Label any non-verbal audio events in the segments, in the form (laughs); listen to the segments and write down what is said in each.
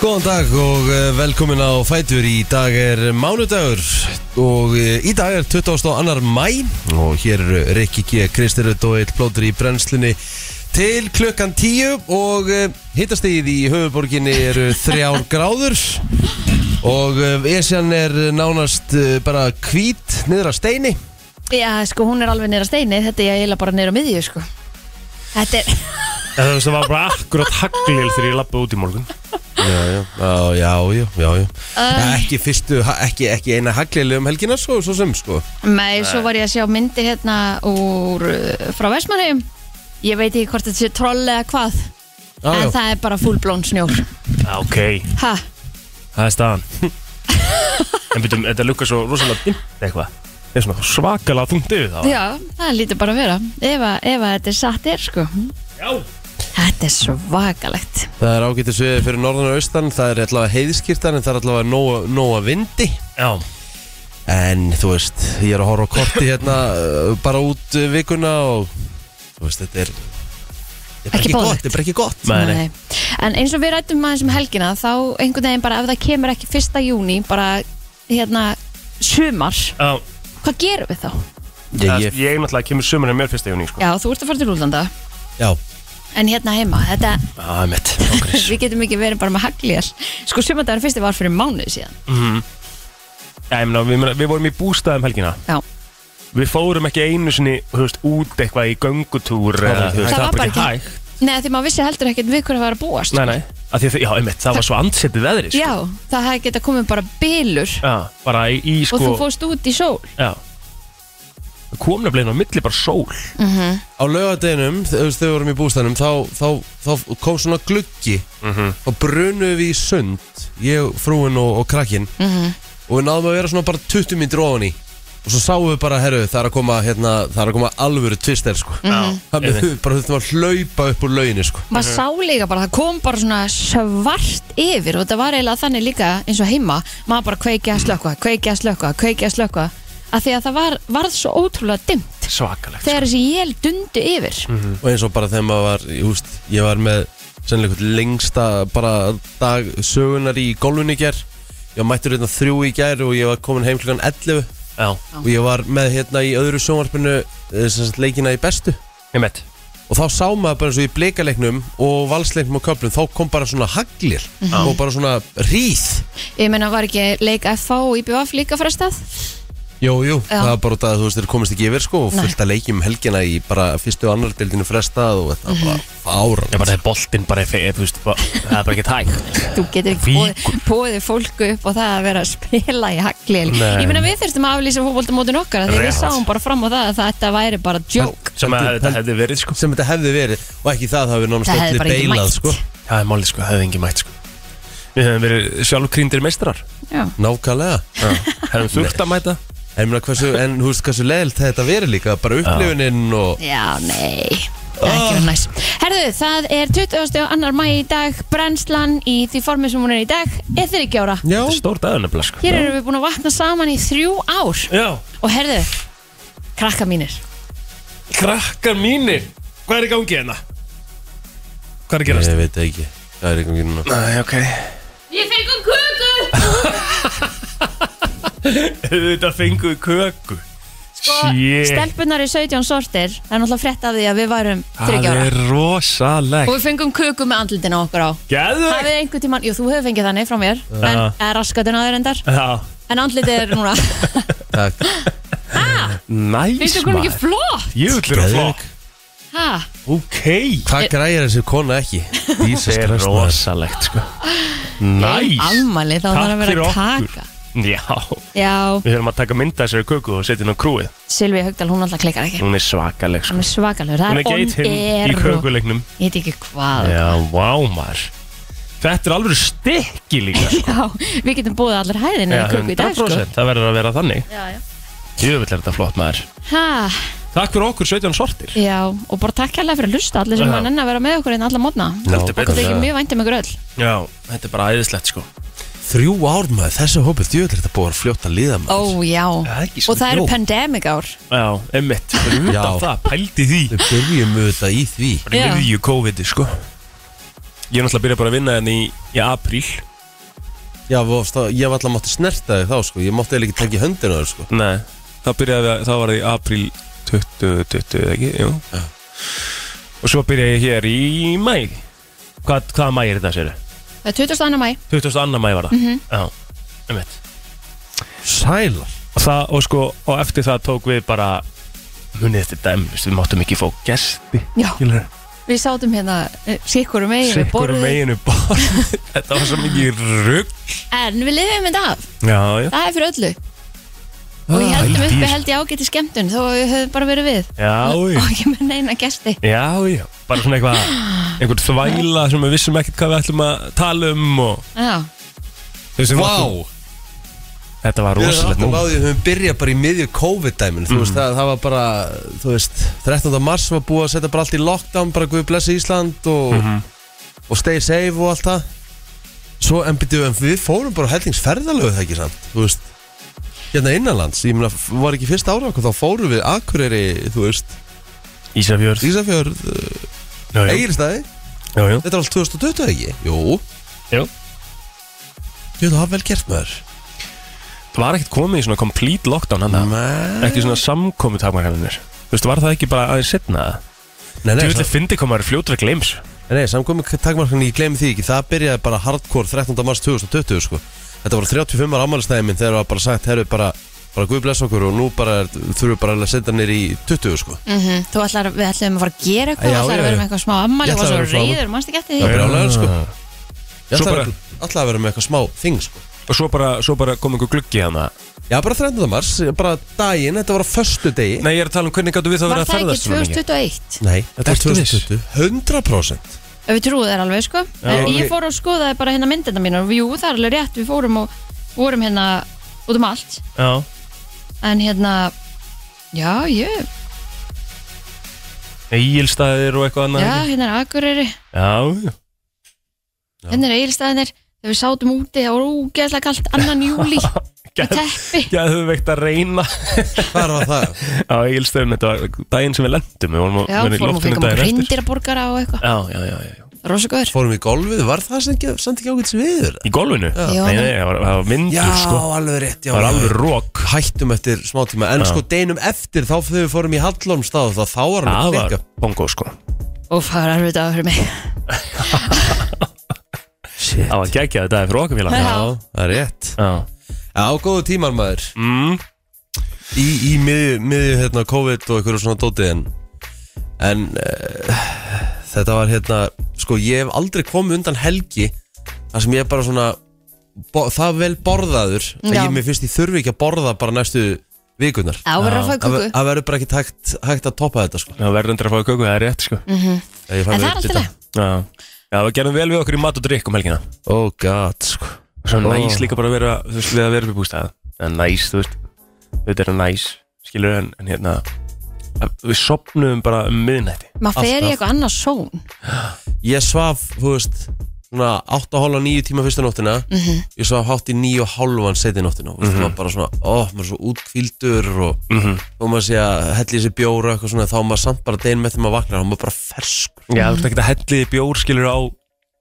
Góðan dag og eh, velkomin á Fætur Í dag er mánudagur og eh, í dag er 22. mæ og hér eru Rikki G, Kristirut og Eill Blóttur í brennslunni til klukkan 10 og hittastíð í höfuborginni eru (laughs) þrjár gráður og eh, Esjan er nánast eh, bara hvít niður að steini Já, sko, hún er alveg nýra steini, þetta er ég eiginlega bara nýra miðju, sko. Þetta er, Það sem var bara akkurat haglil þegar ég lappaði út í morgun Já, já, já, já, já, já, já. Um. Ekki fyrstu, ha- ekki, ekki eina haglileg um helgina svo, svo sem, sko nei, svo var ég að sjá myndi hérna úr, uh, frá Vestmannheim. Ég veit ekki hvort þetta sé troll eða hvað, Já, en já, það er bara fullblón snjór. Já, Ok, Ha, það er staðan En byrjum, þetta lukkar svo rosalega dimmt eitthvað Það er svona svakalega þungt yfir það já, það lítur bara að vera, ef, að- ef að þetta er satt er, sko. Já Þetta er svakalegt. það er ágætið sviðið fyrir norðan og austan Það er allavega heiðskýrtan en það er allavega nóa, nóa vindi Já, En þú veist, ég er að horfa á korti hérna uh, bara út uh, vikuna og þú veist, þetta er, þetta er bara Ekki ekki boðlegt. gott, þetta er bara ekki gott Nei, nei. sko, En eins og við rættum aðeins um helgina, þá einhvern veginn bara ef það kemur ekki fyrsta júni, bara, hérna, sumar, já hvað gerum við þá? Ég, Ég, ég, náttúrulega kemur sömurinn mér fyrsta júni sko. Já, þú ert að fara til útlanda. já, En hérna heima, þetta, Já, mitt Ángriðs við getum ekki verið bara með hagljál Sko, sumandagur fyrsti var fyrir mánuð síðan Já, ég meina, við, meina, við vorum í bústaðum helgina Já, Við fórum ekki einu sinni, þú veist, út eitthvað í göngutúr Það var eða, ekki þú veist, það, var bara ekki hægt. Nei, því maður vissi heldur ekkert við hverju var að búast Nei, nei, að því að, þau- já, einmitt, það var svo andsetið veðri sko. Já, það hefði getað komið bara bylur já Bara í, í sko Og þú fóst út í sól Já Það kom nefnilega inn á milli bara sól á laugardeginum, þú veist, þegar við vorum í bústanum þá, þá, þá kom svona gluggi og brunum við í sund ég, frúin og, og krakkin og við náðum að vera svona bara 20 mínir ofan í og svo sáum við bara, herru, það er að koma hérna, það er að koma alvöru tvister, sko Mhm. það einmitt. er bara þurftum að hlaupa upp úr lauginni, sko Maður sá líka bara, það kom bara svona svart yfir Og það var eiginlega þannig líka eins og heima Maður bara kveikja að slökva, kveikja að slökva, kveikja að slökva Af því að það var, varð svo ótrúlega dimmt Svakalegt Þegar þessi jél dundi yfir og eins og bara þegar maður var, ég veist, ég var með sennilega einhvern lengsta bara dag sögunar í golfunni í gær ég var mættur hérna þrjú í gær og ég var komin heim klukkan 11 Já, og ég var með hérna í öðru sjónvarpinu eh, sem sagt, leikina í bestu ég mitt og þá sá maður bara eins og í bleikaleiknum og valsleiknum og köflum, þá kom bara svona haglir Mhm. og bara svona ríð Ég meina var ekki leik FH og IBF líka frestað Jú, jú, Já. það var bara út að þú veist, þeir komist ekki yfir sko og Nei. fullt að leikjum helgina í bara fyrstu og annar deildinu frestað og þetta Mhm. var bara áran Já, bara það er boltinn bara, fe- þú veist, bara- það er bara ekki tæk Þú getur ekki Víkur. bóðið- bóðið fólku upp og það að vera að spila í haglil Nei. Ég meina við þurftum að aflýsa fókbóltamótin okkar af Því við Rétt. sáum bara fram á það að þetta væri bara joke Sem að þetta hefði verið, sko sem þetta hefði verið og ekki það, það hefði nánast Það hefði allir bara ekki beilað mætt sko Það er málið, sko, það hefði engi mætt, sko Við hefðum verið sjálfkrýndir meistarar Já. Nákvæmlega Hefðum þurft að mæta En, ég meina, hversu, en þú veist hversu leðilt þetta verið líka bara upplifuninn og Já, nei Það er ekki verið næs Herðu, það er 22. mæ í dag Brennslan í því formið sem hún er í dag Er þeir ekki ára Já, Þetta er stór dagur nefnilega, sko Hér erum við búin að vakna saman í þrjú ár Já, Og herðu, krakka mínir krakkar mínir Hvað er í gangi hérna? Hvað er að gerast? ég veit það ekki Það er ekki ekki núna Eh, Æ, ok (laughs) Ég fengum köku Þetta fengum við köku Sko, Sjétt Stelpunar er 17 sortir Það er náttúrulega frétt af því að við værum Það 30 ára er rosalegt Og við fengum köku með andlutin á okkur á Það Gæðvegt er einhvern tímann, jú þú hefur fengið þannig frá mér En Já. er raskatun aður endar Já, En andlitið er (laughs) núna Takk næs Finnstu hún ekki flott? Júlur og flokk Ha? Ok Hvað græðir þessi kona ekki? Jesus Þetta er Christ, maður. rosalegt sko Næs Almali þá Takk þarf að fyrir vera okkur. kaka Já Já, Við höfum að taka mynda þessari köku og setja henni á krúið Silvi Haugdal hún alltaf klikkar ekki Hún er svakaleg sko Hún er svakalur, það Hún er er on geit hinn í air og- kökulegnum Ég veit ekki hvað Já, vá maður Þetta er alveg stikki líka sko. Já, við getum búið allar hæðinu í Já, köku í dag sko 100%, Það verður að vera þannig Já, já Jöfull er þetta flott maður Ha, Takk fyrir okkur 17 sortir já, og bara takk hérlega fyrir að lusta allir sem Já. hann enn að vera með okkur einn alla mótna Já, Heldur Okkur betur. þykir mjög vænt um ykkur öll Já, þetta er bara æðislegt sko Þrjú ár maður, þessu hópið djöður þetta búið að fljóta að líða maður Ó, já, Það er ekki og svona það eru bjór. pandemic ár Já, emmitt Fyrir Já. utan það, pældi því Við byrjum auðvitað í því Bara í Já. miðju COVID-i sko Ég er náttúrulega að byrja bara að vinna henni hérna í, í apríl Já, við ofst, þá- ég var alltaf mátti snerta þig þá sko Ég mátti eiginlega ekki taka í höndina þér sko Nei, það byrjaði að, það var í apríl 2020, eða ekki, jú Og svo byrjaði ég hér í mæ Hvað, hvaða mæ er þetta, sér? Það er 22. mæ 22. mæ var það Mhm. Já, um veit Sælar og, það, og sko, og eftir það tók við bara Munið eftir dæmis, við máttum ekki fá gesti Já, skilurðu. við sátum hérna sikkurum megin við Sikkur um borðið, meginu borð (laughs) Þetta var svo mikið rugg en við lifum þetta af Já, já það er fyrir öllu og við heldum uppi held ég ágæti skemmtun þó að við höfum bara verið við Já, já og ekki með neina gesti Já, já, bara svona eitthvað einhvern þvæla sem við vissum ekkert hvað við ætlum að tala um og Já, þessum Vá, Þetta var við rosalegt áttum á nú því að við höfum byrjað bara í miðju COVID-dæmin Þú veist, það, það var bara, þú veist 13. mars var búið að setja bara allt í lockdown bara Guð blessa Ísland og, og stay safe og allt það Svo, en byrju, en við fórum bara hellingsferðalögu það ekki samt, þú veist Hérna innanlands, ég meina, f- var ekki fyrst ára okkur, þá fórum við Akureyri, þú veist, Ísafjörð Ísafjörð, Jú, jú. Egilstaði Jú, jú. Þetta er alveg 2020 ekki? Jú Jú. Jú, það var vel gert maður Það var ekkert komið í svona complete lockdown hann það Nei, Ekki svona samkomi takmarkafinir Þú veist, var það ekki bara aðeins setna það? nei, Þú nei, veist, sam, fyndi hvað maður er fljótur að gleims nei samkomi takmarkan ég gleymi því ekki Það byrjaði bara hardcore 13. mars 2020 sko. Þetta voru 35 ára afmælistæði minn Þegar það var bara sagt, herru bara bara Guð bless okkur og nú bara er- þurfum við bara að setja nýr í 20 sko mm þú ætlar, við ætlum að fara að gera eitthvað, Já, þú já, ætlar að vera já. með eitthvað smá ammali Ég og ætlaði var svo að vera frá- reyður, mannstu ekki eftir Það því? er brjálæður sko Ég Ah. Svo ætla bara- að, ætla að vera með eitthvað smá þing sko Og svo bara, svo bara kom einhver gluggi hann Já bara 13. mars, bara daginn, þetta var á föstu degi Nei, ég er að tala um hvernig gætu við það Var verið að það ekki ferðast svona mikið? 2021? Nei, þetta var Ertu viss? 2020 100% Ef Við trúum þér alveg, sko. Já, en ok. Ég fór og skoðaði bara hérna myndina mínar og jú, það er alveg rétt, við fórum og vorum hérna út um allt. Já, En hérna, já, ég, Egilstaðir og eitthvað annað já, hérna er Akureyri, Já, já hérna er Egilstaðinir, þegar við sátum úti, það var ógeðslega kalt (laughs) annan júli, með teppi. Gæðu veikt að reyna Hvar var það? á Egilstöðum um Þetta var daginn sem við lendum Við vorum að Já, vera í fórum og loftinu fengum daginn eftir. reyndiraborgara og eitthvað, Já, já, já, já, já. rosagöður. Fórum í golfið, var það sem ekki, samt ekki ágætis viður? Í golfinu? Já. Nei, nei, það var, það var vindur sko alveg rétt já, Það var alveg rétt. rók Hættum eftir smá tíma En Já. sko deinum eftir þá þegar við fórum í Hallormstað þá, þá var hann Það að var klikka bongo sko Úf, það var erfitt að fyrir mig. Shit Það var geggjað þetta er fyrir okkur félag Já. Já, það er rétt Já Já, góðu tímar maður mm. Í, í miðju, miðju hérna COVID og einhverju svona dótið En, en uh, þetta var hérna Sko ég hef aldrei komið undan helgi þar sem ég er bara svona bo, Það vel borðaður að Já. Ég mér finnst ég þurfi ekki að borða bara næstu vikunar Já, verður að Já. fá í Það ver- kúku. það verður bara ekki hægt, hægt að toppa þetta sko Það verður endur að fá köku, það er rétt sko En En það er alltaf leið. Já Já, við gerðum vel við okkur í mat og drikk um helgina Oh god, sko Svo Ó. næs líka bara að vera, þú veist, við að vera upp í bústæða Það er næs, þú veist Þetta er næs, skilur en, en hérna að- Við sopnum bara um miðnætti Maður fer í Alltaf. eitthvað annars són. Ég svaf, þú veist Svona 8,5-9 tíma fyrsta nóttina Mhm. Ég svaf hátt í 9,5 seti nóttina mm -hmm. Það var bara svona, ó, maður er svo útkvildur Og mm -hmm. þó maður sé að helli í sig bjóra Eitthvað svona, þá er maður samt bara deginn með þegar maður vaknar Þá er maður bara ferskur Já, þú veist ekki að hellið í bjór, skilur á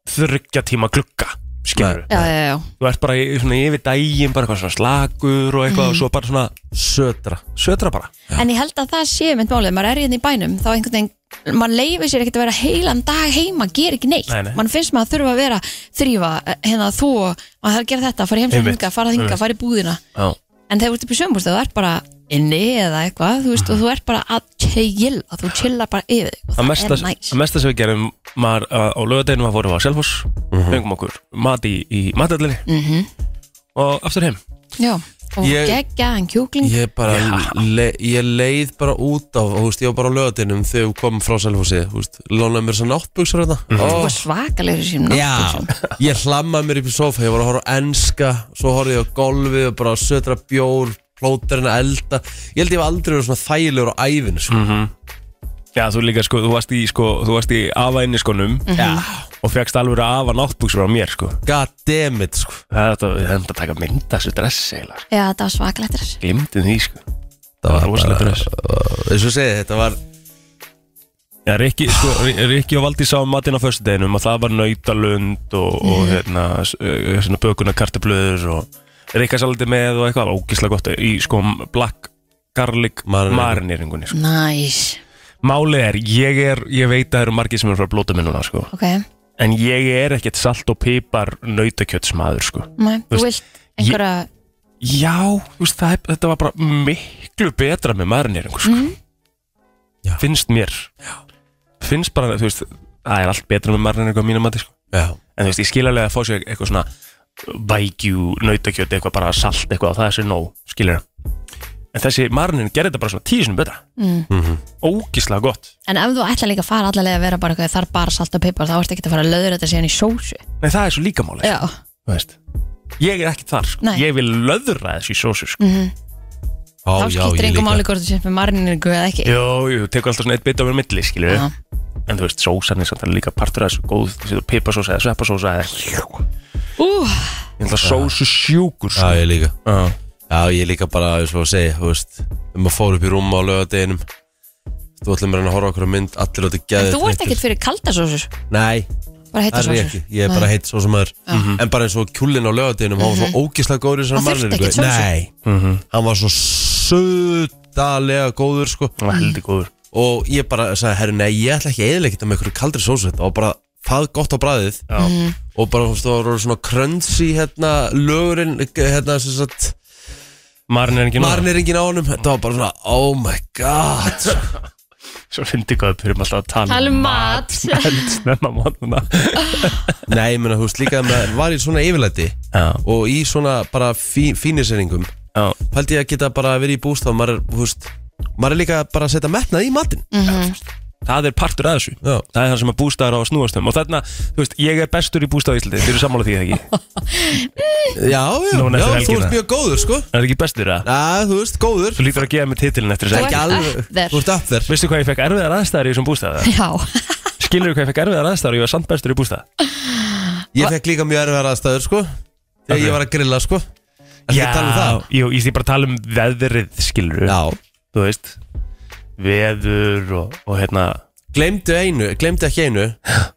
þryggja tíma glugga, skilur Já, já, já. Þú ert bara í- svona yfir daginn, bara eitthvað svona slakur og Mhm. eitthvað og svo bara svona Södra södra bara En ég held að það sé mynd málið, maður er hérna í bænum þá einhvern veginn, maður leifir sér ekkert að vera heilan dag heima, ger ekki neitt Nei, nei. mann finnst maður að þurfa að vera þrýfa hérna þú, maður þarf að gera þetta fara heim sem Einmitt, hinga, fara þinga, einmitt. fara í búðina Já en þegar þú ert upp í sömbúrstu, þú ert bara inni eða eitthvað, þú veist, og þú ert bara að chilla, þú chilla bara yfir þig og Það það mesta, er næs það mesta sem við gerum var að á lögadeginu var fórum við á Selfoss Mhm. fengum okkur mat í, í matallinni og aftur heim Já, og Ég- geggja en kjúkling Ég bara, Já. le, ég leið bara út á Þú veist, ég var bara á lögadinum þegar við komum frá Selfossi Þú veist, lónaði mér svo náttbuksar þetta mm Mhm. og svakalegri sínum Já, ég hlammaði mér upp í sofa Ég var að horfa á enska Svo horfði ég á golfi og bara södra bjór Plóterinn að elda Ég held ég var aldrei verið svona þægilegur á æfinu sko. Já, þú líka sko, þú varst í sko, þú varst í afa skonum Mhm. Já, og fegst alveg að afa náttbúksur á mér sko god damn it sko. Það er þetta, við hefum þetta taka mynd af þessu dress eiginlega, Já, það var svakalegt þess glimtum því sko Það var rosalega bara- dress Eins og ég segi, þetta var Já, Rikki, sko, Ri- Rikki og Valdi sáum matinn á föstudeginum og það var nautalund og, og hérna, s- eh, svona bökunar kartablöður og reykasaldi með og eitthvað ógislega gott í sko black garlic Marineringu. marineringunni sko. Næs, Málið er, ég er, ég veit að það eru margir sem eru frá blóta minnuna sko ok en ég er ekkert salt og pipar nautakjötsmaður sko Mæ, Þú Þú veist, vilt einhverja Já, þú veist, það, er- þetta var bara miklu betra með marineringu sko. Já. finnst mér finnst bara, þú veist það er allt betra með marineringu á mínum mati sko. Já, en þú veist, ég skil alveg að fá sér eitthvað svona bækjú, nautakjöt, eitthvað bara salt eitthvað, það er sér nóg, skilur en þessi marinin gerir þetta bara svona tíu sinum betra Mm. ógislega gott En ef þú ætla líka að fara allalega að vera bara eitthvað þar bara salt og pipar þá ertu ekki að fara að löður þetta síðan í sósu Nei, það er svo líkamáli Já, ég er ekki þar, sko. Nei. ég vil löðra þessu í sósu sko. mm Ó, þá já, skiptir ég einhver líka. máli hvort þú sér með marningu eða ekki Jú, jú, tekur alltaf svona eitt bit á mér milli, skilur Já. En þú veist, sósan er samt alveg líka partur af þessu góð, þú setur pipasósa eða sveppasósa eða Ú, Ég ætla sósu sjúkur sko. Já, ég líka Já. Já, ég líka bara, eins og að segja, þú veist Við maður fór upp í rúm á lögadeginum Þú ætlum að reyna að horfa okkur á mynd Allir átti en gæðið þú ert ekkert fyrir kalda sósur Nei, bara heita það er ég sósur ekki Ég er bara heitt svo sem maður En bara eins og kjúlinn á lögadeginum Hann var svo ógislega góður í þessari Hann marnir þurfti ekkert sósu. Nei, Mhm. hann var svo södalega góður sko Það var heldig góður Og ég bara sagði, herru, nei, ég ætla ekki eðilegget með einhverju kaldri sósu þetta Og bara það gott á bræðið Já. og bara þú veist, það voru svona krönsi hérna lögurinn hérna sem sagt Marin er ekki nóg marniringin á honum þetta var bara svona oh my god Svo fyndi hvað við byrjum alltaf að tala Tala um mat. Eld snemma mátnuna (laughs) nei, ég meina, þú veist líka að maður var í svona yfirlæti Já, og í svona bara fí, fíniseringum já pældi ég að geta bara verið í bústaf maður er, þú veist, maður er líka bara að setja metnað í matinn Mm. Það er partur af þessu já, Það er það sem að bústaðar á að snúast um Og þarna, þú veist, ég er bestur í bústað í Íslandi Þið eru sammála því, (laughs) eða ekki? já, já, Núna já eftir þú helgina. ert mjög góður sko Það er ekki bestur, eða? já, þú veist, góður Þú lítur að gefa mig titilin eftir Þú þess ert ekki Ekki alveg- up there. þú ert upp þér Veistu hvað ég fekk erfiðar aðstæðar í þessum bústað? eða? Já, (laughs) Skilurðu hvað ég fekk erfiðar aðstæðar og ég var samt bestur í bústað? ég fekk líka mjög erfiðar aðstæður sko þegar ég var að grilla sko er ekki að tala um það jú, ég sé bara að tala um veðrið, skilurðu já, Þú veist, veður og, og hérna Glemdu einu, glemdu ekki einu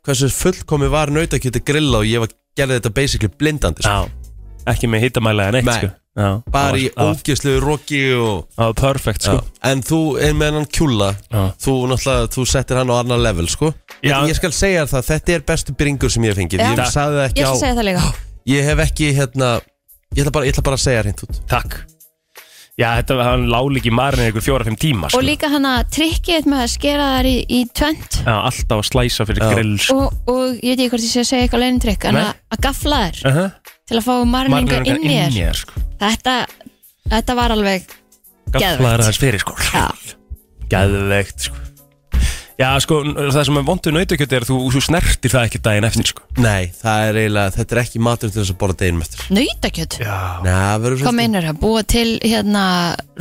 Hversu fullkomi var nautakjöti grilla Og ég var gerði þetta basically blindandi sko. Já, ekki með hittamæla en eitt Nei. sko Já, Bara í Það var- ógjöfslegu roki og... það var perfect sko Já. En þú er með hann kjúla Já. Þú náttúrulega, þú settir hann á annar level sko. Já. Ég skal segja þér það, þetta er bestu bringur sem ég hef fengið Já. Ég Takk. sagði það ég ekki ætla á að segja það líka Ég hef ekki hérna Ég ætla bara, ég ætla bara að segja hreint út Takk Já, þetta var hann lálík í marinn einhver fjóra-fimm tíma sko Og líka hann að trikkið með að skera þær í, í tvönd Já, alltaf að slæsa fyrir Já. grill sko og, og ég veit ekki hvort ég sé að segja eitthvað leinintrykk en Nei. að, að gafla þær uh -huh. til að fá marningu inn í þér þér sko þetta, þetta var alveg Geðveikt. Gaflaður hans fyrir sko Já. Gæðvegt sko Já, sko, n- það sem er vondu nautakjöti er að þú, þú snertir það ekki daginn eftir sko Nei, það er eiginlega, þetta er ekki matur til þess að borða deginum eftir nautakjöt Já Nei, það verður Hvað svolítið- meinar það? Búa til hérna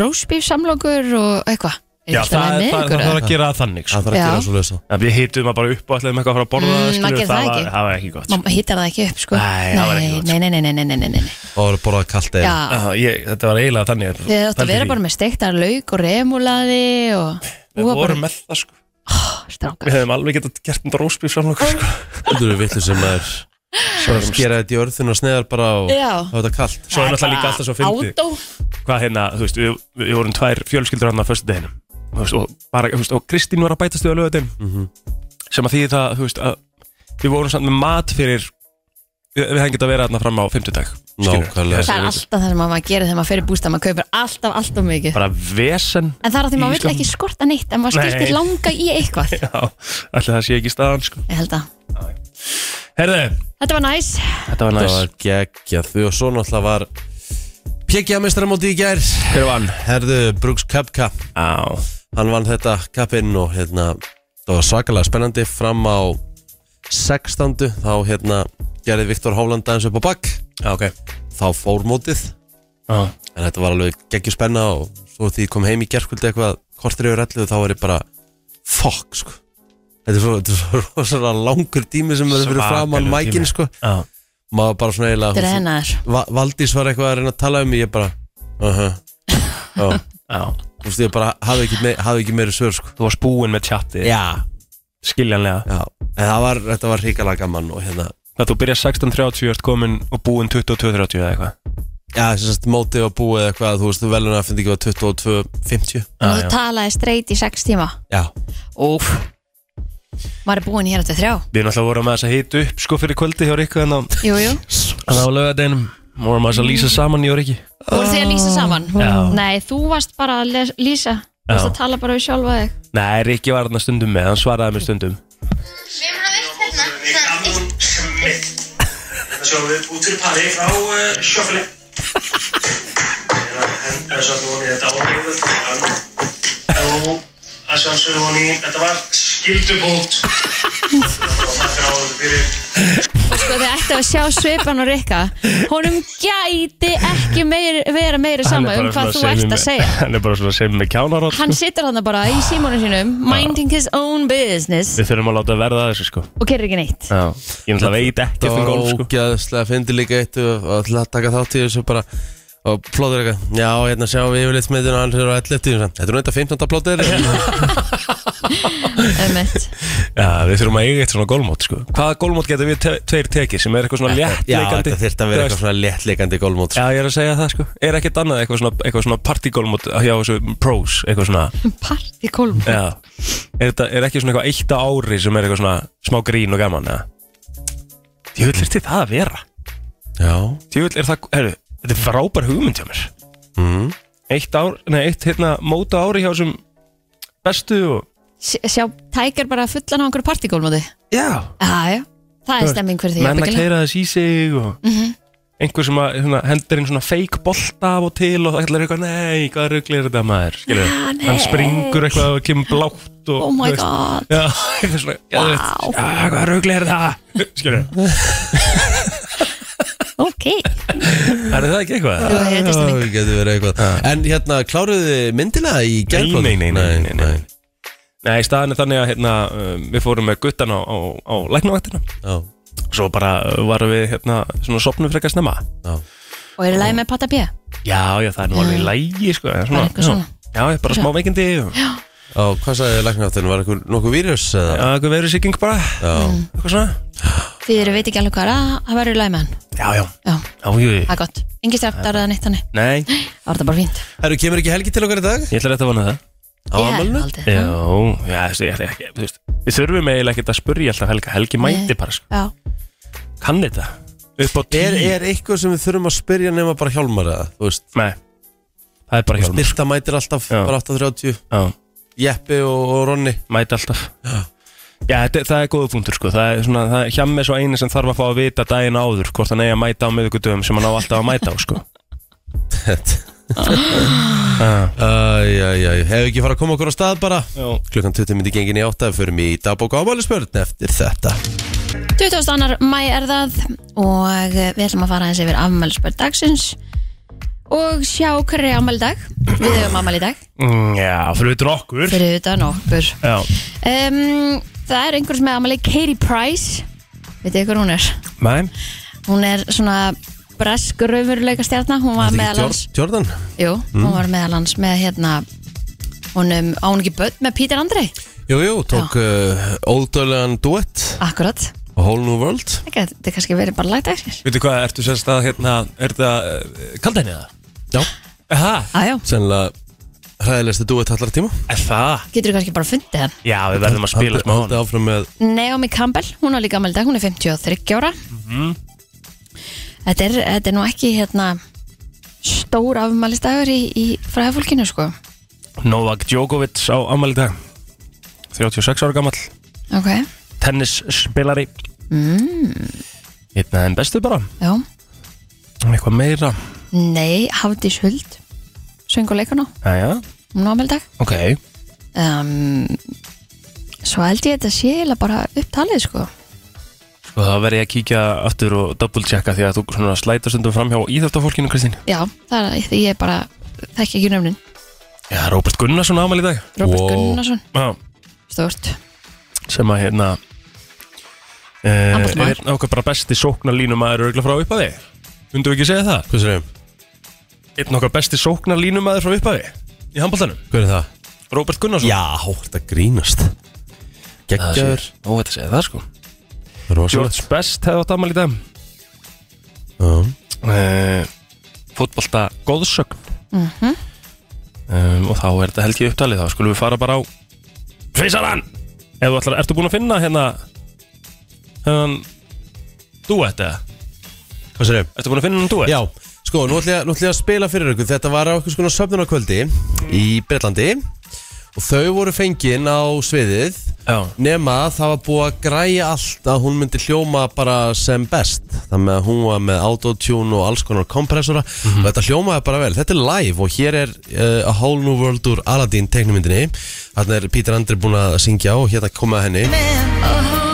rósbíf samlokur og eitthvað? Er ekki Já, alltaf það, leið með það, það, ykkur, það eða? var að gera það þannig sko. Það þarf að Já. gera svo lesa að Við hittum það bara upp og ætlaðum eitthvað að fara að borða Mm, það, maður skilur, gerir það ekki. það var, það var ekki gott sko. Má- hittar það ekki upp sko Nei, það var ekki gott, nei, nei, nei, nei, nei, nei, nei, nei, nei. Og borða kalt eða Já, Já, ég, þetta var eiginlega þannig þið áttu að vera bara með steiktar lauk og remulaði og Við búa vorum bara með það sko Við strákar hefum alveg getað gert þetta rósbíf samlokur sko. Þú eru vitlu sem er skera þetta í örðun og sneðar bara og Já. þá er þetta kallt Svo er náttúrulega líka alltaf svo fyndi Átó Hvað hérna, þú veist, við, við vorum tvær fjölskyldur hann á föstu deginum veist, og, bara, þú veist, og Kristín var að bæta stuða lögatum sem að því það, þú veist að, við vorum samt með mat fyrir við, við hefum getað að vera þarna fram á fimmtudag skilurðu. Nákvæmlega. Það er alltaf það sem maður gerir þegar maður fyrir bústað maður kaupir alltaf, alltaf mikið Bara vesen (laughs) En það er að því Í maður vill skömm. ekki skorta neitt en maður Nei. skiltir langa í eitthvað Já, allir það sé ekki staðan sko. Ég held að Herðu, Þetta var næs þetta var Það næst var geggja því og svo náttúrulega var PGA mestramóti í gær Hver vann? Herðu Brooks Koepka Á, Hann vann þetta kappinn og hérna það var svakalega spennandi fram á 16. þá hérna gerði Viktor Hóland aðeins upp á bakk já, ok þá fór mótið Já, en þetta var alveg geggju spenna og svo því ég kom heim í gerkvöldi eitthvað kortir yfir ellu þá er ég bara fuck sko þetta er svo, þetta er svo (laughs) rosalega langur tími sem verður fyrir fram á Svakalegur mækin tími. sko já maður bara svona Þetta er eiginlega hennar Va Valdís var eitthvað að reyna að tala um mig ég bara uh (laughs) -huh. já, Já, þú veist ég bara hafði ekki, me hafði ekki meiri svör sko þú varst búinn með tjatti já skiljanlega Já, en það var, þetta var hrikalega gaman og hérna Það þú byrjar 16.30 og ert komin og búinn 22.30 eða eitthvað Já, sem sagt mótið og búið eða hvað, þú veist, velun að finna ekki var 22.50 og já. þú talaði streit í sex tíma Já, Óf Maður er búinn hér eftir þrjá Við náttúrulega vorum með þess að hita upp sko fyrir kvöldi hjá Rikku en á, Jú, jú en á lögadeinum vorum að þess að lýsa saman hjá Rikki Voru þið að lýsa saman? Já. Nei, þú varst bara að les- lýsa Þú varst Já. að tala bara við sjálfa þig Nei, Rikki var þarna stundum með, hann svaraði mér stundum Hvem har vist hérna? Það er eitt. Þetta sjáum við út fyrir pari frá uh, sjöfli Það er svo að hún í þetta áhuga og að sjálfsögðu hún í þetta var skildubót og það fyrir áhuga fyrir Sko þið ætti að sjá svipan og Rikka Honum gæti ekki meir, vera meira sama um hvað þú ert að segja (laughs) Hann er bara svona sem með kjánarótt Hann situr hann bara í símónu sínum Minding his own business Við þurfum að láta verða að þessu sko Og gerir ekki neitt Já, ég náttúrulega veit ekkert það um var golf sko ógæðslega fyndi líka eitt og og ætla að taka þátt í þessu bara og plóður eitthvað, já, hérna sjáum við yfirleitt smiðin og hann fyrir á 11. Þetta er nú eitthvað 15. plóður (laughs) Ömmett Já, við þurfum að eiga eitt svona golfmót sko Hvaða golfmót getur við te tveir tekið sem er eitthvað svona léttleikandi Já, þetta þurft að vera eitthvað svona léttleikandi gólmót Já, ég er að segja það sko Er ekkert annað eitthvað svona, eitthvað svona partygolmót hjá þessu pros eitthvað svona (laughs) Parti kólm Já Er, þetta, er ekki svona eitthvað eitt á ári sem er eitthvað svona smá grín og gaman eða? Djúvill er þetta það að vera Já, Djúvill er það, herru, þetta er frábær hugmynd hjá mér mm. Eitt ár, nei, eitt hérna mót á ári hjá þessum bestu og Sjá tækar bara fullan á einhverju partikólm á því Já, Jájá Það er stemming fyrir því menn að ábyggilega. keira þess í sig og Mhm. einhver sem að, hérna, hendur inn svona fake bolta af og til og ætlar eitthvað nei, hvað rugl er þetta maður skilur, Ah, nei. hann springur eitthvað og kemur blátt og, Oh my þú veist, god. já, (laughs) eitthvað svona, já, þú veist, Wow. "Ah, hvað rugl er (laughs) það skilur, Ok er það ekki eitthvað Jú, þetta er stemming. það getur verið eitthvað En hérna, kláruðu þið myndina í gælplóður? Nei, nei, nei, nei, nei, nei. nei, staðan er þannig að hérna, um, við fórum með guttan á, á, á læknavaktina Já, svo bara uh, varum við hérna, svona sopnum frekar snemma já, Og eru læg með patta bíða? já, já, það er nú alveg í lægi sko, en Bara eitthvað svona. já, já, bara smá veikindi og já, hvað sagði læknaráttinu? Var eitthvað nokkuð vírus eða? Já, eitthvað veru sýking bara Eitthvað svona Þið eru veit ekki alveg hvað er að það verður læg með hann Já, já Já, Já, jú, jú það er gott Engi straftar eða neitt þannig Nei, Það var þetta bara fínt Herru, kemur ekki Helgi til okkar í dag? ég ætla rétt að vona það Á ammálinu? haldið. Já, já, þessi, ég ætla ekki Þú veist, við þurfum eiginlega ekkert að spurja alltaf Helga Helgi mæti bara, sko Já, Kann þetta Upp á tíu Er, er eitthvað sem við þurfum að spyrja nema bara Hjálmar eða? Þú veist, Nei, það er bara hjálmur Birta mætir alltaf, Já. bara 8.30 Já, Jeppi og, og (laughs) Ronni mæti alltaf Já, þetta, það er góða punktur, sko Það er svona, það er hjá svo eini sem þarf að fá að vita daginn áður Hvort hann eigi að mæta á miðvikudöfum sem hann á alltaf að mæta á, sko Ah. Já, Æjæjæj, hefur ekki fara að koma okkur á stað bara já Klukkan 20 myndi gengin í 8 Fyrir mig í dagbók ámálisbörn eftir þetta 22. mæ er það og við ætlum að fara aðeins yfir afmælisbörn dagsins og sjá hverju afmæli í dag Við höfum afmæli í dag Mm, Já, fyrir við okkur fyrir utan okkur Já um, Það er einhver sem er afmæli Katie Price Veitu ykkur hún er? Mæn Hún er svona bresk raumurleika stjarnar Hún var Þetta meðal ekki hans Jor- Jordan? Hmm? Jú, hún var meðal hans með hérna honum, á hún ekki börn með Peter Andrei Jú, jú, tók uh, ódöðlegan duett Akkurat, A Whole New World það gæti- þetta er kannski verið bara lagt eftir Veitu hvað, ertu sérst að hérna, er þetta kaldenið það? Já Aha, Aðjá, Sennilega hræðilegstu duett allar tíma er það? getur þú kannski bara fundið hann Já, við verðum að spila smá Haldið áfram með Naomi Campbell, hún var líka ammæli í dag, hún er 53 ára Mhm. þetta, er, þetta er nú ekki hérna stór afmælistagur í, í fræðafólkinu sko Novak Djokovic á ammali dag 36 ára gamall Ok, Tennisspilari mm. Hérna en bestu bara já Eitthvað meira Nei, Hafdís Huld söngur leikana, Jæja, hún var ammæli í dag ok um, Svo held ég þetta sé eiginlega bara upptalið sko Sko þá verð ég að kíkja aftur og double checka því að þú svona slætar stundum fram hjá íþjóftafólkinu Kristín Já, það er, ég er bara þekki ekki nöfnin Já, Róbert Gunnarsson á ammali dag Robert Wow. Gunnarsson, Já, stort sem að hérna Uh, Ambassmaður. er okkar bara besti sóknarlínumæður örgla frá uppaði Myndu ekki segja það? Hvað sér einn okkar besti sóknarlínumæður frá upphafi í handbóltanum, Hver er það? Róbert Gunnarsson Já, þetta grínast Geggjaður Ó, þetta segir það sko Rosalegt George Best hefði átt afmæli í dag Já. uh, fótbolta góðsögn um, og þá er þetta helgi upptalið þá skulum við fara bara á Feysaran ef þú ætlar, ertu búin að finna hérna hennan duett eða? Hvað sér ég? Ertu búin að finna hennan duett? Já, sko, nú ætlum ég, nú ætla ég að spila fyrir ykkur Þetta var á eitthvað skona söfnunarkvöldi í Breitlandi og þau voru fengin á sviðið Já. nema að það var búið að græja allt að hún myndi hljóma bara sem best þannig að hún var með autotune og alls konar kompressora og þetta hljómaði bara vel, þetta er live og hér er uh, A Whole New World úr Aladdin teknumyndinni, þarna er Pítur Andri búin að syngja og hérna komaði henni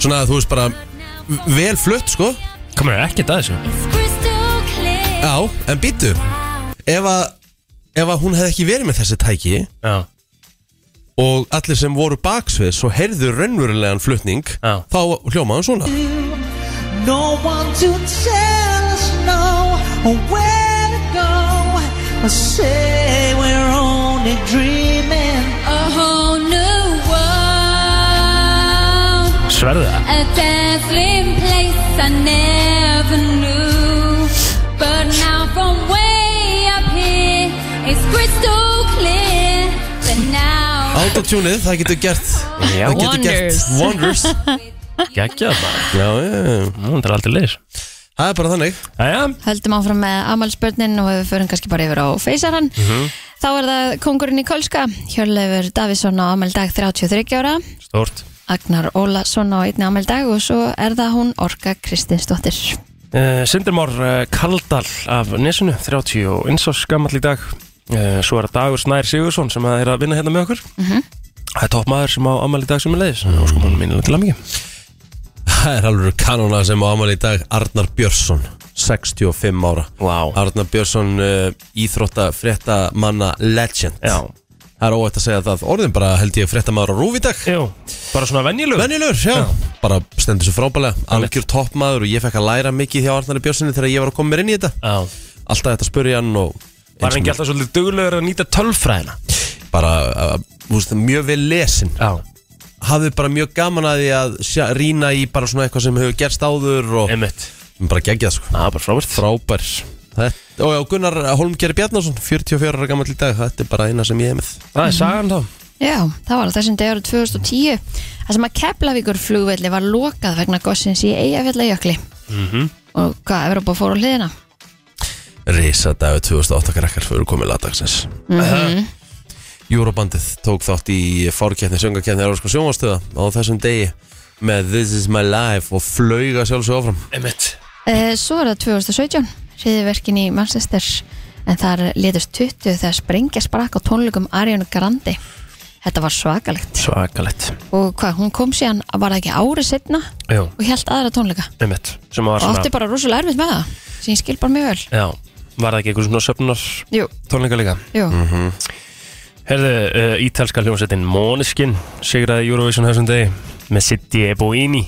svona að þú veist bara vel flutt sko Komur ekkert að þessu Já, en býtu ef að, ef að hún hefði ekki verið með þessi tæki Já, og allir sem voru baksvið svo heyrðu raunverulegan flutning Já. þá hljómaði hún svona No one to tell us no or where to go. I say we're only dreaming. sverðu það A dazzling place I never knew. But now from way up here, it's crystal clear. But now Autotunið, það getur gert Já. það getur gert Wonders. Wonders Gægjað bara, Já, já, já. Nú, það er aldrei leis það er bara þannig Jæja, höldum áfram með amalspörnin og við förum kannski bara yfir á feysaran þá er það kongurinn í Kölska Hjörleifur Davísson á amaldag 33 ára stort Agnar Ólason á einni amaldag og svo er það hún Orka Kristinsdóttir Uh, Sindrimár uh, Kaldal af Nesunu, 30 og eins og skamall í dag uh, Svo er það Dagur Snær Sigursson sem að er að vinna hérna með okkur Mhm. Það er topp maður sem á ammæli í dag sem er leiðis Og sko mannum mínu til að mikið Það er alveg kanóna sem á amal í dag Arnar Björnsson, 65 ára Vá. Arnar Björnsson, uh, íþrótta fréttamanna legend Já, Það er óætt að segja það orðin bara held ég fréttamaður á rúf í dag Jú, bara svona venjulegu Venjulegur, já. Bara stendur svo frábælega Algjör toppmaður og ég fekk að læra mikið hjá Arnari Björnssoni þegar ég var að koma mér inn í þetta Já, Alltaf þetta spurði hann og var hann ekki alltaf svolítið duglegur að nýta tölfræðina bara, uh, þú veist, mjög vel lesin Já, Hafði bara mjög gaman að því að sjá, rýna í bara svona eitthvað sem hefur gerst áður og einmitt bara geggjað sko Já, bara frábært Frábær Þetta, og já, Gunnar Holmgeri Bjarnason 44 ára gammal í dag, þetta er bara eina sem ég hef með Það er sagan þá Já, það var á þessum degur 2010 þar sem að Keflavíkur flugvelli var lokað vegna gossins í Eyjafjallajökli mm og hvað, Evropa fór á hliðina Rísadagur 2008 krakkar fyrir komið lagdagsins Júrobandið tók þátt í fórkeppni söngakeppni Európska sjónvastöða á þessum degi með This is my life og flauga sjálfsög áfram Einmitt Eh, Svo er það 2017, hriðiverkin í Manchester en þar létust 20 þegar sprengja sprakk á tónleikum Ariana Grande. Þetta var svakalegt Svakalett og hvað, hún kom síðan að var það ekki ári setna Jú, og held aðra tónleika einmitt Sem að var og átti svona bara rosalega erfitt með það sem ég skil bara mjög vel. Já, var það ekki einhver svona söpnar Jú, tónleika líka jú, Herðu, uh, ítalska hljómsveitin Måneskin sigraði Eurovision þessum degi með City e Boini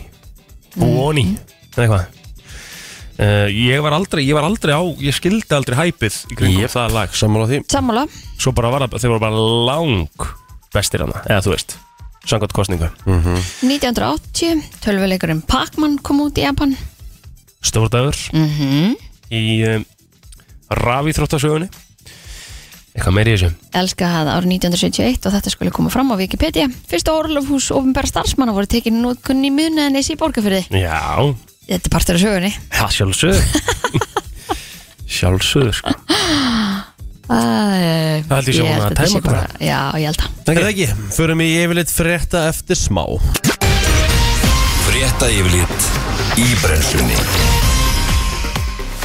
Buoni, Mhm. eða eitthvað uh, Ég var aldrei, ég var aldrei á ég skildi aldrei hæpið í kringum það lag Sammála því sammála Svo bara var það, þeir voru bara lang bestir hana, eða þú veist Sangat kostningu, 1980, tölvuleikurinn Pac-Man kom út í Japan stórdagur Mhm. í um, rafi þróttasögunni Eitthvað meiri í þessu elska það árið 1971 og þetta skulle koma fram á Wikipedia. Fyrsta orlofhús ofinbæra starfsmanna voru tekin nótkunni í miðnaðinni í borgarfyrði. Já, Þetta er partur af sögunni. það (laughs) sjálfsög Sjálfsög, sko Það Það held ég sé hún að þetta tæma sé bara- Já, ég held að Það er það ekki, förum í yfirleitt frétta eftir smá Frétta yfirlit í brennslunni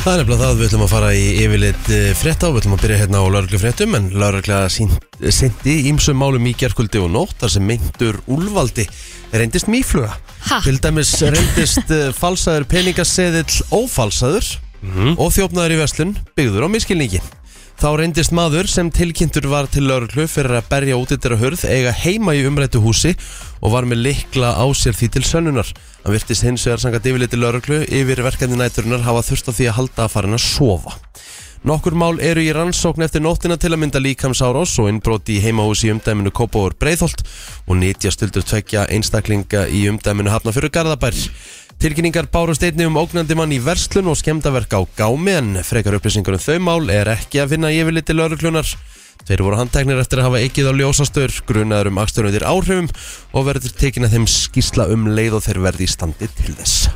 Það er nefnilega það, við ætlum að fara í yfirleitt eh, frétta og við ætlum að byrja hérna á lauruglufréttum en laurugla sendi ímsum málum í gerkvöldi og nótt þar sem myndur úlvaldi reyndist mýfluga Ha? Til dæmis reyndist eh, falsaður peningaseðill ófalsaður og þjófnaður í verslun byggður á miskilningi Þá reyndist maður sem tilkynntur var til lauruglu fyrir að berja út yttir að hörð eiga heima í umrættu húsi og var með likla á sér því til sönnunar. Hann virtist hins vegar sangat yfirleiti lauruglu yfir verkefni næturunar hafa þurft á því að halda að fara hann að sofa. Nokkur mál eru í rannsókn eftir nóttina til að mynda líkamsárás og innbrot í heimahús í umdæminu Kópavur Breiðholt og nýtjastöldur tvekja einstaklinga í umdæminu Hafnafjörðu Garðabær. Tilkynningar bárust einni um ógnandi mann í verslun og skemdaverk á gámi en frekar upplýsingur um þau mál er ekki að finna yfirliti lauruglunar. Þeir voru handteknir eftir að hafa ekkið á ljósastur, grunaður um akstur undir áhrifum og verður tekin að þeim skýsla um leið og þeir verði í standi til þess.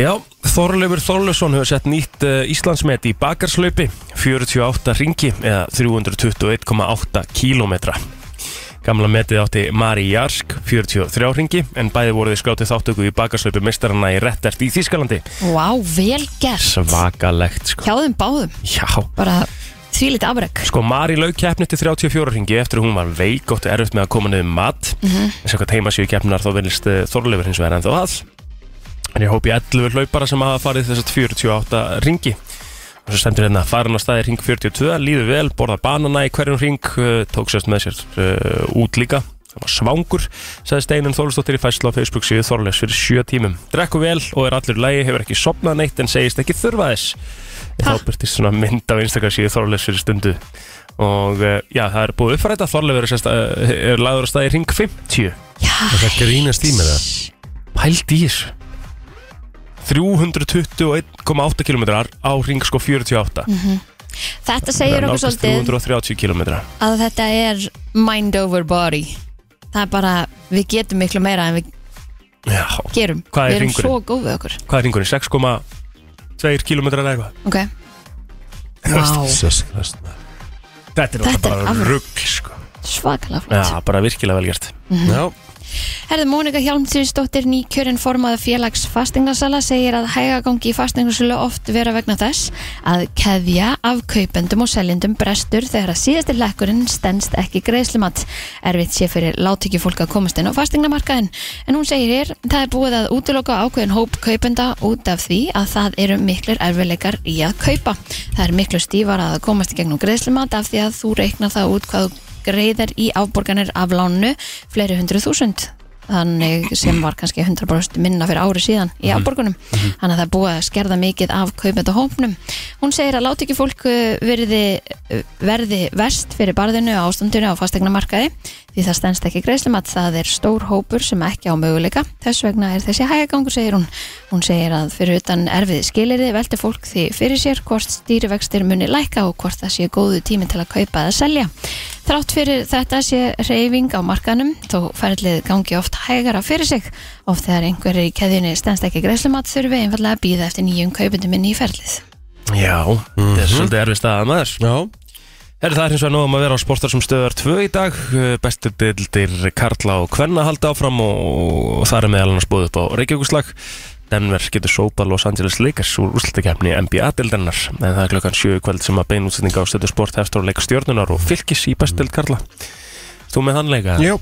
Já, Þorleifur Þorleifsson hefur sett nýtt uh, Íslandsmet í bakarslaupi 48 ringi eða 321,8 kílómetra Gamla metið átti Mari Jarsk 43 ringi en bæði voru þið skátið þáttöku í bakarslaupi mestarana í Rettert í Þýskalandi Vá, vel gert Svakalegt sko Hjá þeim báðum Já, Bara þvílit afreg Sko Mari laug keppni til 34 ringi eftir að hún var veik og erfitt með að koma niður mat mm -hmm. en samkvæmt heimasíu keppnar þá vilist Þorleifur hins vegar ennþá að en ég hópi 11 hlaupara sem hafa farið þessart 48 ringi og svo stendur hérna farin á staði ring 42 líður vel, borða banana í hverjum ring eh, tók sérst með sér uh, út líka það var svangur, sagði Steinun Þorlsdóttir í fæslu á Facebook síðu Þorleifs fyrir 7 tímum drekku vel og er allur í lagi, hefur ekki sopnað neitt en segist ekki þurfa þess Ha? þá byrtist svona mynd af einstakar síðu Þorleifs fyrir stundu og uh, já, það er búið uppfærætt að Þorleifur er, sérst, uh, er lagður á staði í ring 50 Er það grínast í með það? pælt í þessu 321,8 km á ring sko 48 Þetta segir okkur nálgast svolítið 330 km að þetta er mind over body Það er bara, við getum miklu meira en við Já, gerum Hvað er Við erum hringurinn? svo góð við okkur hvað er ringurinn? 6,2 km eða eitthvað Ok Vá, Jesus Christ, maður. Þetta er Þetta er bara afrek. rugg sko. svakalega flott Já, bara virkilega vel gert Já, Herði Mónika Hjálmsýnsdóttir nýkjörinn formaða félags fastingasala segir að hægagangi í fastingasölu oft vera vegna þess að keðja af kaupendum og seljendum brestur þegar að síðasti lekkurinn stendst ekki greiðslumat. Erfitt sé fyrir látiki fólk að komast inn á fastingamarkaðin en hún segir hér, það er búið að útiloka ákveðin hóp kaupenda út af því að það eru miklir erfileikar í að kaupa. Það er miklu stífar að komast í gegnum greiðslumat af því að þú reiknar það út hvað þú greiðar í afborganir af lánu fleiri hundruð þúsund þannig sem var kannski 100% minna fyrir ári síðan í afborgunum þannig að það er búið að skerða mikið af kaupenda hópnum. Hún segir að láti ekki fólk verði, verði vest fyrir barðinu og ástandinu á fastegnamarkaði því það stendst ekki greiðslum að það er stór hópur sem ekki á möguleika þess vegna er þessi hægagangur segir hún hún segir að fyrir utan erfið skilirði velti fólk því fyrir sér hvort stýrivextir muni lækka og hvort það sé góðu tími til að kaupa eða selja Þrátt fyrir þetta sé reyfing á markanum þó ferlið gangi oft hægara fyrir sig oft þegar einhverjir í keðjunni stendst ekki greiðslumat þurfi einfallega að býða eftir nýjum kaupundum inn í ferlið. Já, þetta er svolítið erfið staða maður já, Er það er hins vegar nóg um að vera á sportar sem stöðar 2 í dag Eh, Bestu dildir Karla og Kvenna halda áfram og, og það er meðal annars búið upp á Reykjavíkuslag Denver getur sópa Los Angeles Lakers úr úrslutakefni NBA-dildarnar en það er klokkan 7 í kvöld sem að beinútsending á stöðu sport hefstur á leik stjórnunar og fylgis í bestu dild Karla Þú með hann leika? já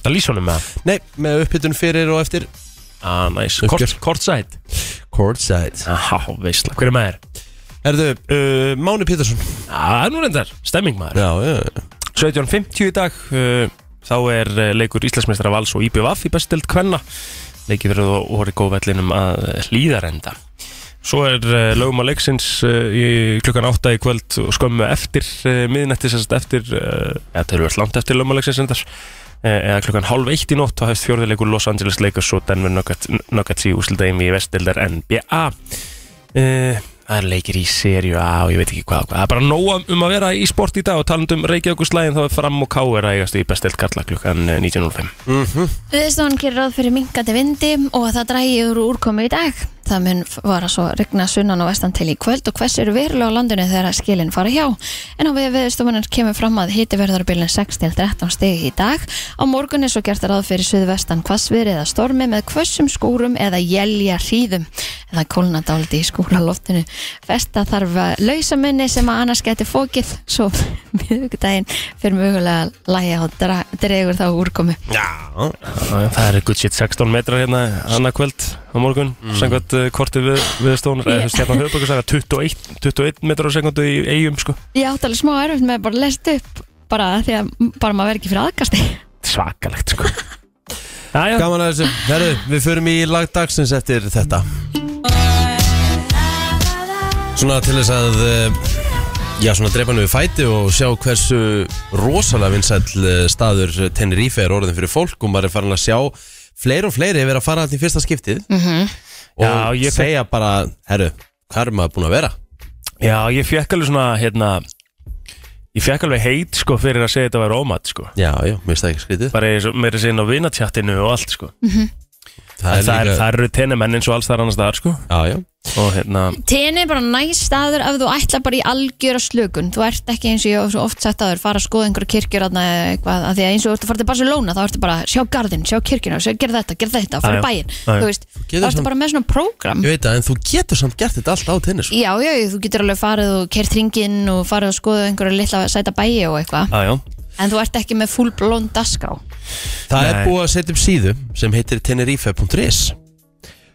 Það lýs honum með hann? Nei, með upphittun fyrir og eftir Ah, næs Uppgjör. nice. Kortsætt? Courtside Aha, veistla Hver er maður? Erðu, uh, Máni Pétursson Já, Það er nú reyndar, stemming maður Já, já, já 17.50 í dag uh, þá er uh, leikur Íslandsmeistra Vals og IBVF í bestild kvenna leikið verið á Horikó vellinum að uh, hlýðarenda svo er uh, lögum að leiksins uh, í klukkan 8 í kvöld og skömmu eftir uh, miðnætti sérst eftir uh, eða þeir eru langt eftir lögum að leiksins endar uh, eða klukkan hálf eitt í nótt þá hefst fjórðileikur Los Angeles Lakers og Denver Nuggets Nuggets í úsildæmi í vestildar NBA Eh, Það er leikir í serju A og ég veit ekki hvað og hvað. Það er bara nóg um að vera í sport í dag og talandum Reykjavík slæðin þá er fram og ká er að eigast í bestilt karla klukkan eh, 19.05. Viðstofan gerir ráð fyrir minkandi vindi og að það drægi úr úrkomi í dag. Það mun var að svo regna sunnan og vestan til í kvöld og hvers eru verulega á landinu þegar að skilin fara hjá. En á við viðstofanar kemur fram að hiti verður á bylun 6 til 13 stegi í dag. Á morgun er svo gert ráð fyrir suðvestan hvassviðri eða stormi með hvessum skúrum eða jælja hríðum. Eða kólna dáliti í skúraloftinu. Festa þarf að lausa munni sem að annars geti fókið svo (laughs) miðugdægin fyrir mögulega að lægja og dra- dregur þá úr úrkomi. Það er good shit 16 metrar hérna annað kvöld á morgun mm. samkvæmt eh, kortið við, við stónur eða þú veist hérna höfbökkursaga 21, 21 metrar á sekundu í eigum sko. Ég átti alveg smá erfitt með að bara lest upp bara því að bara maður verið ekki fyrir aðkasti Svakalegt sko. Jæja, Gaman að þessu Herðu, við förum í lag dagsins eftir þetta Svona til þess að uh, Já, svona drepa hann við fæti og sjá hversu rosalega vinsæll eh, staður Tenerife er orðin fyrir fólk og maður er farin að sjá fleiri og fleiri vera að fara allir í fyrsta skiptið og Mhm. Já, ég fekk- segja bara, herru, hvað er maður búin að vera? Já, ég fekk alveg svona, hérna Ég fekk alveg heit, sko, fyrir að segja þetta væri ómat, sko Já, já, mér finnst það ekki skrítið Bara eins og- meira að segja inn á vinatjattinu og allt, sko Það En það, er, það eru tennimenn eins og alls þar annars þar, sko Já, já, Og hérna, Tenni er bara næst staður ef þú ætla bara í algjöra slökun þú ert ekki eins og ég hef svo oft sagt aður fara að skoða einhverja kirkjur aðna eitthvað að því að eins og þú ert að fara til Barcelona þá ertu bara sjá garðin, sjá kirkjuna, sjá, gerð þetta, gerð þetta fara í Já, já. bæinn, Já, já. þú veist getur þá ertu samt- bara með svona prógram ég veit það, en þú getur samt gert þetta allt á tennis sko. Já, já, þú getur alveg farið og kert ringinn og farið og skoða einhverja litla sæta bæi og eitthvað aðjá en þú ert ekki með full blown dasgrá Það er Nei. búið að setja upp síðu sem heitir tenerife.is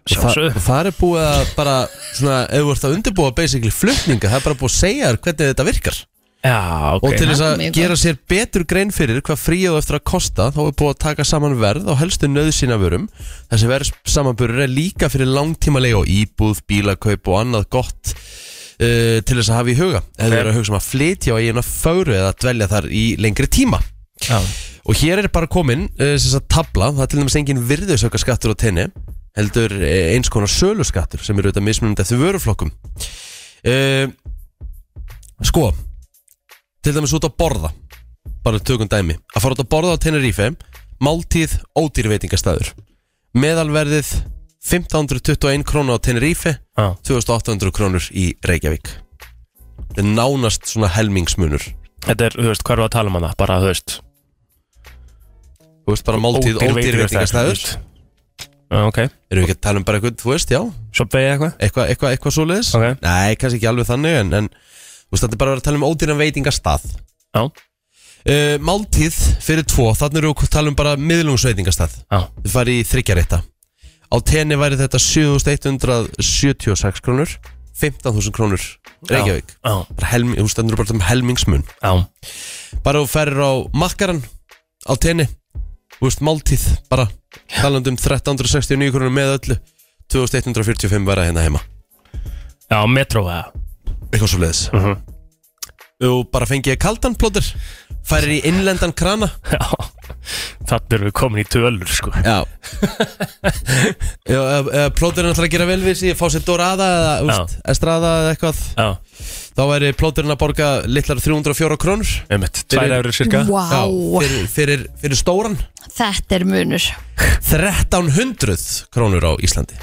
og það, Sjálfsögðu. og það er búið að bara svona, ef þú ert að undirbúa basically flutninga, það er bara búið að segja þér hvernig þetta virkar Já, ok Og til þess að Mjög gott. gera sér betur grein fyrir hvað fríið á eftir að kosta þá er búið að taka saman verð á helstu nöðsynavörum Þessi verð samanburður er líka fyrir langtímalegi og íbúð, bílakaup og annað gott uh, til þess að hafa í huga Ef þú Ok. eru að hugsa um að flytja á eigin að föru eða dvelja þar í lengri tíma Já, Og hér er bara komin uh, þess að tabla, það er til dæmis engin virðisaukaskattur á tenni heldur eh, eins konar söluskattur sem eru auðvitað mismunandi eftir vöruflokkum uh, Sko til dæmis út að borða bara tökum dæmi, að fara út að borða á Tenerife máltíð ódýr veitingastæður meðalverðið 1521 krónu á Tenerife Já. 2800 krónur í Reykjavík þetta er nánast svona helmingsmunur þetta er, þú veist, hvað er að tala um hana? Bara, þú veist, þú veist bara máltíð ódýr, veitingastæður Já, ok erum við ekki að tala um bara eitthvað, þú veist, já Shopway eitthvað? eitthvað eitthva, eitthva svoleiðis, Ok. nei, kannski ekki alveg þannig en, en þú veist, þetta er bara að vera að tala um ódýran veitingastað Já, uh, máltíð fyrir tvo, þannig erum við að tala um bara miðlungsveitingastað já, Þið farið í þryggjarétta Á tenni væri þetta 7176 krónur 15.000 krónur Reykjavík já, Bara helmi- Þú stendur bara um helmingsmun já Bara þú ferir á makkaran Á tenni Þú veist máltíð bara Talandi um 1369 krónur með öllu 2145 væri hérna heima Já, metro eða (laughs) Eitthvað svo leiðis Mhm. Þú bara fengið kaldan plóter Færir í innlendan krana Já, þannig erum við komin í tölur, sko (laughs) Já Plóterinn ætlar að gera vel við sig Fá sér Dorada eða úst, Estrada eða eitthvað Já, Þá væri plóterinn að borga litlar 304 krónur einmitt, tvær Fyrir- eurur cirka Já, Vá, fyrir, fyrir, fyrir stóran þetta er munur 1300 krónur á Íslandi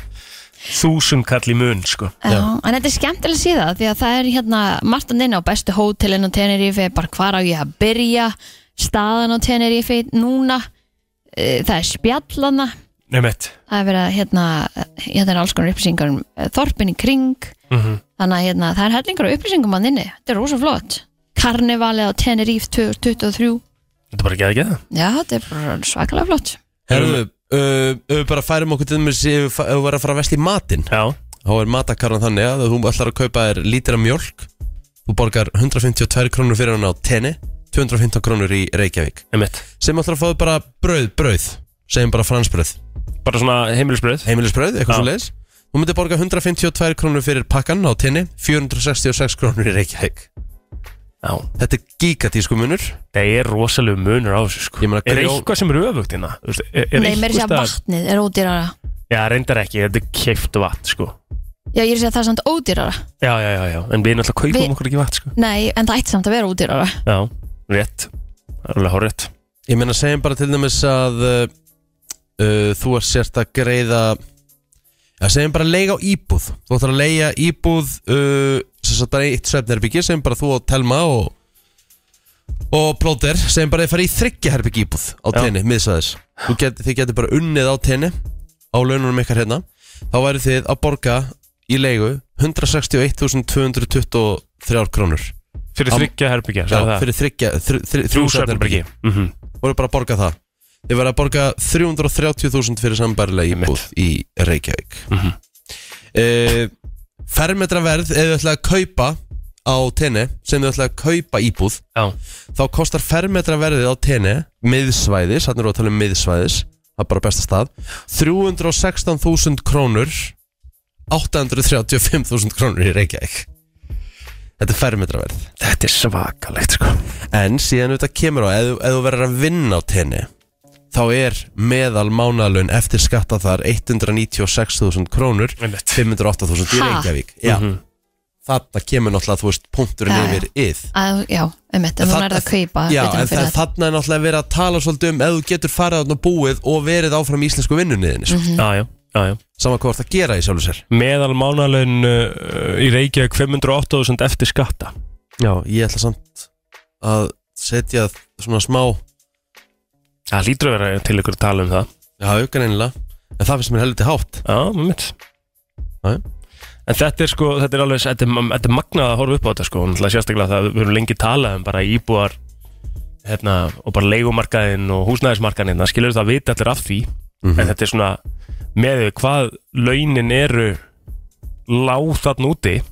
Þúsund kall í mun, sko Já. En þetta er skemmtileg síða því að það er hérna Martin inn á bestu hótelin á Tenerife bara hvar á ég að byrja staðan á Tenerife núna eh, það er spjallana Einmitt það er verið að hérna hérna er alls konar upplýsingar um eh, þorpin í kring Mhm. þannig að hérna það er hellingar af upplýsingum á inni þetta er rosa flott Karnevalið á Tenerife 2023 Þetta er bara ekki að ekki það Já, þetta er bara svakalega flott Herðu, uh, ef við bara færum okkur til dæmis Ef ef við verðum að fara að vesla í matinn Já, Þá er matakarran þannig að þú ætlar að kaupa þér lítra mjölk Þú borgar 152 krónur fyrir hann á tenni 215 krónur í Reykjavík einmitt Sem ætlar að fá þér bara brauð, brauð Segjum bara fransbrauð Bara svona heimilisbröð heimilisbröð, eitthvað Já. svo leiðis Þú myndir borga 152 krónur fyrir pakkan á tenni 466 krónur í Reykjavík Já, Þetta er gigatísku munur það er rosalegu munur á þessu, sko Ég meina, Er hverju- eitthvað sem er öfugt hérna? Þú veist, er- er Nei, mér er sér að einhvers staðar- vatnið er ódýrara Já, reyndar ekki, þetta er keift vatn, sko Já, ég er að segja það er samt ódýrara Já, já, já, já, en við náttúrulega kaupum Við- okkur ekki vatn, sko Nei, en það ætti samt að vera ódýrara Já, rétt Það er alveg horrið Ég meina segjum bara til dæmis að uh, uh, þú er sért að greiða að segjum bara að leiga á íbúð Þú ætlar að leiga íbúð uh, sem sagt bara eitt svefnherbyggi segjum bara þú og Telma og og plóter segjum bara að þið fara í þryggjaherbyggi íbúð á Já. tenni, miðsæðis Þú get, þið getur bara unnið á tenni á laununum ykkar hérna þá væri þið að borga í leigu 161.223 krónur Fyrir Am- þryggja herbyggja, Já, sagði það fyrir þryggja, þr, þr, þrjú Þrjú svefnherbyggi svefnherbergi Mhm. voru bara að borga það Þið verða að borga 330.000 fyrir sambærilega íbúð í Reykjavík mm -hmm. Fermetraverð ef þið ætlaði að kaupa á tenni sem þið ætlaði að kaupa íbúð Já, þá kostar fermetraverðið á tenni miðsvæðis, hann eru að tala um miðsvæðis það er bara besta stað 316.000 krónur 835.000 krónur í Reykjavík Þetta er fermetraverð Þetta er svakalegt sko En síðan þetta kemur á, ef, þú- ef þú verður að vinna á tenni Þá er meðal mánalun eftir skatta þar 196.000 krónur Einmitt. 508.000 í Ha? Reykjavík Já, þarna kemur náttúrulega, þú veist, punkturinn Já, já. yfir ið að, já, um þetta, þú þarna- nærði að kaupa um Já, hlutina en fyrir það, þetta. þarna er náttúrulega verið að tala svolítið um ef þú getur farið þarna og búið og verið áfram í íslensku vinnunniðinni Mhm. mm -hmm. Jájá, jájá Saman hvað þú ert að gera í sjálfu sér Meðal mánalaun uh, í Reykjavík 508.000 eftir skatta Já, ég ætla samt að setja svona smá Það lítur að vera til ykkur að tala um það Já, aukan einlega En það finnst mér helviti hátt Já, mitt Já. En þetta er sko, þetta er alveg, þetta er, þetta er magnað að horfa upp á þetta sko Náttúrulega sérstaklega það við höfum lengi talað um bara íbúar hérna, og bara leigumarkaðinn og húsnæðismarkaðinn það skilur það vita allir af því en þetta er svona með því hvað launin eru lág þarna úti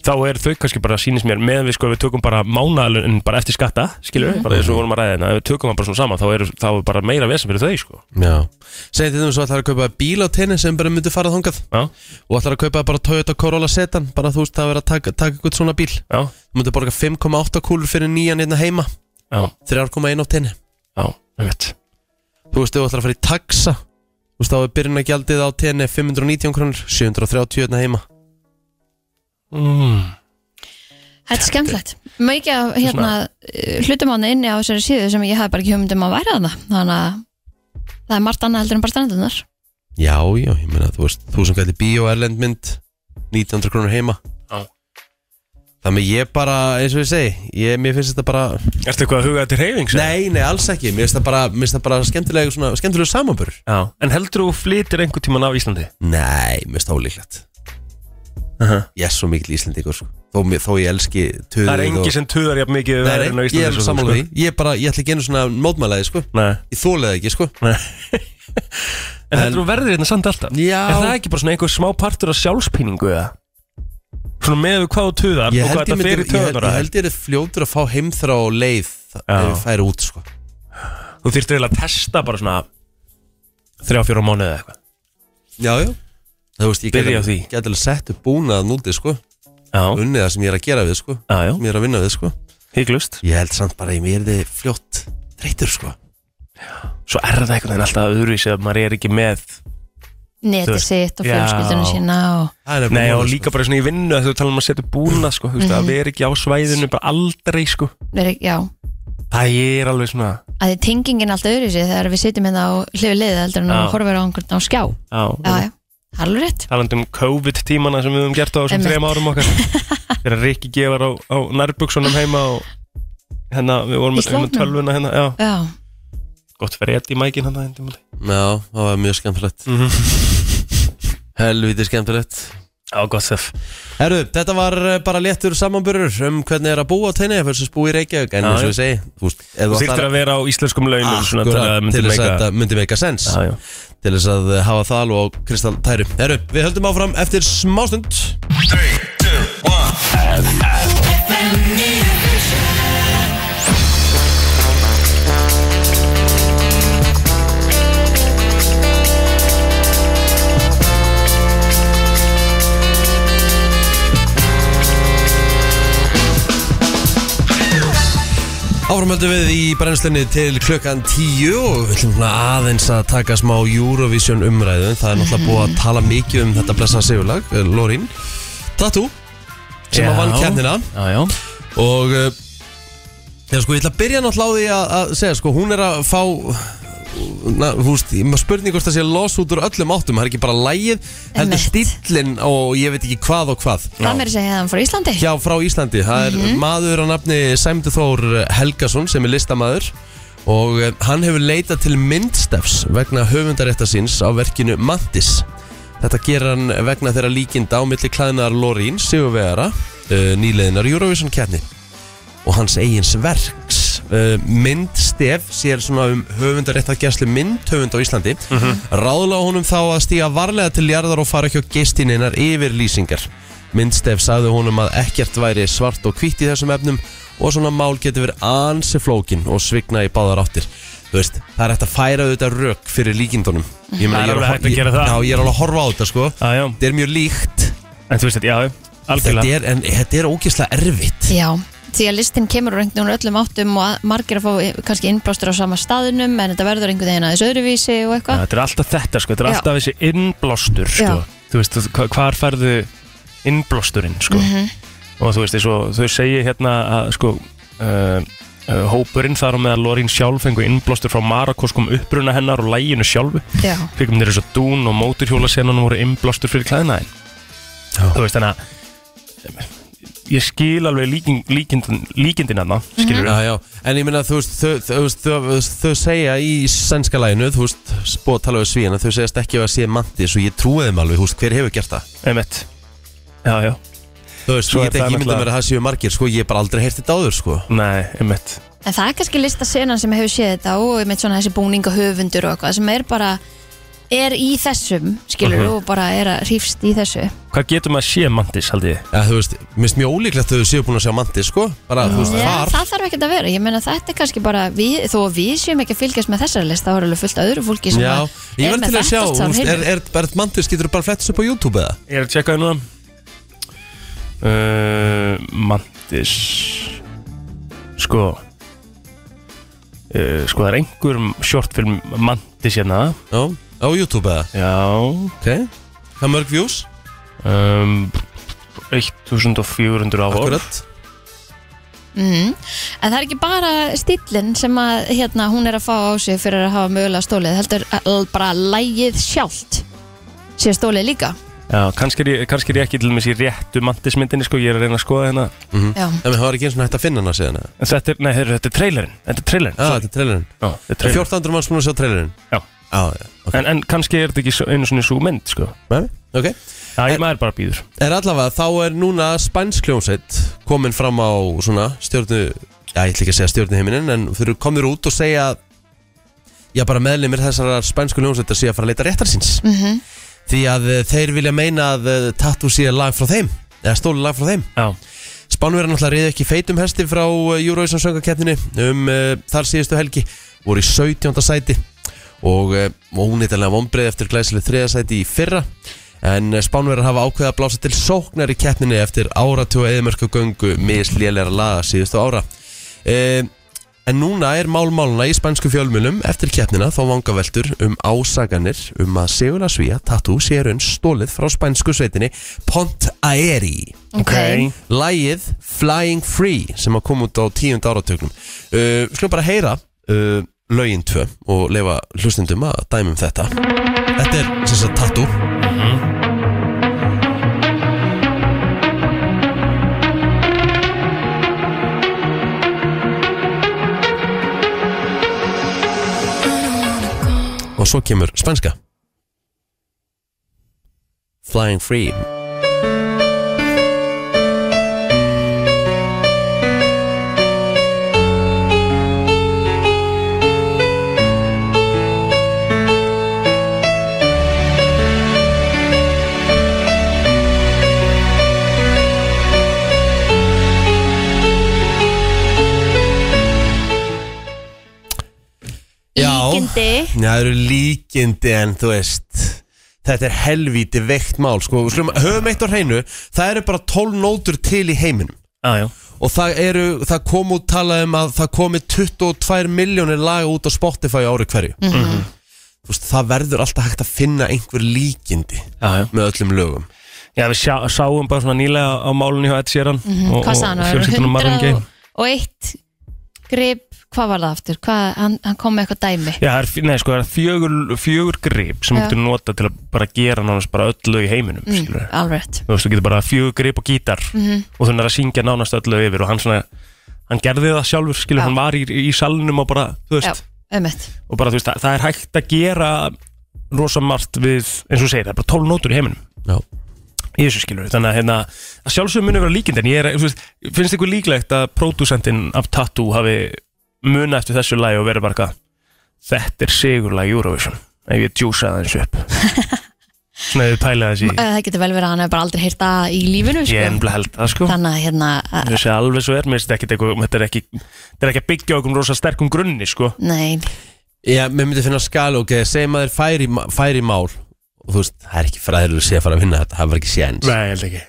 þá er þau kannski bara sýnist mér meðan við sko ef við tökum bara mánaðalun bara eftir skatta skilur við, bara eins og við vorum að ræða þetta ef við tökum það bara svona saman þá er, þá er bara meira vesen fyrir þau sko Já Segði þetta um svo að það er að kaupa bíl á tenni sem bara myndi farað þangað Já, og ætlar að kaupa bara Toyota Corolla Sedan bara þú veist það er að taka, taka eitthvað svona bíl já, þú myndi borga 5,8 kúlur fyrir nýjan hérna heima já, 3,1 á tenni já, einmitt þú veist ef þú ætlar að fara í taxa þú veist þá er byrjun að gjaldið á tenni 519 krónur 730 hérna heima mm. Þetta er skemmtilegt. Mikið af hérna, eh, hlutum ána inni á þessari síðu sem ég hafði bara ekki hugmyndum að væri þarna. Þannig að það er margt annað heldur en bara strandunar. Já, já, ég meina þú veist þú sem gæti bíó erlendmynd 1900 krónur heima Já. Þannig ég bara, eins og ég segi ég, mér finnst þetta bara Ertu eitthvað að huga til reyfing? Nei, nei, alls ekki, mér finnst það bara, mér finnst það bara skemmtilegu, svona, skemmtilegu samanbörur Já, en heldur þú flytir einhvern tíman af Íslandi? Nei, mér finnst það ólíklegt Ég er svo mikil Íslendingur sko. þó, mér- þó ég elski töðu Það er engi sem tuðar jafn mikið Nei, en á nei, ég er eins og þú, sammála sko. því Ég, bara, ég ætla ekki einu svona mótmælaði sko. Nei, Ég þólaði ekki sko. nei En heldur þú verður hérna samt alltaf? Já. Er það ekki bara svona einhver smá partur af sjálfspíningu eða? Svona með við hvað þú tuðar Ég og held ég, hvað þetta myndi, fer í ég, held, töðunar ég held ég er fljótur að fá heimþrá og leið Já. ef ég færi út sko. Þú þyrftir eiginlega að testa bara svona þrjá, fjóra mánuði eða eitthvað Já, já Það veist, ég Byrja á því. gæti alveg sett upp búnað núti sko. Já, unnið það sem ég er að gera við sko. já, já, sem ég er að vinna við sko. hygglust Ég held samt bara að ég er þið fljótt þreytur sko. Svo er það einhvern veginn alltaf öðruvísi að maður er ekki með Þú Neti veist, sitt og já. fjölskyldunum sína og... Það er nefnilega Nei, og málið, sko. líka bara svona í vinnu þegar þú tala um að setja búna sko, þú veist, að vera ekki á svæðinu bara aldrei, sko Veri, já, Það er alveg svona að því tengingin er allt öðru sér þegar við sitjum hérna á hlifu liða heldur en Já. að horfa á einhvern á skjá. á, Já, já, það er alveg rétt. Taland um COVID-tímana sem við höfum gert á þessum Einmitt. þrejum árum okkar (laughs) Þegar Rikki gefar á, á nærbuksunum heima og hérna, við vorum Í að tala um sloppnum? tölvuna hérna, já, Já, gott fyrir í mækin hérna hérna móti. sko. Já, það var mjög skemmtilegt (laughs) mm Helviti skemmtilegt Já, gott þef Herru, þetta var eh, bara léttur samanbörur um hvernig er að búa á tenni versus búa í Reykjavík en Já, eins og já. ég segi, þú veist, ef Þú þú þyrftir ætlar að vera á íslenskum launum svona til Akkúrat, að til myndi þess að meika þetta myndi meika sens Já, já. til þess að eh, hafa þal og kristall tæru Herru, við höldum áfram eftir smástund Áfram höldum við í brennslinni til klukkan 10 og við ætlum svona aðeins að taka smá Eurovision umræðu það er náttúrulega búið að tala mikið um þetta blessa sigurlag, eh, Lorín Tattoo, sem Já. að vann kemnina Já, já og eh, já, sko, ég ætla að byrja náttúrulega á því að, að segja sko, hún er að fá na, húst, maður spurning hvort það sé los út úr öllum áttum, það er ekki bara lægið heldur Einmitt. stíllinn og ég veit ekki hvað og hvað það meiri segja hefðan frá Íslandi. Já, frá Íslandi, það er maður á nafni Sæmdu Þór Helgason sem er listamaður og eh, hann hefur leitað til myndstefs vegna höfundarétta síns á verkinu Mantis Þetta gerir hann vegna þeirra líkinda á milli klæðinar Lorín Sigurvegara, uh, nýleðinar Eurovision kjarni og hans eigins verks uh, myndstef sér svona um höfundarétta gæslu myndhöfund á Íslandi mm -hmm. Mhm. ráðlega honum þá að stíga varlega til jarðar og fara ekki á gestineinar yfirlýsingar myndstef sagði honum að ekkert væri svart og hvitt í þessum efnum og svona mál getur verið ansi flókin og svigna í báðar áttir Þú veist, það er hægt að færa auðvitað rök fyrir líkindunum Ég meina, ég Það er alveg að hægt að hor- ég- gera það. Já, ég er alveg að horfa á þetta sko Já, já Þetta er mjög líkt En þú veist þetta, já, já Þetta algjörlega er, en þetta er ógeðslega erfitt Já, því að listin kemur úr einhvern veginn úr öllum áttum og að- margir að fá í- kannski innblástur á sama staðinum en þetta verður einhvern veginn aðeins öðruvísi og Ja, eitthvað Þetta er alltaf þetta sko, þetta er Já. alltaf þessi innblástur sko. Já. Þú veist, hva- hvar færðu innblásturinn sko. Mhm. Og þú veist, eins og þau segja hérna að sko uh, uh, Hópurinn þar á meðal Lorín sjálf fengu innblástur frá marakoskum uppruna hennar og læginu sjálfu Já, Kvikmyndir eins og Dún og móturhjólasennan voru innblástur fyrir klæðnaðin Þú veist, þannig að Ég skil alveg líkin, líkindin, líkindin hérna, aðna, skilur Já, já, en ég minna, þú veist, þau, þau, þau, þau, þau, þau segja í sænska læginu, þú veist, spóð tala við svíina, þau segjast ekki að sé mantis og ég trúi þeim alveg, þú veist, hver hefur gert það? Emmett Já, já, Þú veist, Svo ég er get ekki það ímyndað náttúrulega- mér að það séu margir, sko, ég hef bara aldrei heyrt þetta áður, sko. nei, emmett en það er kannski listasenan sem hefur séð þetta og með svona þessi búninga höfundur og eitthvað sem er bara er í þessum, skilur Mhm. og bara er að hrífst í þessu Hvað getum að sé mantis, haldið þið? Já, þú veist, minnst mjög ólíklegt að þau séu búin að sjá mantis, sko, bara, þú veist, Já, þar. það þarf ekkert að vera, ég meina þetta er kannski bara við, þó að við séum ekki að fylgjast með þessari list þá er alveg fullt af öðru fólki sem Já, að ég er verð með til að þetta sjá, allt þú saman veist, hreinu. er, er, er mantis, getur þú bara flett þessu upp á YouTube eða? Ég er að tjekka hérna. það núna uh, Mantis Sko uh, Sko það er einhver shortfilm Mantis hérna Já, á YouTube eða? Já Ok. Hvað mörg views? um, 1400 á orð Akkurat. Mm. En það er ekki bara stílinn sem að hérna, hún er að fá á sig fyrir að hafa mögulega stólið heldur að- bara lægið sjálft sé stólið líka Já, kannski er, ég, kannski er ég ekki til með sér réttu Mantis myndinni sko, ég er að reyna að skoða hérna Já, En það var ekki eins og hægt að finna hana síðan, eða? En þetta er, nei, heyrðu, þetta er trailerinn Þetta er trailerinn Já, þetta er trailerinn. Já, þetta er Er trailerinn 1400 manns búin að sjá trailerinn? Já. Já, já, ok. en, en kannski er þetta ekki svo- einu svona svo mynd sko Nei, ok. Já, ég maður bara býður Er allavega, þá er núna spænsk hljómsveit komin fram á svona stjórnu, já ég ætla ekki að segja stjórnu heiminin en þau eru komnir út og segja já bara meðlumir þessara spænsku hljómsveitar sé að fara að leita réttar síns Mhm. því að eh, þeir vilja meina að eh, tattoo sé lag frá þeim eða stóli lag frá þeim Já, Spánverðar náttúrulega reyði ekki feitum hesti frá eh, Eurovision söngakeppninni um uh, þar síðustu helgi, voru í 17. sæti og uh, ónýttalega vonbreið eftir glæsileg þriðasæti í fyrra en uh, Spánverðar hafa ákveða að blása til sóknar í keppninni eftir áratu og eðmörku göngu mislélera laga síðustu ára uh, En núna er málmáluna í spænsku fjölmjölum eftir keppnina þá vangaveltur um ásaganir um að Sigurna Svíja tattoo sé raun stólið frá spænsku sveitinni Pont Aeri. ok Lægið Flying Free sem að koma út á tíund áratögnum uh, Skulum bara heyra uh, lögin tvö og lefa hlustendum að dæmum þetta Þetta er sem sagt tattoo Og svo kemur spænska Flying Free Já. Líkindi Já, það eru líkindi en þú veist Þetta er helvíti veikt mál sko. Við Slum, Höfum eitt á hreinu Það eru bara 12 nótur til í heiminum já, já Og það, eru, það kom út talað um að það komi 22 miljónir laga út á Spotify á ári hverju Þú veist, Það verður alltaf hægt að finna einhver líkindi Já, já með öllum lögum Já, við sjá, sáum bara svona nýlega á málunni hjá Ed Sheeran og, Mhm, Hvað sagði hann? og Það eru fjölskyldunum Marvin Gaye 100 og eitt grip, hvað var það aftur? Hvað, hann, hann kom með eitthvað dæmi Já, það er, f- nei, sko, það er fjögur, fjögur grip sem Já. þú getur nota til að bara gera nánast bara öll lög í heiminum, mm. skilur mm, Mhm. Alveg rétt. Þú veist, þú getur bara fjögur grip og gítar og þannig er að syngja nánast öll lög yfir og hann svona, hann gerði það sjálfur, skilur, Já. hann var í, í salnum og bara, þú Já, veist, ömmett og bara, þú veist, það, það er hægt að gera rosa margt við, eins og þú segir, það er bara 12 nótur í heiminum Já, í þessu skilur þannig að, hérna, að sjálfsögum muni vera líkind en ég er, þú veist, finnst ykkur líklegt að pródúsentinn af Tattoo hafi muna eftir þessu lagi og verið bara eitthvað þetta er sigurlag Eurovision ef ég djúsa það eins (laughs) upp svona ef við pæla þessi Eh, Það getur vel verið að hann hefur bara aldrei heyrt það í lífinu ég er sko. ennbla held það sko Þannig að hérna að- þessi alveg svo er, mér finnst ekkit eitthvað þetta er ekki, þetta er ekki að byggja okkur rosa sterkum grunni sko Nei, Já mér myndi finna skal ok, segjum að þeir færi, færi mál og þú veist, það er ekki fræðilega sé að fara að vinna þetta, það var ekki séns nei, held ekki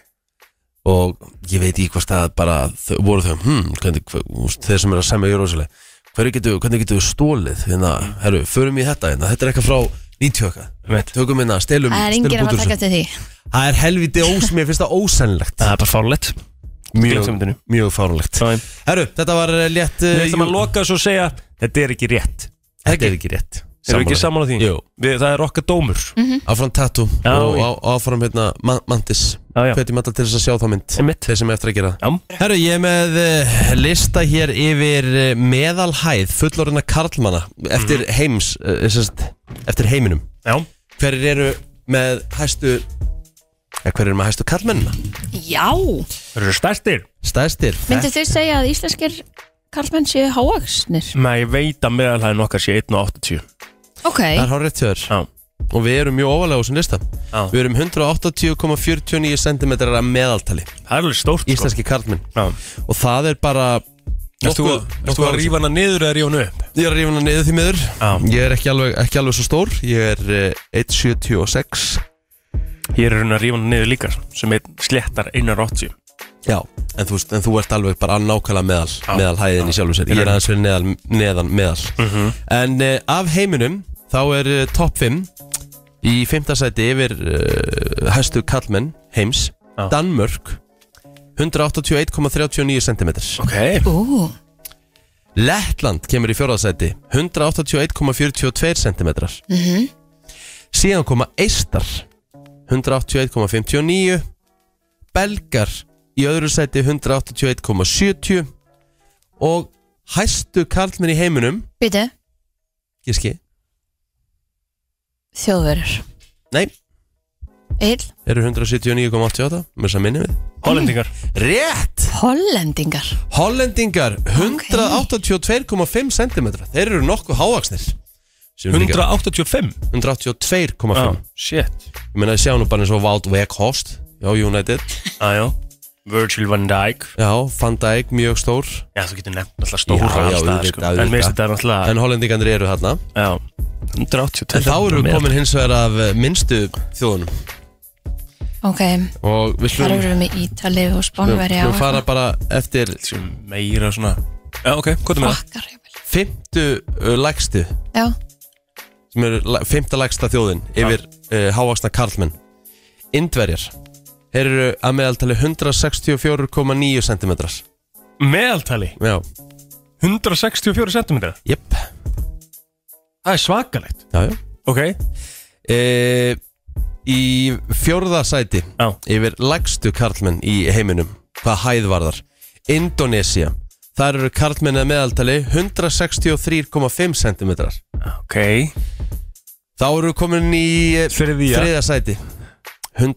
og ég veit í hvað stað bara þau, voru þau, hmm, hvernig, hver, úst, þeir sem eru að semja Eurovision hvernig getur, hvernig getur við stólið hérna, herru, förum í þetta hérna, þetta er eitthvað frá 90 okkar Einmitt. tökum hérna, stelum, Það er stelum yngir að bútur taka þessu. til því það er helviti ós, mér finnst það (laughs) ósennilegt Það er bara fárlegt mjög, Gleymsæmyndinu. mjög fárlegt Nei. herru, þetta var eh, létt eh, Við ætlum að jú- loka þessu og segja Þetta er ekki rétt þetta er ekki rétt Erum við ekki saman á því? Jú. Við, það er okkar dómur Mhm. áfram Tattoo Já, og já. á, áfram hérna, Ma- Mantis Já, já. hvetjum alltaf til þess að sjá þá mynd Einmitt. þeir sem eftir að gera það. Já. Herru, ég er með eh, lista hér yfir eh, meðalhæð fullorðina karlmanna eftir Mhm. heims eh, sem sagt, eftir heiminum Já hverjir eru með hæstu eða hverjir eru með hæstu karlmennina Já Það eru stærstir stæðstir Myndu þau segja að íslenskir karlmenn séu hávaksnir? Nei, ég veit að meðalhæðin okkar sé 1.80 Ok, það er hárið tjör Já og við erum mjög ofalega á þessum lista Já. við erum 180,49 cm að meðaltali Það er alveg stórt sko. íslenski karlmenn Já og það er bara Ertu nokkuð- ertu nokkuð að ávísun. rífa hana niður eða rífa hana upp? Ég er að rífa hana niður því miður Já. Ég er ekki alveg, ekki alveg svo stór Ég er eh, 1,76 Ég er raun að rífa hana niður líka sem einn sléttar 1.80 Já En þú, veist, en þú ert alveg bara nákvæmlega meðal Já. Mhm. Meðal hæðin í sjálfum sér Ég er aðeins fyrir neðan, neðan meðal -hmm. En uh, af heiminum Þá er uh, topp 5 Í 5. sæti yfir uh, Hæstu kallmenn heims Já. Danmörk 181,39 cm Ok ú, Lettland kemur í fjórðasæti 181,42 cm Síðan koma Eistar 181,59 Belgar í öðru sæti 181,70 og hæstu karlmenn í heiminum býtu, Gíski, þjóðverur nei, Eil, eru 179,88 með þess að minni við (clears throat) Hollendingar Rétt! hollendingar Hollendingar 182,5 cm Þeir eru nokkuð hávaksnir 185 182,5 Já, shit Ég meina ég sjá nú bara eins og Wout Weghorst Já, United Aðjó Virgil van Dijk Já, Van Dijk, mjög stór Já, þú getur nefnt alltaf stóra Já, já, alls staðar, auðvitað, sko. auðvitað. En mér finnst þetta er alltaf En hollendingarnir eru þarna Já 182 En þá erum við komin hins vegar af eh, minnstu þjóðunum Ok, Og við þar slum eru við með Ítali og Spánveri Við fara bara eftir sem meira svona Já, ok, hvað er með það? Akkar, jafnvel. Fymtu eh, lægstu já, Sem eru la- fimmta lægsta þjóðin Yfir uh, hávaksna karlmenn Indverjar Þeir eru að meðaltali 164,9 cm Já, Meðaltali 164 cm jöpp Það er svakalegt Já, já Ok e, Í fjórða sæti Já. Yfir lægstu karlmenn í heiminum Hvað hæð varðar Indonesia Þar eru karlmenn að meðaltali 163,5 cm Ok Þá eru komin í eh, Þriðja. þriðja sæti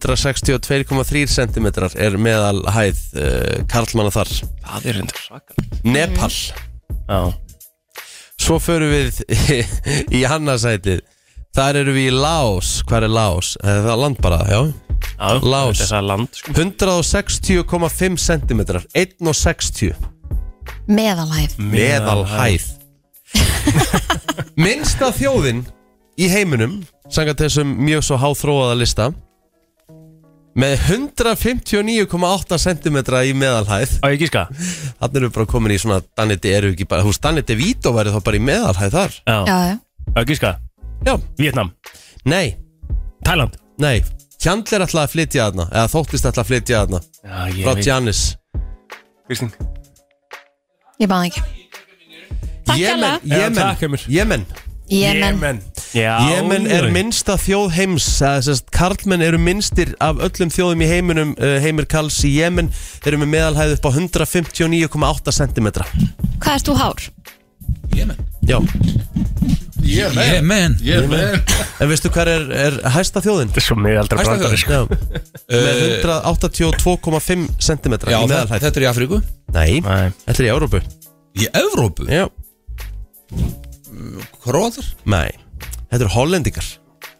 162,3 cm er meðal hæð uh, karlmanna þar Það er hendur svakalegt Nepal Já Svo förum við (laughs) í annarsætið Þar eru við í Laos Hvar er Laos? Er það land bara, já? Já, Laos. þetta er það land sko. 160,5 cm 1,60 meðalæð Meðalhæð (laughs) Minnsta þjóðin í heiminum Sangat þessum mjög svo háþróaða lista Með 159,8 cm í meðalhæð Á, ég gíska Þannig erum við bara komin í svona Daniti eru ekki bara, húst Daniti Vító væri þá bara í meðalhæð þar Já, Já, já, á, ég gíska Já, Vietnam nei, Thailand nei Kjandler ætlaði að flytja þarna Eða þóttist ætlaði að flytja þarna Já, ég Frá Janis Kristín ég báði ekki Takk Jemen, alla. Já, takk, Jemen, Emil. Jemen Jemen, Já Jemen er minnsta þjóð heims að sérst karlmenn eru minnstir af öllum þjóðum í heiminum uh, heimir Karls í Jemen eru með meðalhæð upp á 159,8 cm hvað ert þú hár? Já, Yeah man Yeah man en veistu hver er, er hæsta þjóðin? Þetta er svo miðaldra Hæsta brandari sko. (laughs) Já, með 182,5 cm Eh, Já, í þa- meðalhæð þetta er í Afríku Nei, Nei. þetta er í Európu Í Evrópu Já, Króðar nei, þetta eru hollendingar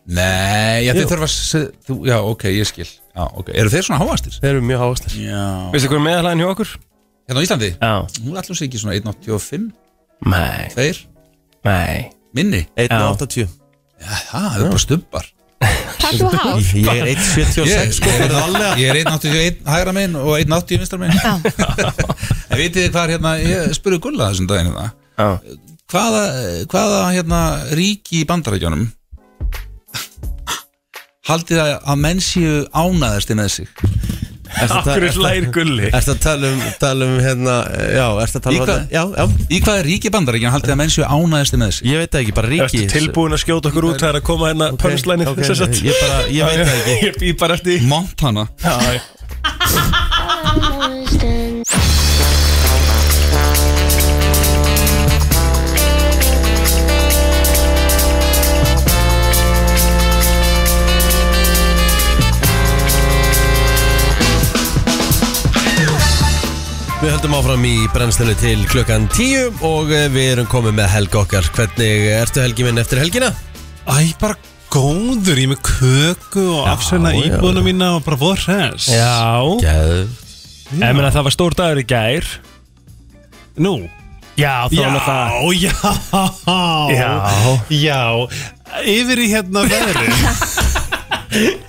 Nei, já, Jú. þeir þurfa að se- þú, Já, ok, ég skil já, okay. Eru þeir svona hávastir? Þeir eru mjög háastir Já Veistu hvað er meðalhæðin hjá okkur? Hérna á Íslandi? Já Hún ætlum sig ekki svona 1.85 Nei, Þeir? nei Minni? 1,80 Já, það er bara stumbar Takk þú (laughs) hár Ég er 1.76 sko fyrir allega Ég er 181 hægra minn og 180 vinstra minn Já. (laughs) En vitið þið hvað hérna, ég spurði Gulla þessum daginn hérna. Já. hvaða, hvaða hérna, ríki í bandarækjunum haldið að, að menn séu ánæðasti með sig Akkur er lær gulli Ertu að tala um, tala um hérna Já, ertu að Í tala um hvað? Já, já Í hvaða ríki í bandarækjunum haldið að menn séu ánæðasti með sig Ég veit það ekki, bara ríki Ertu tilbúin að skjóta okkur út Það er að koma hérna Ok, punchline ok, Ég bara, ég veit það ekki (laughs) Ég býð bara eftir því. Montana Já, já. Við höldum áfram í brennstinu til klukkan 10 og eh, við erum komið með helg okkar Hvernig ertu helgi minn eftir helgina? Æ, bara góður, ég er með köku og afsveina já, íbúðuna mína og bara voru hress Já, Gæð ég meina það var stór dagur í gær Nú, Já, þá já, var það já, Já. já Yfir í hérna veðri (laughs)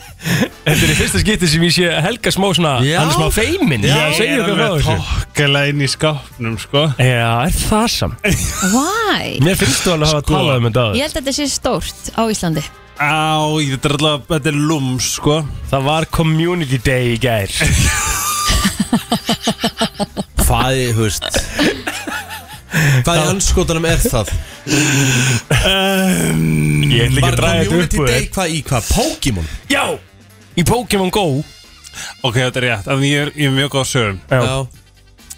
Þetta er í fyrsta skipti sem ég sé Helga smá svona Já. Hann er smá feimin Já, segir okkur frá þessu Tókala inn í skápnum, sko Já, er það samt Why? Mér finnst þú alveg að hafa Sko. talað um þetta áður. Ég held að þetta sé stórt á Íslandi Á, þetta er alltaf, þetta er lúms, sko Það var community day í gær Hvaði, húst Hvaði anskotanum er það? um, Ég ætla ekki að Var draga þetta upp community úr day þér. hvað í hvað? Pokémon? Já, í Pokémon Go Ok, þetta er rétt, en ég er, ég er mjög góð á sögum Já,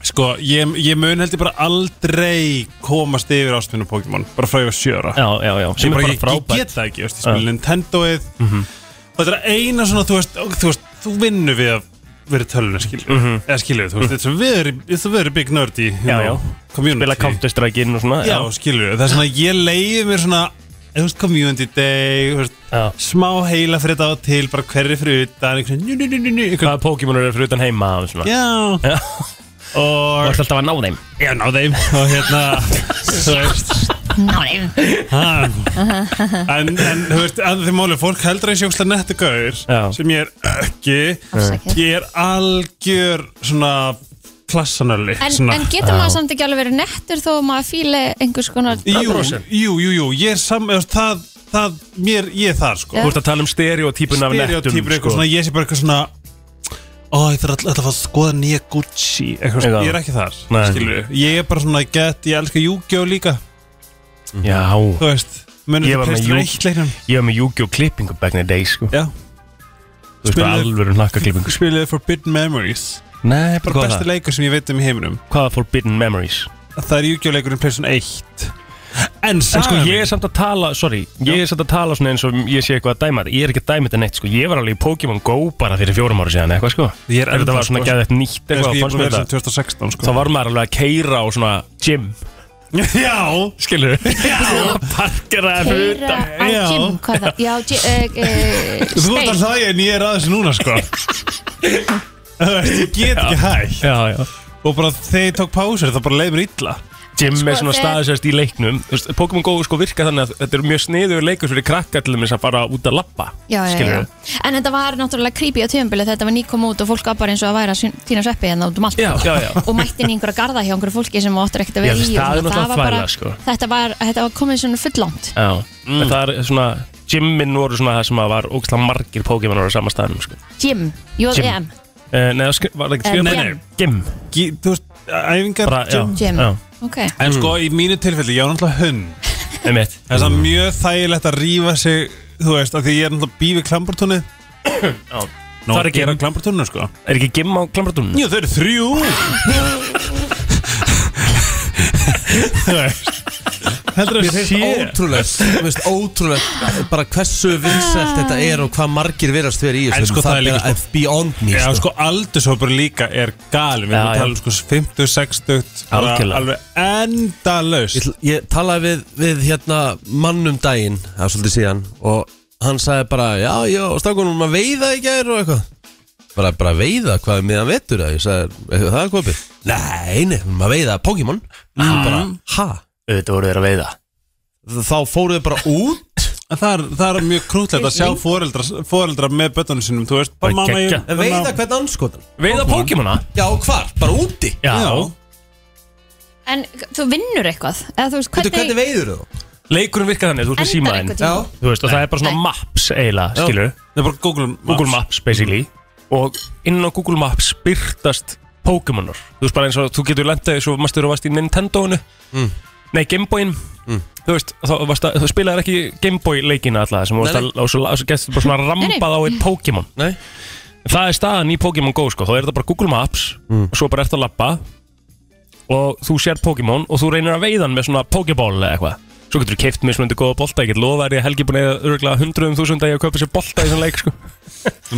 Sko, ég, ég mun heldur bara aldrei komast yfir ástunum Pokémon Bara frá ég var sjöra já, já, já Ég Sem bara, er bara ég, ég frábært get það ekki, veist, ég spil Nintendoið Þetta er eina svona, þú veist, og, þú, veist þú vinnur við að vera í tölunni, skilur Mhm. Eða skilur, þú veist, it's a very, it's a very big nerd í Já, hérna, já. community Spila Counter-Strike inn og svona Já, skilur, það er svona, ég leiði mér svona, þú veist, community day, þú veist Já. Smá heila fyrir þetta á og til, bara hverri fyrir utan, einhvern veginn, njú, njú, njú, njú, einhvern Hvaða Pokémon eru fyrir utan heima og svona Já, Já. og Það er alltaf að ná þeim Já, ná þeim og hérna þú veist Ná, nei. ha. en, en þú veist, að því máli fólk heldur að ég sjókslega nettu gaur Já. sem ég er ekki Afsakið. ég er algjör svona klassanöli En, svona. en getur maður samt ekki alveg verið nettur þó að maður fíli einhvers konar jú, jú, jú, jú, ég er sam eða, það, það, mér, ég er þar sko Já. Þú ert að tala um stereotypun af nettum sko. stereotypur eitthvað svona, ég sé bara eitthvað svona Ó, ég þarf alltaf að fara að skoða nýja Gucci eitthvað, svona. Já. ég er ekki þar, Nei. skilur ég er bara svona gett, ég elska Yu-Gi-Oh líka Já, þú veist, munum Ég þú var með Playstation Yu- 1 leiknum ég var með Yu-Gi-Oh! klippingu back in the day sko Já. Þú veist bara Spilaðu- alvöru nakka klippingu spilaði Forbidden Memories (laughs) Nei, bara besti leikur sem ég veit um í heiminum Hvaða Forbidden Memories? það er Yu-Gi-Oh! leikurinn Playstation 1 en En sko sagan ég er samt að tala, sorry, ég er samt að tala svona eins og ég sé eitthvað að dæma þetta Ég er ekki að dæma þetta neitt, sko, ég var alveg í Pokémon Go bara fyrir fjórum ára síðan eitthvað, sko Ég er Ef Þetta ennþá, var svona sko. gæðið eitt nýtt Ég, sko, eitthvað, ég er fannst búin að mér vera sem þetta 2016 sko. Þá var maður alveg að keira á svona (laughs) gym, já, skilur (laughs) Parkera fyrir Keira utan á Já. gym, hvað það? Já, gy- eh, eh, þú ert að stein hlæja en ég er aðeins núna (laughs) sko Þú veist, ég get ekki hægt Já, já og bara þegar ég tók pásur það bara leiði mér illa Gym Sko, er svona þegar- staðsest í leiknum Þú veist, Pokémon Go sko virka þannig að þetta er mjög sniður leikur fyrir krakka til þess að fara út að labba Já, já, já. skilurðu. En þetta var náttúrulega creepy á tjömbili þetta var nýkom út og fólk var bara eins og að væra tína sveppi en út um allt Já, já, já. og mætti inn í einhverja garða hjá einhverju fólki sem áttur ekkert að vera Já, í það er og svona. náttúrulega var bara, þvæla, sko. þetta, var, þetta var komið svona fullangt Já, mm. það er svona Gymmin voru svona það sem að var ógstlega margir Pokémon á sama staðnum sko. Jim, E J.M. uh, Nei, það sk- var ekki Eh, skrifað gym. Nei, Gym Gi- þú veist, æfingar bara, já, Jim. já, Ok, en sko í mínu tilfelli, ég var náttúrulega hund einmitt það er það mjög þægilegt að rífa sig þú veist, af því ég er náttúrulega bífi (coughs) klambartónu Nó, Það er að ekki- gera klambartónu sko Er ekki Gym á klambratunum? Já, þau eru þrjú Þú veist, Heldur að Mér finnst ótrúlegt, mér finnst ótrúlegt bara hversu vinsælt þetta er og hvað margir verast verið í þessu En sko, það er líka, bara beyond me Já, sko. sko, aldurshópur líka er galin Við Já, erum að já. tala um sko 50, 60 bara Algjörlega. Alveg endalaust Ég, ætl- ég talaði við, við hérna mann um daginn, það er svolítið síðan og hann sagði bara, já, já, stákunum að veiða í gær og eitthvað bara, bara veiða, hvað er miðan vetur það? Ég sagði, eitthvað það er kopið? Nei, nei, maður veiða Pokémon mm. bara, ha? Þetta voru þeir að veiða Þá fóruðu bara út En það er, það er mjög krútlegt að sjá foreldra, foreldra með bötunum sínum, þú veist, bara Bara mamma ég... geggjað. Veiða hvern anskotan Veiða Pokémona? Já, hvar? Bara úti? Já, Já. En þú vinnur eitthvað Eða þú veist Hvernig, hvernig, hvernig veiður þú? Leikurinn virkar þannig, þú ert með endar símaðinn einhvern tímann? Þú veist, og það er bara svona maps eiginlega, skilur Það er bara Google Maps. Google Maps, basically Og inn á Google Maps byrtast Pokémonar Þú veist bara eins og þú getur lendað Svo maður styrir að vast í Nintendoinu Nei, Gameboyin Þú veist, þá varst að, þú spilaðir ekki Gameboy leikina alltaf sem þú varst Nei, að, og svo, og svo getur bara svona Nei, nei. rambað á eitt Pokémon Nei Það er staðan í Pokémon Go sko, þá er þetta bara Google Maps og svo bara ert að lappa og þú sér Pokémon og þú reynir að veiða hann með svona Pokéball eða eitthvað Svo getur þú keift mismunandi góða bolta, ég get lofa þér, ég helgi búin að örgulega hundruðum þúsund að ég að kaupa sér bolta í þessum leik sko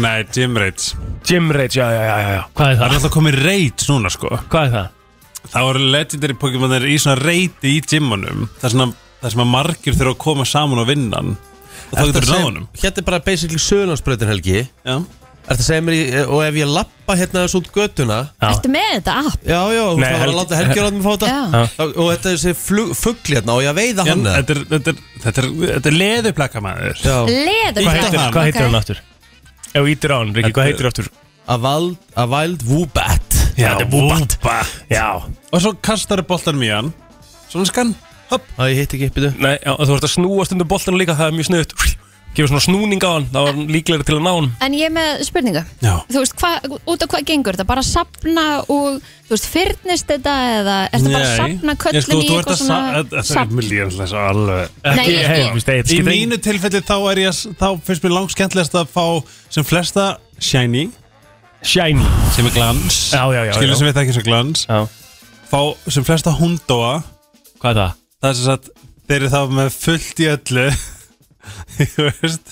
Nei, Jim Raids. Gym Rage, já, já, já, já, já, hvað er Það er það? alltaf komið Raids núna, sko. Hvað er það? Það voru legendary Pokémonir í svona reiti í gymmunum. Það er svona, það er sem að margir þurfa að koma saman og vinna hann. Og þá getur þú náðunum. Hérna er bara basically söðlandsbröðin helgi Já. Ertu að segja mér í, og ef ég lappa hérna þessu út göttuna Ertu með þetta app? Já, já, þú Nei, veist, það var að Helgi- láta Helgi láta mig fá þetta Já. Þá- Og þetta er þessi fuggli hérna og ég að veiða hann eða? Þetta er, þetta er, þetta er, þetta er leðuplaka maður. Já, Leður Hvað heitir, hann. hvað heitir hann aftur? Ef þú ítir á hann, Riki, hvað heitir hann aftur? a wild, a wild woobat þetta er Woobat. Já, Og svo kastar boltanum í hann. Svona skan. Hopp. Það ég hitt ekki uppiðu Nei, já, þú ert að snúa stundum boltan líka, það er mjög sniðut Gefur svona snúning á hann, þá er hann líklega til að ná hann En ég er með spurningu Já. Þú veist, hva, út af hvað gengur þetta? Bara sapna og, þú veist, fyrnist þetta eða er þetta bara að sapna köllin í eitthvað svona sapn? sapna Nei, ég hei, sko- veist, hey, Í mínu tilfelli þá er ég að- þá finnst mér langt skemmtilegast að fá sem flesta shiny Shiny sem er glans Já, já, já, skilur já. sem við þekkjum sem glans Já. fá sem flesta hundóa Hvað er það? það er sem sagt þeir eru þá með fullt í öllu (laughs) þú veist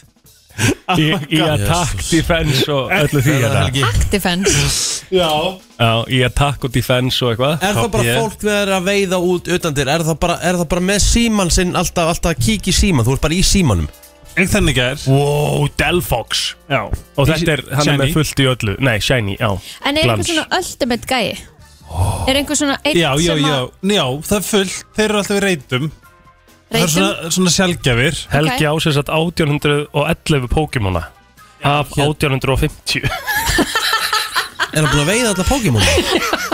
Í, í attack, defense og öllu því er það. (laughs) Actifence já Já, í attack og defense og eitthvað Er það Top bara ég. fólk við er að veiða út utan þér? Er það bara, er það bara með síman sinn alltaf, alltaf að kíkja í síman? Þú ert bara í símanum en þannig er Wow, Delfox já Og þetta er, hann er Shiny. með fullt í öllu Nei, Shiny, já En er Glans. einhver svona ultimate gæi? Er einhver svona einn já, já, sem já, að já, það er fullt þeir eru alltaf í reytum það er reytum? svona, svona sjálfgjafir Helgi okay. ásins að 1811 Pokémona Af hér. (laughs) 1850 Er það búin að veiða alla Pokémon?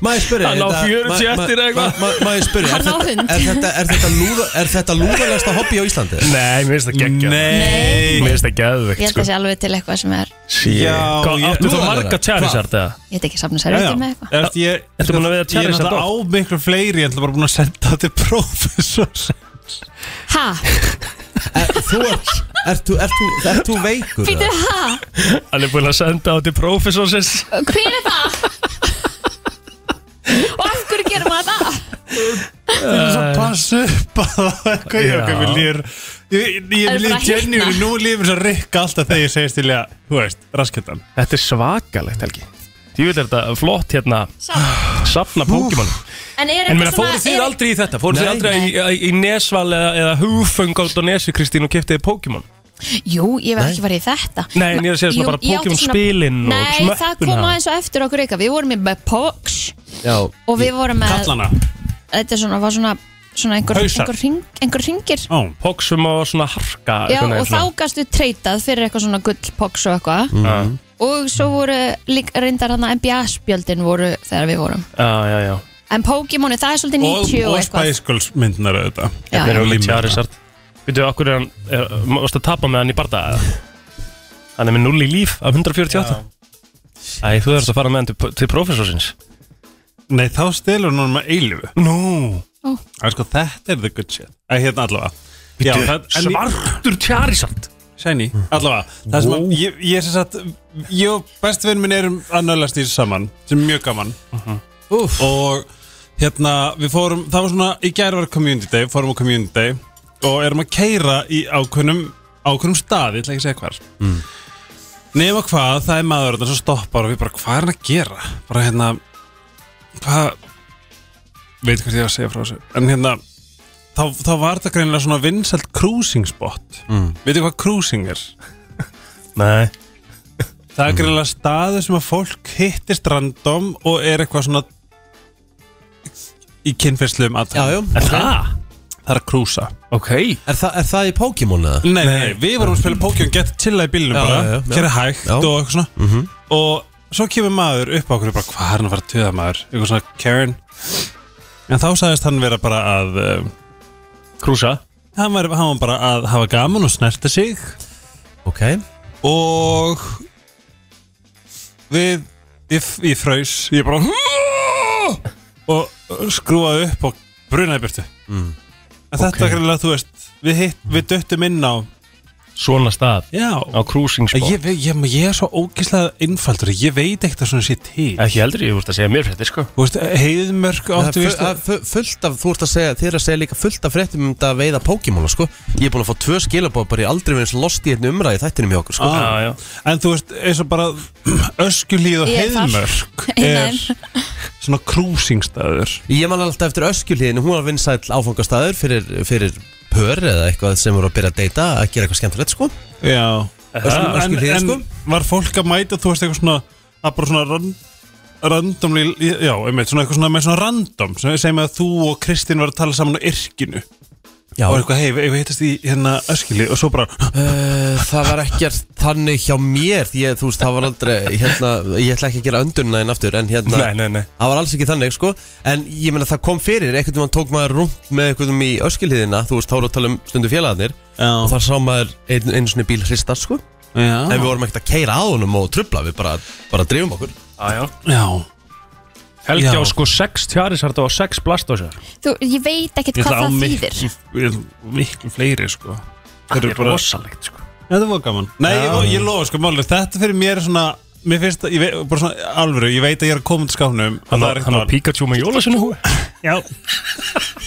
Má ég spyrja Hann á þetta- 40 má- má- eftir eða eitthvað? má- má- Má ég spyrja er Hann á þetta- hund. Er þetta, er þetta, lúða, er þetta lúðalegasta hobby á Íslandi? Nei, mér finnst það geggjað nei Mér finnst það Ég geðvegt held að sko. sé alveg til eitthvað sem er já, Hvað, ég- áttu þú Nú, marga hvað? Charizard eða? Ég veit ekki að sapna sér Já, já. með eitthvað Erst ég- Ertu búin að Ég veiða er Charizard náttúrulega á miklu fleiri Ég er bara búin að senda það til prófessors Ha? Er, þú ert, ert, þú- ert, þú- ert þú veikur? Býtu eða? ha? Hann er búin að senda á til professorsins Hver er það? Og af hverju gerum maður það? Pass upp að það Hvað ég Já. okkar mér líður Ég Er ég bara líður að Jenny hitna. Nú líður svo rikka alltaf þegar ég segist til að Þú veist, raskettan Þetta er svakalegt, Helgi Ég vil þetta flott hérna Safn. Safna Pokémon En er En eitthvað meina, fóru svona- þið er- aldrei í þetta? Fóru þið Nei. aldrei í, í, í nesval eða, eða hugföng át á nesi, Kristín, og keftiði Pokémon? Jú, ég var ekki farið í þetta Nei, en ég er að segja svona Jú, bara ég átti Pokémon svona- spilin og Nei, smöppuna. það kom aðeins og eftir okkur eitthvað Við vorum með Pox Já og við vorum með Kallana Þetta er svona, var svona, svona einhver, Hausar. einhver, hring, einhver hringir Ah, Ó, Poxum og svona harka Já, og þá gastu treytað fyrir eitthvað svona gull Pox og eitthvað mm. Og svo voru líka reyndar hann NBA spjöldin voru þegar við vorum Já, já, já En Pokémoni, það er svolítið Og, 90 og, og eitthvað Spice Girls myndinar auðvitað Já, Þeir já. eru með Límið. Charizard Veitu, okkur er hann er- Mást að tapa með hann í barða Hann er með 0 í líf af 148 Æ, þú þurft að fara með hann til, til professorsins Nei, þá stelur hún honum að eilifu Nú Það er sko, þetta er the good shit Það er hérna allavega Já, það, en ég- Svartur Charizard Shiny, allavega Það sem að ég, ég sem sagt Ég og bestvinn minn erum að nölast í þessu saman sem er mjög gaman Úff. Og hérna, við fórum Það var svona, í gær var community day Fórum á community day Og erum að keira í ákveðnum Ákveðnum staði, ég ætla ekki að segja hvar mm. Nefna hvað, það er maður þarna sem stoppar og við bara, hvað er hann að gera? Bara hérna Hvað Veit hvað ég var að segja frá þessu En hérna, þá, þá var þetta greinilega svona vinsælt cruising spot mm. Veitu hvað cruising er? Nei Það er greinlega staður sem að fólk hittist random og er eitthvað svona í kynfyrslu um Já, já aðtæmi. Er það? Það, það er að krúsa Ok Er, þa er það í Pokémon eða? Nei, nei, nei, við vorum að spila Pokémon Get chilla í bílunum Já, bara, já, já, já. hér er hægt Já. og eitthvað svona Og svo kemur maður upp á okkur og bara, hvað er hann að fara að töða maður? Eitthvað svona Karen En þá sagðist hann vera bara að um, Krúsa hann, var, hann var bara að hafa gaman og snerta sig Ok Og við, ég, ég fraus, ég bara Og skrúaði upp og brunaði burtu Mm. En þetta okay. er greinlega, þú veist, við, hitt, við döttum inn á Svona stað Já, Á cruising spot Ég, ég, ég, ég er svo ógeðslega innfaldur Ég veit ekkert að svona sé til Ekki heldur, ég vorst að segja mér fyrir þetta sko Þú veist, heiðmörk Það áttu er við fu- það er fu- fullt af, þú ert að segja, þið er að segja líka fullt af fréttum um þetta að veiða Pokémon, sko. Ég er búin að fá tvö skilabóð bara í aldrei verið eins lost í einu umræði þættinum hjá okkur, sko. Ah. Já, já En þú veist, eins og bara (clears throat) öskulíð og Ég er þar. heiðmörk Einar. er svona krúsingstæður Ég man alltaf eftir öskjulíðinu, hún var vinsæll áfangastæður fyrir, fyrir pör eða eitthvað sem voru að byrja að deyta að gera eitthvað skemmtilegt, sko. Já Öskul- en, öskulhlíðar, en var fólk að mæta, þú veist, eitthvað svona að bara svona ran, randomli Já, einmitt, svona eitthvað svona með svona random sem segjum að þú og Kristín var að tala saman á yrkinu Já, og eitthvað, hei, við hittast í hérna öskilíð og svo bara Eh, það var ekkert þannig hjá mér því að þú veist, það var aldrei hérna, ég ætla ekki að gera öndunna einn aftur en hérna, Nei, nei, nei. það var alls ekki þannig sko en ég meina það kom fyrir, einhvern veginn tók maður rúnt með einhvern veginn í öskilhiðina þú veist, þá voru að tala um stundu félagarnir Já. og þar sá maður ein, einu svona bíl hristast sko Já, en við vorum ekkert að keira að honum og trubla við bara, bara drifum okkur Já, já já. Helgi Já. á sko 6 tjarisart og 6 blastdósar Þú, ég veit ekkert Ég hvað ætla á það miklu- þýðir ég- Miklu fleiri sko Það eru er bara- rosalegt sko Þetta var gaman Nei, ég, ég lofa sko málið Þetta fyrir mér er svona Mér finnst að, ég veit, bara svona alvöru Ég veit að ég er að koma til skáfnum Hann á- hann á Pikachu með jólasinu húi Já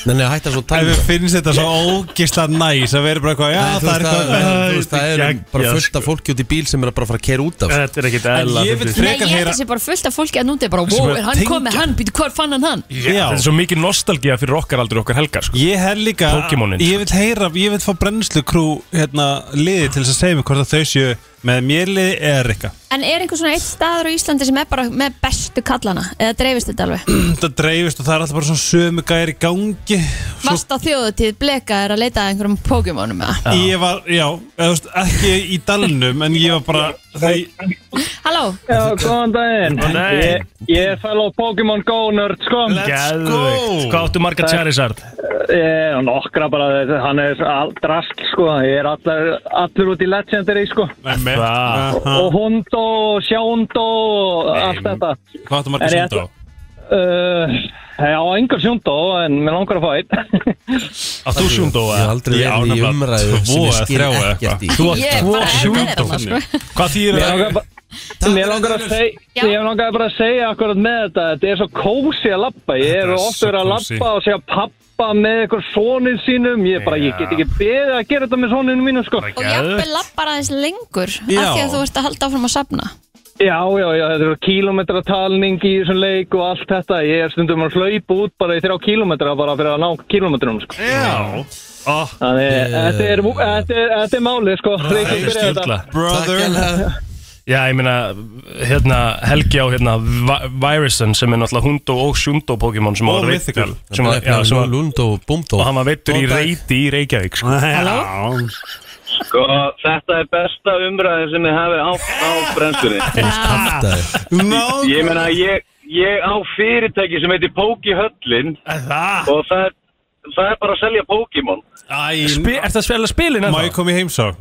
Nei, nei, hætta svo En tæmi við finnst þetta svo ógisla næs Að vera bara eitthvað Já, það er eitthvað sko. þú veist, það er geggjað, bara fullt af fólki út í bíl sem er að bara fara að keira út af Eh, Þetta er ekkit En eðla ég vil Nei, ég frekar held heyra að sé bara fullt af fólki að núti bara, wow, er er hann tengja. komið hann, býtu, hvað fann hann hann? Já Þetta er svo mikið nostalgía fyrir okkar aldrei okkar helgar sko Ég hef líka Pokémonin, sko. Ég vil heyra Ég vil fá brennslu krú Hérna liði til þess að segja mig Hvort að þau séu Með mér liði eða Rikka En er einhver svona eitt staður á Íslandi sem er bara með bestu kallana? Eða dreifist (clears throat) þetta alveg? Þetta dreifist og það er alltaf bara svona Sömu gæri í gangi Svo Vast á þjóðutíð bleka er að leita að einhverjum Pokémonum eða? Ég var, já, eða, þú veist, ekki í dalnum En ég var bara það, Halló, Já, góðan daginn Góðan daginn. Ég, ég er fellow Pokémon Go nerd, sko Geðveikt. go. Hvað áttu marga tjarisart? Ég er Eh, nokkra bara, þetta- hann er all- drasl, sko Ég er allar, allur út í Legendary, sko Nei, Það Og Hondo og Sjóndó og allt þetta Hvað áttu margir En ég sund á? uh, Já, engar Sjóndó, en mér langar að fá einn Á þú sjúndó Ég hef aldrei Ég á verið í nefnilega umræðu tvo sem ég eða skil þrjá eða ekkert í eitthvað. Þú átt Ég er tvo bara að sko. sjúkdóma. vera þarna, Hvað þýðir Mér það? langar bara- Mér langar að segja Já. Ég langar bara að segja akkurat með þetta Þetta er svo kósi að lappa Ég Þetta er er ofta svo verið að kósí. lappa og segja pappa með eitthvað sonin sínum Ég, bara, ég Já. get ekki beðið að gera þetta með soninu mínum sko. og jafnvel lappar aðeins lengur af Já. því að þú ert að halda áfram að safna Já, já, já, þetta eru kilometratalning í þessum leik og allt þetta Ég er stundum að hlaupa út bara í þrjá kilometra bara fyrir að ná kilometrum sko. Já Ó, Þannig, þetta er, þetta er, þetta er málið sko Þetta Þetta er stjórnla Brother Já, ég meina, hérna, Helgi á hérna, Vi- Virusen sem er náttúrulega Hundo og Shundo Pokémon sem Og var Mythical. veittur sem var, já, sem var, Lund og Bumdó og hann var veittur í Góðan dag. reyti í Reykjavík sko. Halló? Sko, þetta er besta umræði sem ég hefði á, á (laughs) brennstunni Ah. Kjaftaði. No sko. Ég meina, ég, ég á fyrirtæki sem heitir Póki Höllin Það, og það er, það er bara að selja Pokémon. Spi- ertu að spila spilin Má ég ennþá? koma í heimsók?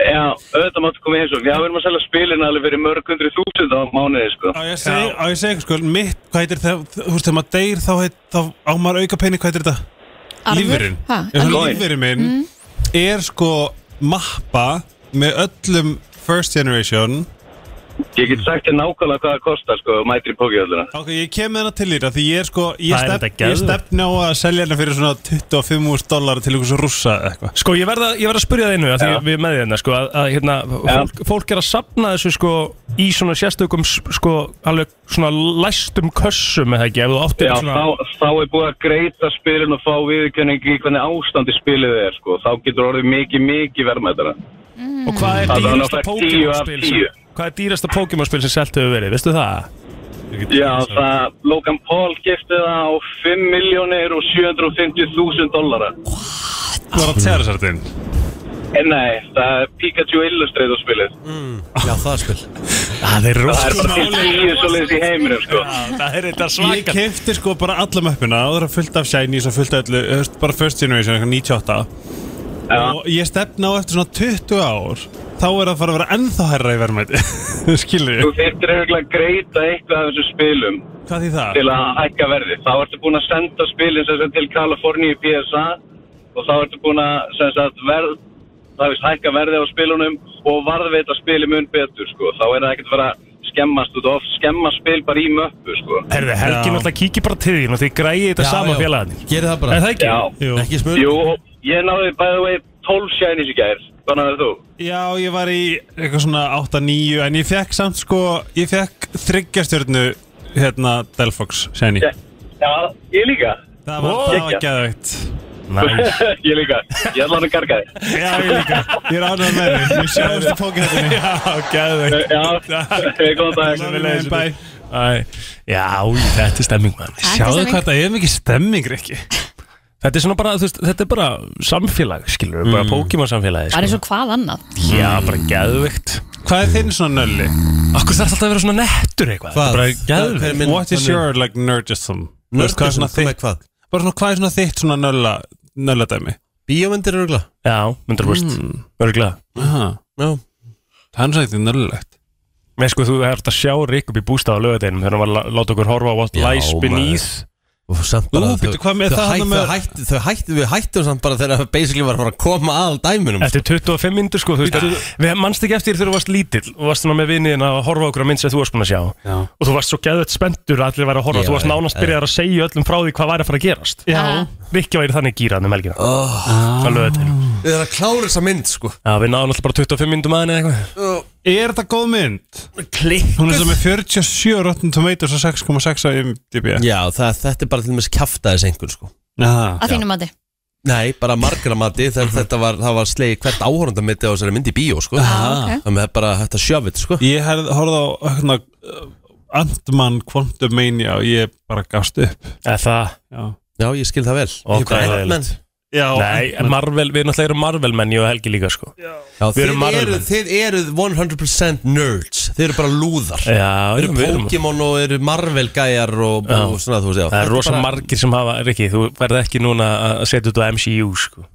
Já, auðvitað máttu komið eins og við erum að selja spilin alveg fyrir mörg hundru þúsund á mánuði, sko. Á ég að segja á ég að segja eitthvað sko Mitt, hvað heitir það? Þú veist, þegar maður deyr þá heit þá á maður auka pening, hvað heitir þetta? Arfur? Mm. Lífurinn Ha, alveg? Lífurinn minn er sko mappa með öllum first generation Ég get sagt þér nákvæmlega hvað það kostar, sko, að mæta í Póki Höllina. Ok, ég kem með hana til þér af Því ég er sko, ég, Það er stefn, þetta ég geðveikt. stefn á að selja hana fyrir svona 25.000 dólar til einhvers rússa eða eitthvað Sko, ég verða verð að spyrja það einu að því við erum með þérna, sko, að, að hérna, fólk, fólk er að sapna þessu, sko, í svona sérstökum, sko, alveg svona læstum kössum, eða ekki, ef þú áttir Já, svona... þá, þá er búið að greita spilin og fá viðurkenning í hvernig ástandi spilið er, sko. Þá getur orðið mikið, mikið verðmættara. Og hvað er dýrasta Pokémon-spil sem, Það er alveg 10 af 10. hvað er dýrasta Pokémon-spil sem selt hefur verið, veistu það? Já, það, Logan Paul gifti það á 5.750.000 dólara. var að tjæra sér þinn Eh, Nei, það er Pikachu Illustrator spilið Já, það spil Það er Það er bara rosalega til tíu svo leiðis í heiminum sko Það er þetta Ég kefti sko bara alla möppuna og það er fullt af shinies og fullt af öllu þú veist, bara first generation, eitthvað 98 og ég stefna á eftir svona 20 ár þá er það fara að vera ennþá herra í verðmæti (laughs) skilur Þú þyrftir eiginlega að greita eitthvað af þessum spilum Hvað því það? til að hækka verði. Þá ertu búin að senda spilin sem sagt til Kaliforníu PSA og þá ertu búin að sem sagt verð það veist hækka verði á spilunum og varðveita spili mun betur sko. Þá er það ekkert að vera skemmast út og oft skemma spil bara í möppu sko. Herði, Helgi náttúrulega kíkir bara til þín og þið græði þetta Já, sama já. félagarnir Gerið það Er það ekki? Jú. Ekki Jú, ég náði by the way 12 shinies í gær. Hvernig er þú? Já, ég var í eitthvað svona 8-9 en ég fekk samt sko ég fekk þryggjastjörnu hérna Delfox shiny Já, ég líka. (laughs) Það var, það var geðveikt Nice. ég líka, ég ætla hann að garga þig Já, ég líka, ég er ánægð með þig Við sjáumst í pókettinni (laughs) Já, geðveikt Já, ok, góðan dag Sömuleiðis, bye. Æ, Já, í- þetta er stemming man. er stemming. það er mikið stemming, Rikki Þetta er svona bara, þú veist, þetta er bara samfélag, skilur Mm. við, bara Pokémon samfélagi Bara eins og hvað annað Já, bara geðvikt Hvað er þinn svona nölli? Akkur þarf alltaf að vera svona nettur eitthvað Hvað? Þetta Hvað- er bara hver minn- geðvikt What is your, like, nerdism? Þú veist, hvað er svona Nerdism? Hvað þitt- Bara svona, hvað er svona þitt svona nölla, nölla dæmi? Bíómyndir eru glæð Já, 100% Hmm. mm. Örgla Já Hann sagði þetta nöllulegt Nei, sko, þú ert að sjá Rikk upp í bústað á lögadeinum þegar hann var að láta okkur horfa á What Já, Lies maður. Beneath Og samt Ú, bara býttu, hvað með þau það hætt- þarna með- Þau hættu, þau hættu, við hættum samt bara þegar það basically var að fara að koma að dæminum Eftir 25 myndur sko, þú veist að- Við mannst ekki eftir þegar þú varst lítill og varst svona með vinniðin að horfa á okkur að mynd sem þú varst búin að sjá Já. og þú varst svo geðvett spenntur að allir væri að horfa Já, þú varst nánast já. byrjað að segja öllum frá því hvað væri að fara að gerast Já. Ah, Rikki væri þannig gírað um helgina oh. að Við erum að klára þessa mynd sko Já, við náðum alltaf bara 25 myndum að henni eða eitthvað Er þetta góð mynd? Klikkuð Hún er sem með 47 Rotten Tomatoes og 6,6 á IMDb Já, það, þetta er bara til og með kjaftaðis einhver sko Já, Að þínu mati Nei, bara margra mati þegar þetta var, það var slegið hvert áhorundamitti á þessari mynd í bíó sko Ah, ok. Það með bara þetta sjöfitt sko Ég hefði horfði á hérna, uh, Ant-Man Quantum Mania og ég bara gafst upp Eða það Já, Já ég skil það vel Og Ég bara, hvað er Ant-Man. það? Já, Nei, Ant-Man. Marvel, við náttúrulega erum Marvel menn ég og Helgi líka sko Já, Já, Við erum þið, eru, Marvel-menn. þið eruð 100% nerds Þið eru bara lúðar Já, Þið eru Eh, við erum- Pokémon og eru Marvel gæjar og, Já. og svona þú veist já. Það Þetta er rosa bara- margir sem hafa, Rikki, þú verð ekki núna að setja út á MCU sko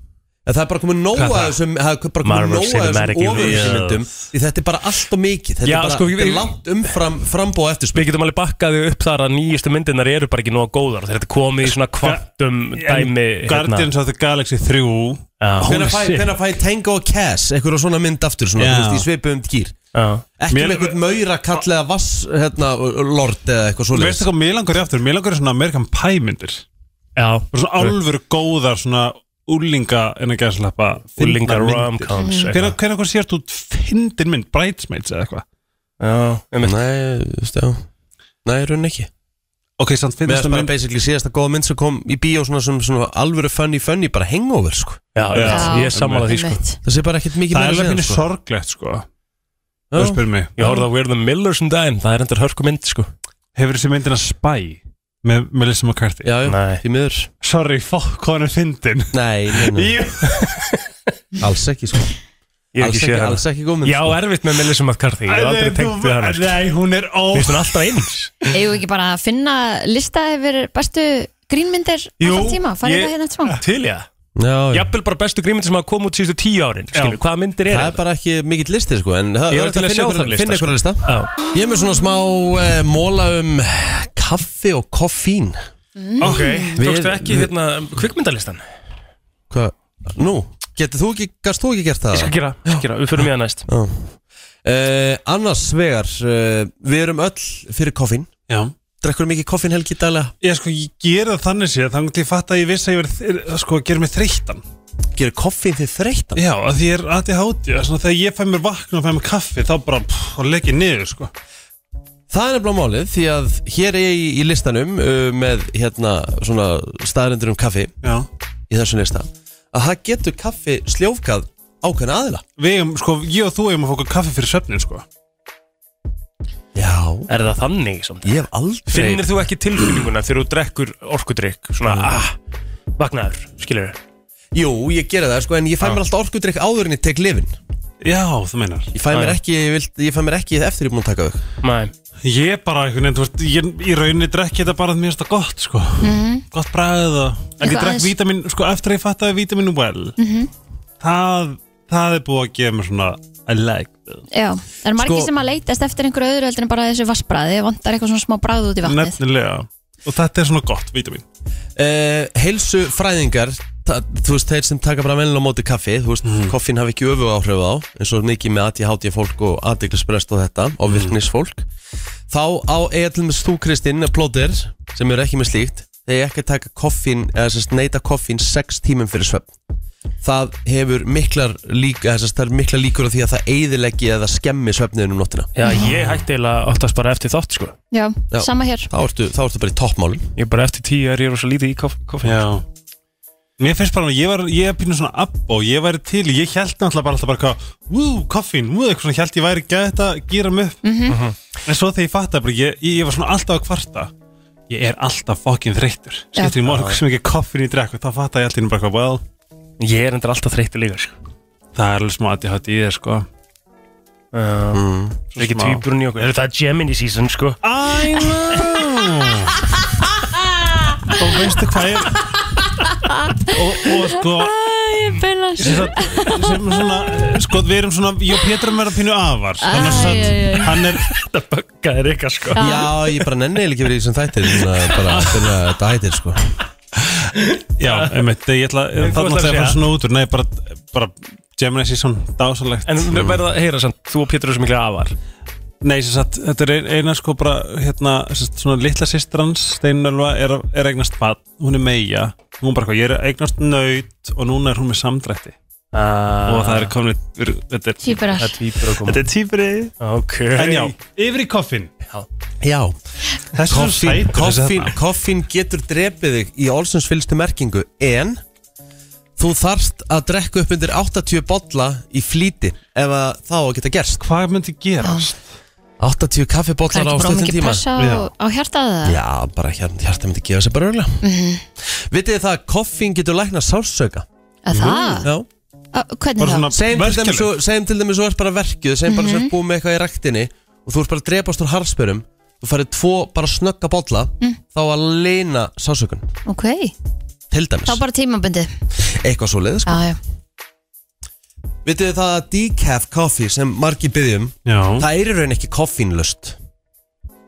En Það er bara komið nóg Hvað að það? þessum Það er bara komið Marvel nóg að Cinematic þessum Universe. ofurheimsmyndum Því þetta er bara allt og mikið Þetta Já, er bara sko, þetta við- er langt umfram frambóð eftir Við getum alveg bakkaði upp þar að nýjustu myndirnar eru bara ekki nóga góðar Þegar þetta er komið í svona kvantum dæmi hérna. Guardians of the Galaxy 3 Hvenær fæ, hvenær fæ Tango og Cass Ekkur á svona mynd aftur svona, Já. þú veist, Í svipum gýr Já. Ekki með einhvern maura kallega vass hérna, Lord eða eitthvað svo Veistu hvað mér langar í aftur? Mér langar í svona American Pie myndir Já Bara svona alvöru góðar svona úlinga en að gera slappa Úlinga rom-coms, eitthvað. Hvernig hvað sérst út fyndin mynd Bridesmaids eða eitthvað Já, einmitt Nei, þú veist, já Nei, raunin ekki Ok, samt Mér finnst finnst það bara mynd basically síðasta góða mynd sem kom í bíó svona sem svona alvöru funny funny bara hangover sko Já, Já, einmitt. ég er sammála því, sko. einmitt. Það sé bara ekkert mikið Það er meira alveg síðan, minni sko. sorglegt sko Það spyrir mig Ég horfði á We're the Millers um daginn, það er endur hörku mynd sko Hefur þessi myndina Spy með Melissa McCarthy Já, já, Nei. því miður Sorry, fokk, hvað hann er fyndin Nei, nei, nei, Jú. alls ekki sko Ég hef Alls ekki, ekki séð hana. alls ekki góð mynd Já, sko. erfitt með Melissa McCarthy, ég hef aldrei tengt við hana sko. Nei, hún er ó Mér finnst hún alltaf eins Eigum við ekki bara að finna lista yfir bestu grínmyndir Jú, alltaf tíma, farið ég- það hérna eftir Eh. smá Til ég það Já, já. Jafnvel bara bestu grímyndir sem hafa komið út síðustu tíu árin skilur, Hvaða myndir er Það er bara ekki mikill listi sko En það Ég er var hægt finna til að sjá einhverja- þann lista, Finna sko. einhverja lista Já. Ég er með svona smá eh, móla um kaffi og koffín Ok, Við- tókstu ekki við- hérna kvikmyndalistan? Hvað? Nú, getur þú ekki, gast þú ekki gert það? Ég skal gera, ég skal gera, við förum í það næst Já. Eh, annars vegar, uh, við erum öll fyrir koffín Já Drekkur mikið koffín helgi daglega? Ég sko, ég gera það þannig séð Þannig til ég fatt að ég vissi að ég verið Sko, gera mig þreyttan Gerir koffín þið þreytan? Já, að því ég er aðið hátíð Svona þegar ég fæ mér vakna og fæ mér kaffi Þá bara, pff, og legg ég niður, sko Það er nefnilega málið því að hér er ég í, í listanum uh, með hérna svona staðarindur um kaffi Já í þessum lista að það getur kaffi sljófkað ákveðna aðila Við, eigum, sko, ég og þú hefum að fóka kaffi fyrir svefnin, sko Já, Er það þannig samt? ég hef aldrei Finnir Mm. þú ekki tilfinninguna þegar þú drekkur orkudrykk Svona, ah, vaknaður, skilur Jú, ég gera það, sko, en ég fæ mér alltaf orkudrykk áður en ég tek lifin Já, þú meinar Ég fæ mér ekki, ég, vilt, ég fæ mér ekki eftir ég er búin að taka þau Nei. Ég bara einhvern veginn, þú veist, ég, ég rauninni drekk þetta bara að mér finnst það gott, sko Mhm. Gott bræðið og En ég Eitthvað drekk aðeins- vítamin, sko, eftir að ég fattaði vítamin well Mhm. það, það er búið að gefa mér svona I like this Já, það er margir Sko- sem að leitast eftir einhverju öðru heldur en bara þessu vassbræði, vantar eitthvað svona smá bræð út í vatnið. Nefnilega Og þetta er svona gott, vítamin uh, Heilsu fræðingar Þú veist, þeir sem taka bara venlega á móti kaffi Þú veist, koffín hafi ekki öfu áhrif á eins og mikið með ADHD fólk og aðdeglisbrest og þetta, og virknisfólk Þá á eðlumis þú Kristinn plóðir, sem eru ekki með slíkt þeir ekki að taka koffín, eða sérst neyta koffín 6 tímum fyrir svefn það hefur miklar líka sérst, það er miklar líkur á því að það eyðileggi eða skemmi svefniðin um nóttina Já, ég hætti eiginlega oftast bara eftir þátt sko Já, sama hér. Þá ertu, þá ertu bara í toppmálum Ég bara eftir tíu er ég rosa lítið í koff- koffein Já Mér finnst bara, ég var, ég er pínu svona app og ég væri til, ég held náttúrulega bara alltaf bara hvað, vú, koffín, vú, eitthvað svona, ég held ég væri gæði þetta, gýra mig upp Mhm. En svo þegar ég fattaði bara, ég, ég, ég var svona alltaf að kvarta Ég er alltaf fokkin þreyttur Skiptir í morgun sem ekki koffín í drekk og þá fattaði ég alltaf bara hvað, well Ég er endur alltaf þreyttur líka sko. Það er alveg smá að ég hætti í þér, sko uh, mm. Ekki smá. tvíburinn í okkur Er það er Gemini season sko I know Og veistu hvað ég og, og sko Ég beina sem, sagt, sem svona, sko við erum svona ég og Pétur erum verið að pínu afar þannig að Æ, æ, æ. satt- hann er það buggaði reyka sko Já, ég bara nenni eiginlega ekki verið í þessum þættir svona, bara fyrir að þetta hættir sko já, einmitt, ég ætla Þú þannig að ætlar að það segja. er svona út úr nei, bara, bara Gemini season, dásalegt En við verðum að heyra samt, þú og Pétur eru svo mikla afar nei, sem sagt, þetta er ein- eina sko bara, hérna, sem sagt, svona litla systir hans Steinölva er, að- er að eignast bad, hún er meia, hún bara hvað ég er að eignast nöyt og núna er hún með samdrætti ah. og það er komin þetta er Tvíburar. þetta er tvíburar að koma. Þetta Þetta er tvíburi Ah, Ok en já, yfir í koffin Já Þessi er svo Koffín, sætur, þessi koffín, þarna. koffín getur drepið þig í Olsons fylgstu merkingu En þú þarft að drekka upp undir 80 bolla í flýti Ef að þá að geta gerst Hvað myndi gerast? 80 Það er kaffibollar á ekki bara stuttum mikið tíma pressa á, á hjartað það? Já, bara hérna, hjarta myndi gefa sér bara örgulega Mhm. Vitið þið það að koffín getur lækna sársauka Að það? Já Á, Hvernig Bara það? svona segjum til, dæmis, svo- segjum til dæmis þú ert bara verkjuð segjum bara þú ert Mhm. búið með eitthvað í ræktinni og þú ert bara að drepast úr harspörum þú farið tvo bara snögga bolla Mhm. þá að leina sásökun Ok, til dæmis, þá bara tímabundið. eitthvað svo leið sko. Já, já. vitið þið það að decaf coffee sem margi byggjum Já. það er í raun ekki koffínlust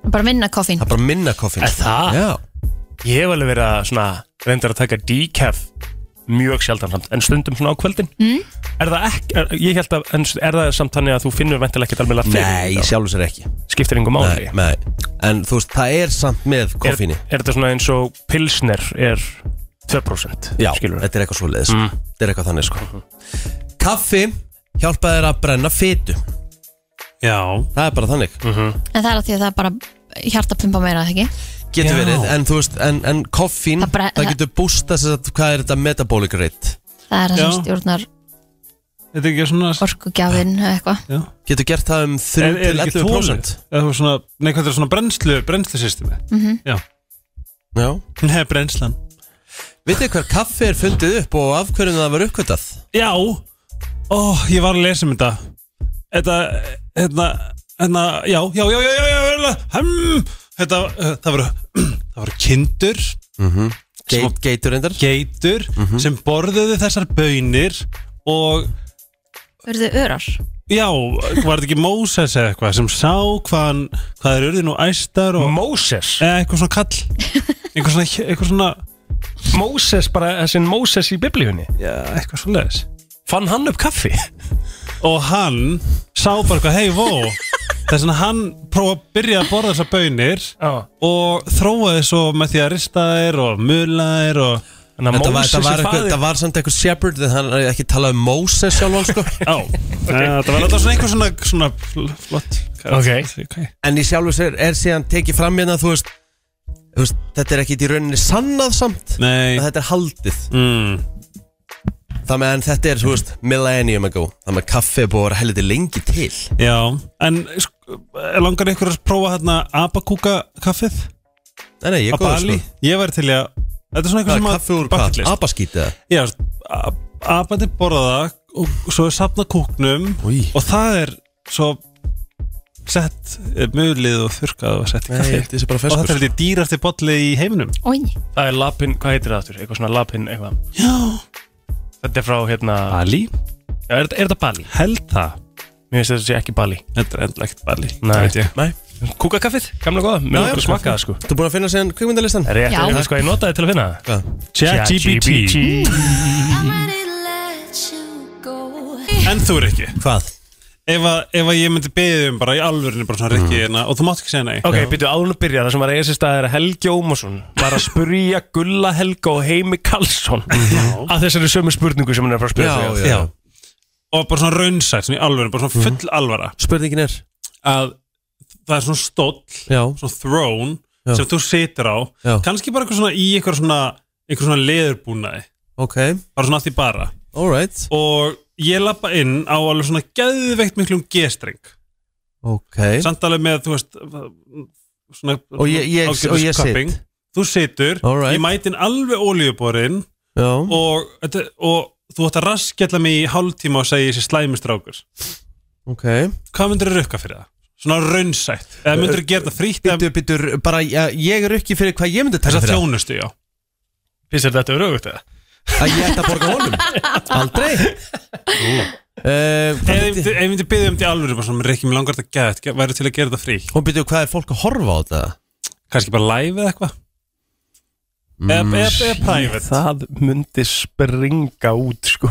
Bara minna koffín. það er bara minna koffín Er það? Já. Ég hef alveg verið að svona reyndar að taka decaf mjög sjaldan samt en stundum svona á kvöldin Mm. Er það ekki, er, ég held að, en er það samt þannig að þú finnur ventilega ekkert alveg að Nei, í sjálfu sér ekki Skiptir engum máli Nei, nei. en þú veist, það er samt með koffíni Er, er þetta svona eins og pilsner er 2% Já, þetta er eitthvað svo leiðis Þetta er eitthvað þannig sko Kaffi hjálpa þér að brenna fitu Já Það er bara þannig En það er að því að það er bara hjartapumpa meira, eða ekki? Getur Já. verið, en þú veist, en, en koffín Það Það, bre- það- getur bústa þess að hvað er þetta metabolic rate Það er það sem Já. stjórnar Þetta er ekki svona orkugjafinn eða eitthvað. Getur gert það um Er- 3 er til ekki 11% tólið? Eða þú svona, nei hvað er svona brennslu, brennslusystemi Mhm. Já Já Mm. Nei, brennslan Vitið hver kaffi er fundið upp og af hverjum það var uppkvötað? Já Ó, ég var að lesa um þetta Þetta, hérna, hérna, já, já, já, já, já, já, já Hem, þetta, uh, það voru, (clears throat) það voru kindur mm -hmm. Geitur reyndar Geitur sem borðuðu þessar bönir og Verðu örar. Já, var þetta ekki Móses eða eitthvað sem sá hvaðan, hvað er urðin og æstar og Móses? Eða eitthvað svona kall Eitthvað svona, eitthvað svona Móses, bara þessin Móses í biblíunni Já, eitthvað svona leðis Fann hann upp kaffi? Og hann sá bara eitthvað, hei, vó Þess vegna hann prófa að byrja að borða þessar bönir Já. Og þróaði svo með því að rista þær og mula þær og Þetta var, þetta, var eitthvað, þetta var samt eitthvað shepherd Það er ekki talað um Moses sjálfan sko Já, það Eh, var alltaf svona eitthvað svona, svona fl- flott Ok. En í sjálfu sér er síðan tekið fram hérna Þú veist, þú veist þetta er ekki í rauninni sannað samt Nei En Þetta er haldið mm. Það með en þetta er, þú veist, millennium ago Það með kaffi er búið að vera helviti lengi til Já, en sko, langar ykkur að prófa hérna abakúka kaffið? Nei, nei, ég Á er góður, sko. Bali? Ég væri til í að Þetta er svona eitthvað Það er sem að kaffi úr bucket hvað? list. Abaskít eða? Já, apandi borða það og svo er safna kúknum Új. og það er svo sett eh, mulið og þurkað og sett í Nei, kaffi þetta er bara og ferskur. þetta er held ég dýrasti bolli í heiminum Ói Það er lapin, hvað heitir það aftur? Eitthvað svona lapin, eitthvað Já Þetta er frá hérna Bali? Já, er, þetta- er þetta Bali? Held það Mér finnst þetta sé ekki Bali Þetta er endla ekkert Bali Nei. veit ég. Nei. Kúkakaffið, gamla góða, Já, mjög já. okkur smakka það sko Þú búin að finna sér kvikmyndalistan? Rétt, Já. er það sko ég notaði til að finna það? En þú er ekki Hvað? Ef að, ef að ég myndi beðið um bara í alvörinu bara svona rikki hérna og þú mátt ekki segja nei Mm. Ok, byrju áður að byrja, það sem var eigin sér stað er að Helgi Ómarsson var að spurja Gulla Helga og Heimi Karlsson að þessari sömu spurningu sem hann er að fara að spyrja Mhm. Já, þig að. já. Og bara svona raunsætt, svona í alvörinu, bara Mm. svona full alvara Spurningin er Að það er svona stóll, Já, svona throne Já. sem þú situr á Já. kannski bara eitthvað svona í eitthvað svona eitthvað svona leðurbúnaði ok, bara svona að því bara alright og ég lappa inn á alveg svona geðveikt miklum gestreng Ok samt alveg með þú veist svona Og ég- ég- ágætis og ég sit. cupping. þú situr, Alright. ég mæti inn alveg olíuborinn Já, og, þetta- og þú ætti að raskjalla mig í hálftíma og segja þessi slæmistrákur ok hvað myndur þú rukka fyrir það? svona raunsætt, eða myndur þú gera það frítt eða Bittu, bittu, bara ja, ég er ekki fyrir hvað ég myndi taka þess að fyrir það. þjónustu, já Finnst þér þetta örugt eða? Að ég ætti að borga honum Aldrei uh, Ef ég hvað- myndi- ef ég myndi byggja um til alvöru bara svona, Rikki, mér langar þetta gæða, þetta væri til að gera þetta frí Og bittu, hvað er fólk að horfa á þetta? Eh, kannski bara live eða eitthvað eða, Mm, eða, eða private Það myndi springa út sko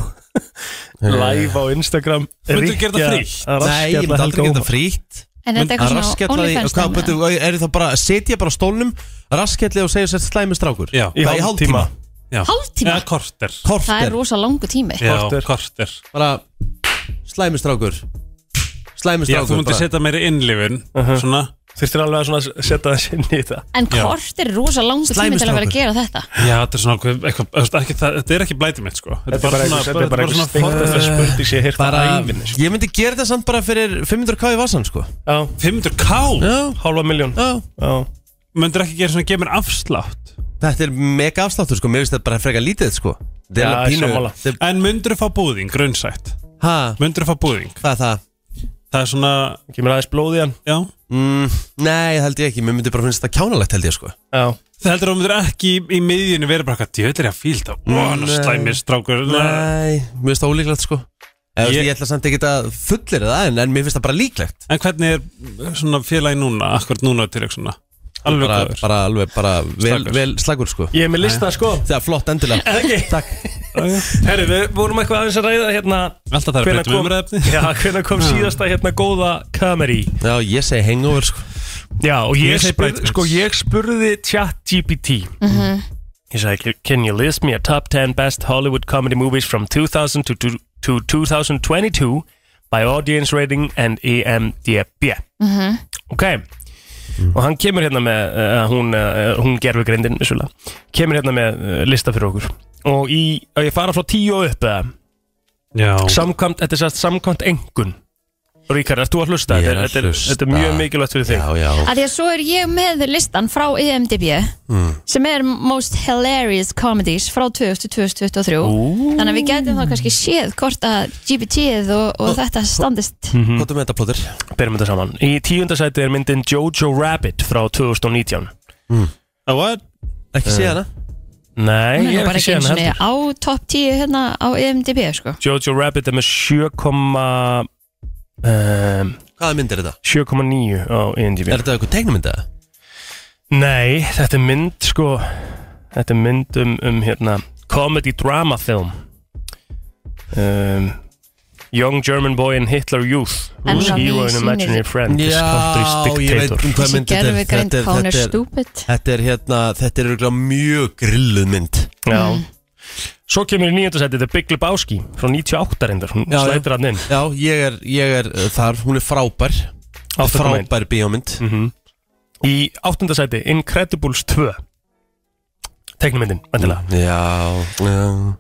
Live á Instagram Myndirðu gera þetta Rikka frítt? að Nei, ég raskjalla myndi aldrei Helga geta Ómar. frítt En þetta er Að eitthvað svona raskjalla því- OnlyFans hvað, dæmi, bittu, Er það bara, setja bara á stólnum Raskjalli og segja sér slæmi strákur Já. Í Hvað, í hálftíma? hálftíma já. Hálftíma? eða korter Það er Korter rosa langu tími já, Korter. korter Bara, slæmi strákur Slæmi já, þú strákur myndir bara. setja meiri innlifin svona, Þurftir alveg að svona setja það sinni í þetta En hvort er rosa langu tími til að vera að Slæmistrákur. gera þetta já, þetta er svona eitthvað, eitthvað, eitthvað, ekki, það, þetta er ekki blæti mitt sko þetta, Þetta er bara einhver forðast- stengtasta spurning sem ég heirt á bara ævinni sko. Ég myndi gera þetta samt bara fyrir 500k í vasan sko Já, 500k, Já, hálfa miljón já Já myndir ekki gera svona gemur afslátt Þetta er mega afsláttur sko, mér finnst þetta bara frekar lítið sko Það Já, alveg sammála. Þetta- en myndir þú fá búðing, grunnsætt Ha, myndir þú fá búðing, hvað er það? það er svona Kemur aðeins blóð í hann já, Mm, nei, það held ég ekki, mér myndi bara finnst þetta kjánalegt held ég sko Já það heldur þú myndir ekki í, í miðjunni vera bara eitthvað, djöður ég að fíl það ó, hann Nei. slæmir strákur Nei, mér finnst það ólíklegt sko Eða, Ég- ég... ég ætla samt ekki að fullir það en, en mér finnst það bara líklegt en hvernig er eh, svona félagi núna, akkurat núna til eitthvað svona, alveg Bara, góður bara alveg, bara vel, Slakur. vel slagur sko Ég er með listað sko Það er flott endilega Ekki Takk Herri, við vorum eitthvað aðeins að ræða hérna Alltaf það er Hvenær betur með kom- umræðefni Já, hvernig kom síðasta hérna góða kameri Já, ég segi hangover sko Já, og ég, Ég segi spurði, breytist. sko, ég spurði chat GPT Ég sagði, can you list me a top 10 best Hollywood comedy movies from 2000 to, to, to 2022 by audience rating and EMDB Ok Og hann kemur hérna með, uh, hún, uh, hún gerfi grindin, vissulega Kemur hérna með uh, lista fyrir okkur Og í, og ég fara frá 10 og upp eða Já, Samkvæmt, þetta er sagt samkvæmt engun Ríkar, ert þú að hlusta? Ég er Þetta að þetta Þetta er hlusta. mjög mikilvægt fyrir þig Já, já Að því að svo er ég með listan frá E IMDb Mm. sem er Most Hilarious Comedies frá 2023 Þannig að við gætum þá kannski séð hvort að GPT-ið og, og þetta standist Hvað er með þetta plótir? Berum þetta saman Í tíunda sæti er myndin Jojo Rabbit frá 2019 það var Ekki sé hana? Nei, Hún er ég nú hef bara ekki ekki séð eins hann og heldur á top 10 hérna á IMDb sko. Jojo Rabbit er með 7,9 um, Hvaða mynd er þetta? 7,9 á IMDb Er þetta eitthvað tegnumynd eða? Nei, þetta er mynd sko Þetta er mynd um, um hérna comedy drama film um, Young German Boy in Hitler Youth En Whose það hero and sýnir- imaginary friend is Já, country's ég veit dictator um hvað Þessi mynd þetta er gerfi grind Þetta er- hvað hún er þetta er- stúpid Þetta er hérna, þetta er örugglega mjög grilluð mynd Já Svo kemur í nýjöndasæti The Big Lebowski frá 98 reyndar, hún Já, já. slætir hann inn Já, ég er, ég er uh, þar, hún er frábær Áttakomein. Frábær bíómynd Í áttundasæti Incredibles 2 Teknumyndin, vendilega Já, já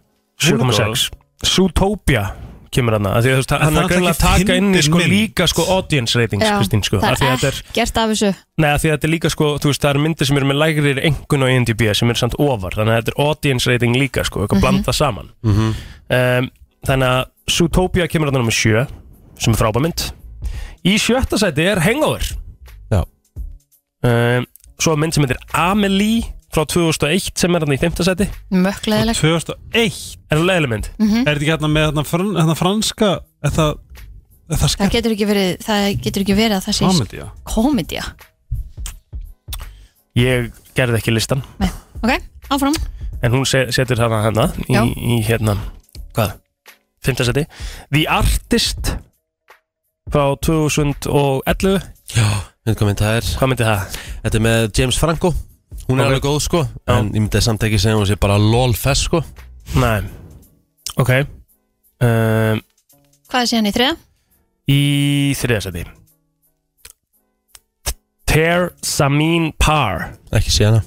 7,6 Zootopia kemur hann að því að þú veist, En hann það er er greinlega að ekki taka inn í, fyndin sko mynd. líka sko audience ratings, Já, Kristín, sko af það því að er þetta er, ekkert af þessu nei, af því að þetta er líka sko, þú veist, það eru myndir sem eru með lægrir engun á IMDb sem eru samt ofar, þannig að þetta er audience rating líka, sko, Mhm. eitthvað mm blanda saman um, þannig að Zootopia kemur hann nummer 7 sem er frábæmynd í sjötta sæti er Hangover Já um, svo er mynd sem heitir Amelie frá 2001 sem er hann í fimmta sæti Mökkleðileg 2001 Er það leiðileg mynd? Mhm. Er þetta ekki hérna með hérna fran, hérna franska Er það, er það Það getur ekki verið, það getur ekki verið að það sé Komedía. Komedía, ég gerði ekki listan ok, áfram en hún se- setur hana hérna í, Já. í hérna, hvað? 5. seti The Artist frá 2011 Já, veit hvað mynd það er Hvað myndi það? Þetta er með James Franco Hún er Ok. alveg góð sko En ég myndi samt ekki segja að hún sé bara lolfess sko Nei Ok um, Hvað er síðan í þriða? í þriða seti Ter Samin Par Ekki sé hana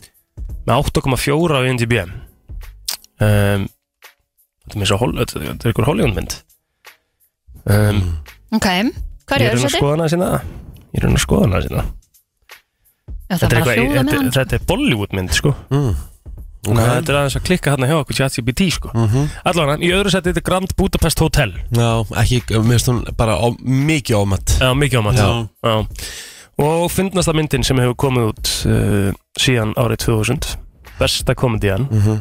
með 8,4 á IMDb um, Þetta er mér svo hol, þetta er- þetta er ykkur Hollywoodmynd um, Ok, hvað Ég er er að sko- öðru skoða sæti? hana sína Ég er að skoða hana sína Já, það Þetta er, bara eitthvað- hljóða með þetta, hann. þetta er Bollywood mynd sko mm. Þannig að þetta er aðeins að klikka hérna hjá okkur ChatGPT sko mm Mhm. -hmm. Allavega, í öðru seti þetta er Grand Budapest Hotel Já, ekki, mér finnst hún bara á, mikið ámætt Já, mikið ámætt Já. Og fyndnasta myndin sem hefur komið út uh, síðan árið 2000 Besta komedian Mhm.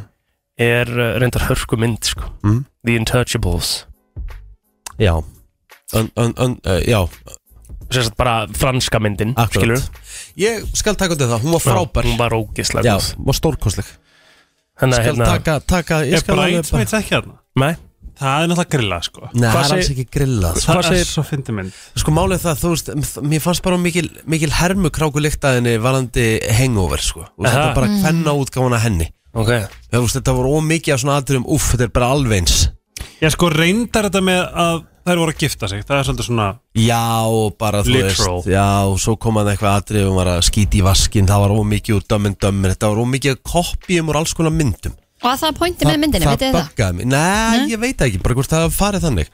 er uh, reyndar hörku mynd sko Mhm. The Intouchables Já, un, un, un, uh, já. Sérstætt bara franska myndin Akkurat. skilurðu? Ég skal taka undir það, hún var frábær Já, Hún var ógislega Já, góð. var stórkostleg Þannig að, hérna- Skal taka, taka ég Er skal alveg Bridesmaids ekki hérna? Nei Það er náttúrulega grilla sko Nei, það er alls ekki grillað Það er svo fyndi mynd Sko málið er það, þú veist, m- mér fannst bara mikil, mikil hermukráku lyktaðinni varandi hangover, sko Og Aha. þetta er bara Mm. hvenna útgáfuna henni Ok Þú veist, þetta voru ómikið af svona atriðum, uff, þetta er bara alveg eins Ég sko reyndar þetta með að þær voru að gifta sig Það er svolítið svona Já, og bara þú Literal. veist Já, og svo kom hann eitthvað atrið og var að skýti í vaskinn Það var ómikið úr dömmin dömmin Þetta var ómikið kopjum úr alls konar myndum Og að það er pointi með myndinni, Það veitir það? buggaði mig Nei, ég veit ekki, bara hvort það hafi farið þannig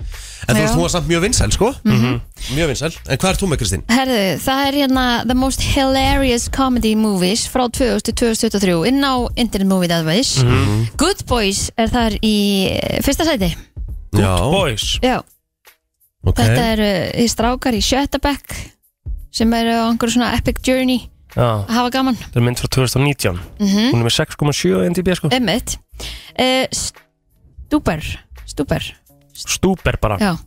En þú Já. Mhm. veist, hún var samt mjög vinsæl, sko Mjög vinsæl En hvað er þú með, Kristín? Herðu, það er hérna The Most Hilarious Comedy Movies frá 2000-2023 inn á Internet Movie Database Mhm. Good Boys er þar í eh, fyrsta sæti Já, Boys Já, ok þetta eru í strákar í sjötta bekk sem eru á einhverju svona epic journey Já, að hafa gaman þetta er mynd frá 2019 Mhm. Hún er með 6,7 á NDB sko Emmitt uh, Stúper Stúper, Stúper bara já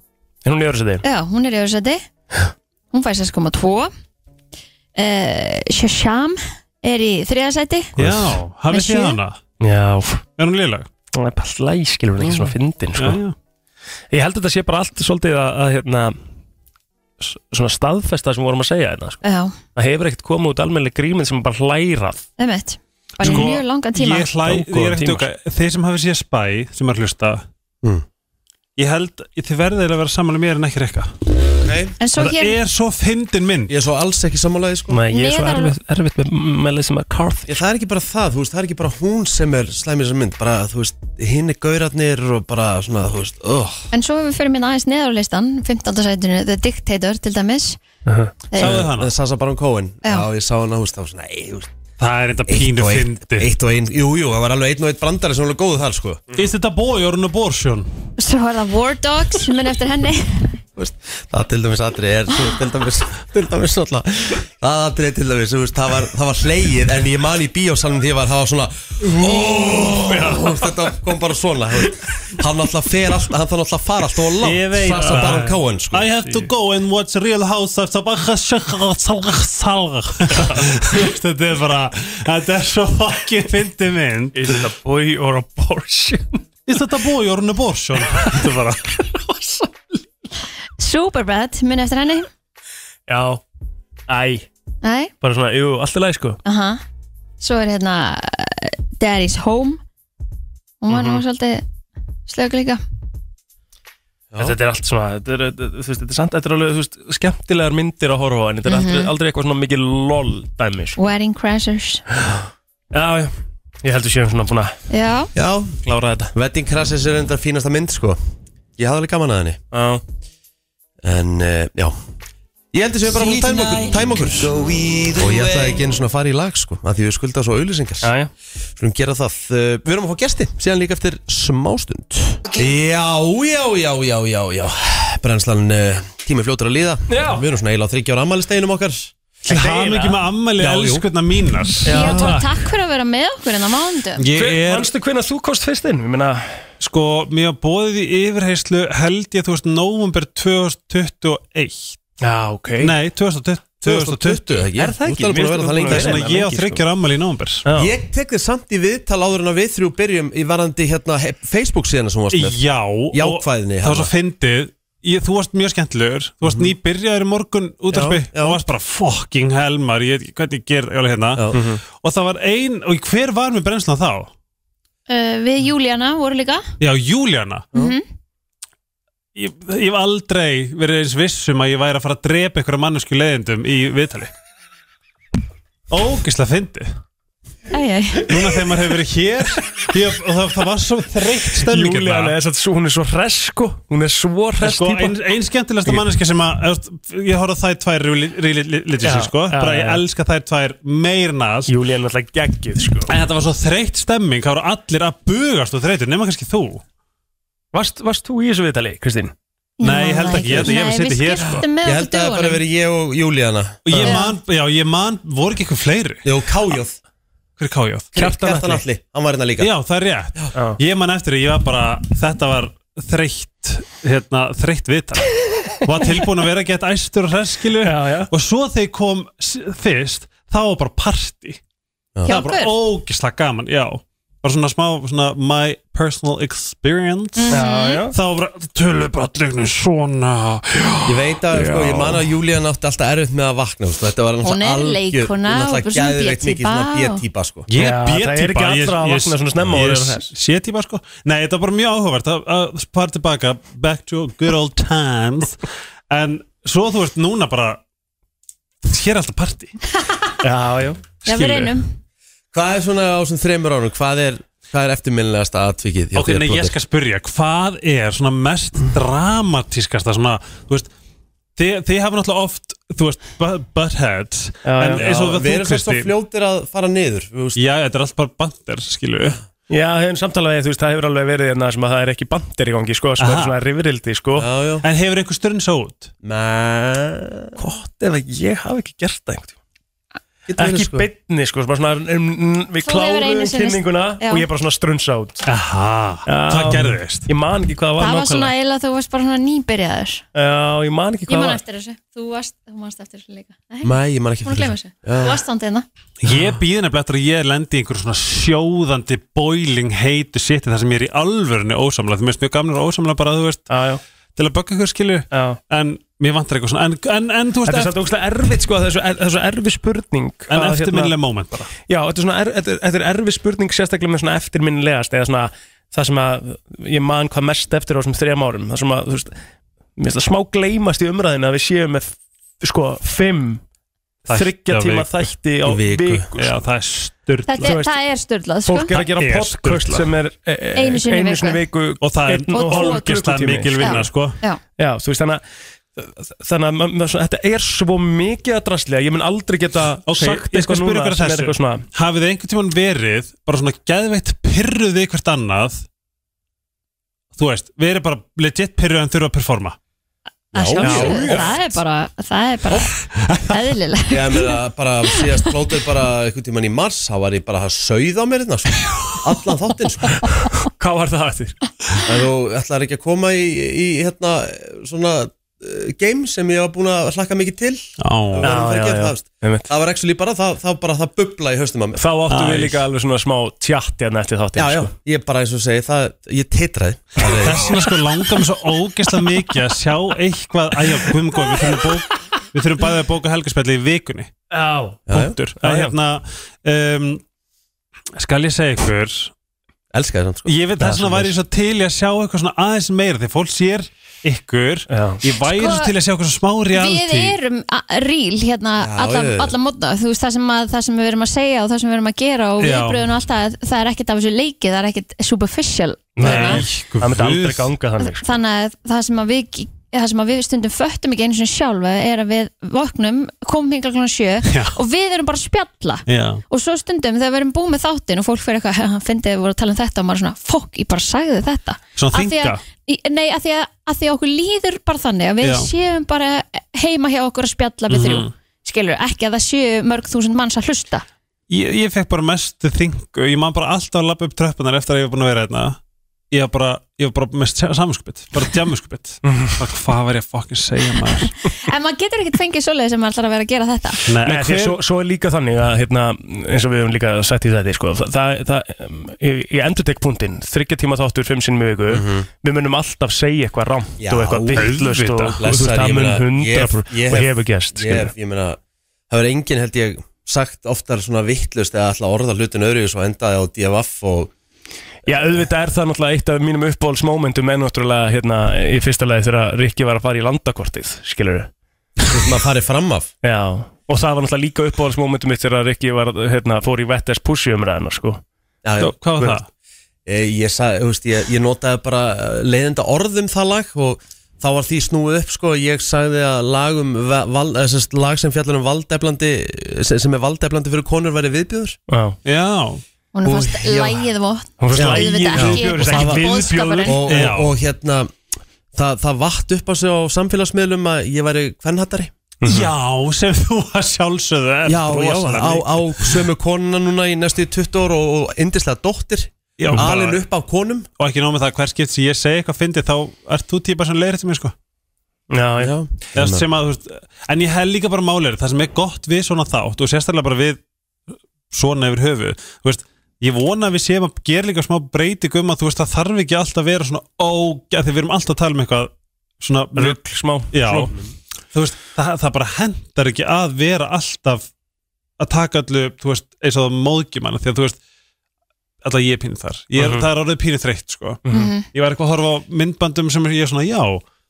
En hún er í öðru seti Já, hún er í öðursæti Hún fær 6,2 uh, Eh, Shasham er í þriðasæti Já, hafið Með þið sjö? hana? Já Er hún lélag? Hún er bara hlæg, skilur hún ekki svona fyndin sko. Já, Ég held að þetta sé bara allt svolítið að, að hérna, s- svona staðfesta sem við vorum að segja hérna, sko. Já, Það hefur ekkert komið út almennileg grímið sem er bara hlærað emmitt Bara Sko, í mjög langan tíma Ég hlæ, Dágóðan ég er ekkert tíma, okkar Þeir sem hafið séð spæ, sem er að hlusta Mm. Ég held, þið verðið eiginlega að vera sammála mér en ekki rekka okay. En svo Það hér- er svo fyndin mynd Ég er svo alls ekki sammálaði, sko Nei, ég er svo Meðal- erfitt, erfitt með, með Lisa McCarthy Ég, það er ekki bara það, þú veist, það er ekki bara hún sem er slæmið sem mynd, bara, þú veist, hinn er gaurarnir og bara svona, þú veist, öh, En svo ef við fyrir minna aðeins neður á listan 15. sætinu, The Dictator til dæmis Eh, Sáðu Það hana? er Sasa Baron Cohen Já. Já, ég sá hana, þú veist, það var svona, ei, þú veist Það er þetta eitt pínu og eitt- fyndi Eitt og einn, jú, jú, það var alveg einn og einn brandari sem var alveg góðu þar, sko Is þetta boy or an abortion? Svo var það War Dogs, minn eftir henni Þú veist, Það til dæmis atrið er, þú veist, til dæmis, (laughs) til dæmis alltaf Það atrið til dæmis, þú veist, það var, það var hlegið En ég man í bíósalum því var, það var svona Þú veist, Þetta kom bara svona, þú veist Hann alltaf fer alltaf, hann þarf alltaf að fara alltaf og Ég langt veit Sasa það. Baron Cohen, sko I have to go and watch Real House of (laughs) Sabahashakhsalg Þetta er bara Þetta er svo fucking fyndi mynd Is it a boy or abortion? Is þetta boy or an abortion? Þetta er bara Superbad, minn eftir henni Já, æ, Nei, bara svona, jú, allt er læg sko aha Svo er hérna eh, Daddy's Home Hún var nú svolítið slög líka Þetta er allt svona, þetta er, þú veist, þetta er samt, þetta er alveg, þú veist, skemmtilegar myndir að horfa á En þetta er Mhm. aldrei, aldrei eitthvað svona mikið lol dæmi sko. Wedding Crashers Já, já, ég heldur séum svona búin að Já, Já, klára þetta Wedding Crashes er enda fínasta mynd, sko Ég hafði alveg gaman að henni Já En, uh, já Ég held þess að við bara búin tæm okkur, tæm okkur. Og ég ætlaði ekki einu svona að fara í lag sko að Því við skulda svo auðlýsingar Já, já Skulum gera það Uh, Við erum að fá gesti Síðan líka eftir smástund Já, já, já, já, já, já Brennslan uh, tími fljótur að líða Já. Við erum svona eiginlega á 30 ára ammælisteginum okkar Til hamingju með afmæli, elskurnar mínar. Já, og takk fyrir að vera með okkur en á mándum Ég Hver- er Manstu hvernig þú komst fyrst inn? Ég meina Sko, mér var bóðið í yfirheyslu held ég, þú veist, november 2021 Já, ok Nei, 2020 2020, ekki? Er það Þú ert ekki? alveg búin að vera það lengi. Þess vegna ég á Lengi, sko. þryggjur ammæli í november Ég tek þið samt í viðtal áður en að við þrjú byrjum í varandi hérna he- Facebook síðan sem hún varst með Já og Jákvæðni Það var svo fyndið ég, Þú varst mjög skemmtilegur Þú varst nýbyrjaður í morgun útarpi Mhm. Já, já. Þú varst bara fucking helmar Ég veit ekki hvernig ég ger ég hérna Mhm. Og það var ein Og hver var með brennslan þá? uh, Við Júlíana voru líka Já, Júlíana Mhm. Ég, ég hef aldrei verið eins vissum að ég væri að fara að drepa einhverja mannesku leiðindum í viðtali Ógislega fyndi Æ, æ. Núna þegar maður hefur verið hér ég, og það, það var svo þreytt stemning hérna. Júlíana er satt svo, hún er svo hress sko Hún er svo En hress sko, típa ein, ein skemmtilegasta manneska sem að eða, ég horfði á þær tvær Já, religion sko, já, bara já, ég já. elska þær tvær meirnast Júlíana er alltaf geggið sko sko. en þetta var svo þreytt stemming, það voru allir að bugast og þreytur, nema kannski þú Varst, varst þú í þessu viðtali, Kristín? Nei, ég held ekki, ég held að ég hef sittið hér sko. Ég held að það bara verið ég og Júlíana og ég man, já, ég man, voru ekki eitthvað fleiri Jó, Kájóð hver er Kájóð? Kjartan Kjartan Atli. Atli, hann var hérna líka. já, það er rétt, ég man eftir því, ég var bara þetta var þreytt hérna, þreytt viðtal var tilbúin að vera gett æstur og hresskilu og svo þegar ég kom s- fyrst þá var bara party það Hjá var bara ykkur? ógislega gaman, já bara svona smá, svona my personal experience Mhm. Já, já. þá var bara, tölum bara allir einhvern veginn svona Ég veit að, sko, ég man að Júlíana átti alltaf erfitt með að vakna, sko, þetta var Hún er algjör- hún leikona er og bara alltaf svona gæðveikt mikið B-típa svona og- B-típa, sko Ég er Já, það B-típa er ekki allra að vakna svona snemma og Ég vera er hress. C-típa sko Nei, þetta var bara mjög áhugavert að- að fara tilbaka Back to good old times (laughs) En svo þú veist núna bara Hér er alltaf party (laughs) Já, já Já, við reynum Hvað er svona á þessum þremur ánum, hvað er, hvað er eftirminnilegasta atvikið? hjá Ok, þér, nei, ég Plóter? skal spyrja Hvað er svona mest dramatískasta Svona, þú veist Þið, þið hafa náttúrulega oft, þú veist, bu- buttheads En Já, eins og Við erum þú, fyrst og Kristi fljótir að fara niður Já, þetta er allt bara bandir, skilu Já, hefur samtalað þú veist, það hefur alveg verið hérna sem að það er ekki bandir í gangi, sko, sem Aha. er svona rifrildi, sko. Já, já. En hefur einhver sturnsa út? Nei. Hvort ef að ég hafi ekki gert það einhvern Getur tíma. verið, Ekki sko. sko. beinni, sko, sem bara svona, um, mm, við Þú hefur kláðum einu sinni- kynninguna Já. og ég bara svona strunsa út. Aha, hvað gerðist? Ég man ekki hvað það var Það var svona nákvæmlega. eiginlega, þú varst bara svona nýbyrjaður Já, ég man ekki Ég hvað man það var. eftir þessu, þú varst, þú varst eftir þessu líka Nei, ég man ekki Hún eftir glemur þessu. þessu, Já. þú varst þándið hérna Ég býði nefnilega eftir að ég lendi í einhverjum svona sjóðandi boiling heitu seti þar sem ég er í alvörinu ósamlega þú veist mjög gamlega ósamlega bara þú veist já, já. til að bögga ykkur skilju já. en mér vantar eitthvað svona en, en, en þú veist Þetta er hérna- eftir, svolítið ógustlega erfitt, sko, það er svo- það er svo erfi spurning. en Hvað, eftirminnilega moment bara Já, þetta er svona er, þetta er, þetta er erfi spurning sérstaklega með svona eftirminnilegast eða svona það sem að ég man hvað mest eftir á þessum þrejum árum það sem að, þú veist, mér finnst það smá gleymast í umræðinu að við séum með sko, fimm Þætti þryggja á tíma viku. þætti á Viku. viku, já sko. það er styrla Þetta Þú er, veist, það er styrlað, sko Fólk er að gera Það er podcast sturlað. sem er e, e, Einu sinni í einu sinni í viku og það einn er og tvo ógeðslega klukkutími. mikil vinna Já. sko Já, Já, þú veist, þannig að þannig að maður- maður svona- þetta er svo mikið að drastlega, ég mun aldrei geta ok, sagt ég skal eitthvað spyrja núna ykkur að sem er þessu eitthvað svona hafið þið einhvern tíman verið bara svona geðveitt pyrruði hvert annað þú veist, við erum bara legit pyrruð en þurfa að performa að sjálfsögðu, já. það er bara, það er bara eðlilega Ég meina bara síðast plótir bara einhvern tíman í mars þá var ég bara að sauða á mér hérna sko. allan þáttinn sko. Hvað var það eftir? en þú ætlar ekki að koma í, í hérna svona uh, game sem ég var búin að hlakka mikið til Á. Það var ekki Já, já, að já. það, veist. Einmitt. það var actually bara það, það, bara, það bubla í haustum að mér Þá áttum við Æ. líka alveg svona smá tjatt hérna eftir þáttinn Já, já, ég bara eins og segi, það, ég titraði Það er- Þess vegna sko langar mér svo ógeðslega mikið að sjá eitthvað Æja, guðum góð, við þurfum, að bók, við þurfum bæðið að bóka helgarspjalli í vikunni Já, Punktur Já, að já. hérna um, Skal ég segja ykkur Elska þér samt sko Ég veit þess vegna væri ég svo til í að sjá eitthvað svona aðeins meira Þegar fólk sér ykkur Ég væri Sko, svo til að sjá eitthvað smá Við reality erum a- ríl hérna Já, alla, já, já. alla mótna, þú veist það sem, að, það sem við erum að segja og það sem við erum að gera og Já. viðbröðun og allt það, það er ekkert af þessu leiki, það er ekkert superficial Nei, það myndi aldrei (laughs) ganga þannig sko. þannig að það sem að við það sem að við stundum föttum ekki eins og sjálfa er að við voknum, komum hinga klokkan sjö Já. og við erum bara að spjalla Já. og svo stundum þegar við erum búið með þáttin og fólk fyrir eitthvað, hann fyndið við vorum að tala um þetta og maður er svona, fokk, ég bara sagði þetta Svona Af því að- þynga. í- Nei, að því að, að því að okkur líður bara þannig að við Já. séum bara heima hjá okkur að spjalla við Mhm. þrjú skilur, ekki að það séu mörg þúsund manns að hlusta Ég, ég fekk bara mestu þingu Ég man bara alltaf að lappa upp tröppunar eftir að ég var búin að vera hérna Ég var bara, ég var bara mest samanskupið Bara djamuskupið (laughs) Mhm. Bara hvað var ég að fucking segja maður en maður getur ekkert fengið svoleið sem maður ætlar að vera að gera þetta Nei, hver... því, að svo, svo er líka þannig að hérna, eins og við höfum líka sett í þetta sko, það, það, það, um, ég, ég endur tek punktinn þryggja tíma þáttur, fimm sinni mjög viku Mhm. við munum alltaf segja eitthvað rámt og eitthvað vittlust og, og þú veist, það mun hundra og hefur gest Ég, ég, ég meina, það er enginn held ég sagt oftar svona vittlust eða alltaf orða hlutin öðru og endaði á DFF og Já, auðvitað er það náttúrulega eitt af mínum uppbólsmomentum en náttúrulega hérna í fyrsta lagi þegar Rikki var að fara í landakortið, skilur við. maður farið fram af. Já, og það var náttúrulega líka uppbólsmomentum mitt þegar Rikki var, hérna, fór í Vettes pussi umræðina, sko. Já, já. Hvað var það? Ég, Eh, ég, sag, veist, ég, ég notaði bara eh, leiðinda orðum það lag og þá var því snúið upp sko, ég sagði að lag, um, ve- val, eh, sem sagt, lag sem fjallar um valdeflandi sem sem er valdeflandi fyrir konur væri viðbjöður Já, já. hún er fast Og- já. lægið vott Hún fannst Já. lagið Auðvitað ekki, viðbjóður, ekki það var- boðskapurinn. og, Já. og, og hérna það, það vatt upp á sig á samfélagsmiðlum að ég væri kvennhattari Já, sem þú að sjálfsögðu ert Mhm. Já, já, rosalega á, mikið. á sömu konuna núna í næstu 20 ára og, og indislega dóttir Já, alin upp á konum Og ekki nóg með það, hver skipt sem ég segi eitthvað fyndi þá ert þú típa sem leiðir til mér sko Já, já Eða Hérna. sem að, þú veist, En ég hef líka bara málir Það sem er gott við svona þátt og sérstaklega bara við svona yfir höfu Þú veist, ég vona að við séum að gera líka smá breyting um að þú veist það þarf ekki alltaf að vera svona ógæð Þegar við erum alltaf að tala um eitthvað svona Rugl smá Já, Svona. þú veist, það, það bara hendar ekki að vera alltaf að taka allu, þú veist, eins og það móðgjum hana því að þú veist, alltaf ég er pínu þar ég er, Mhm. það er orðið pínu þreytt, sko Mhm. ég var eitthvað að horfa á myndbandum sem ég er svona, já,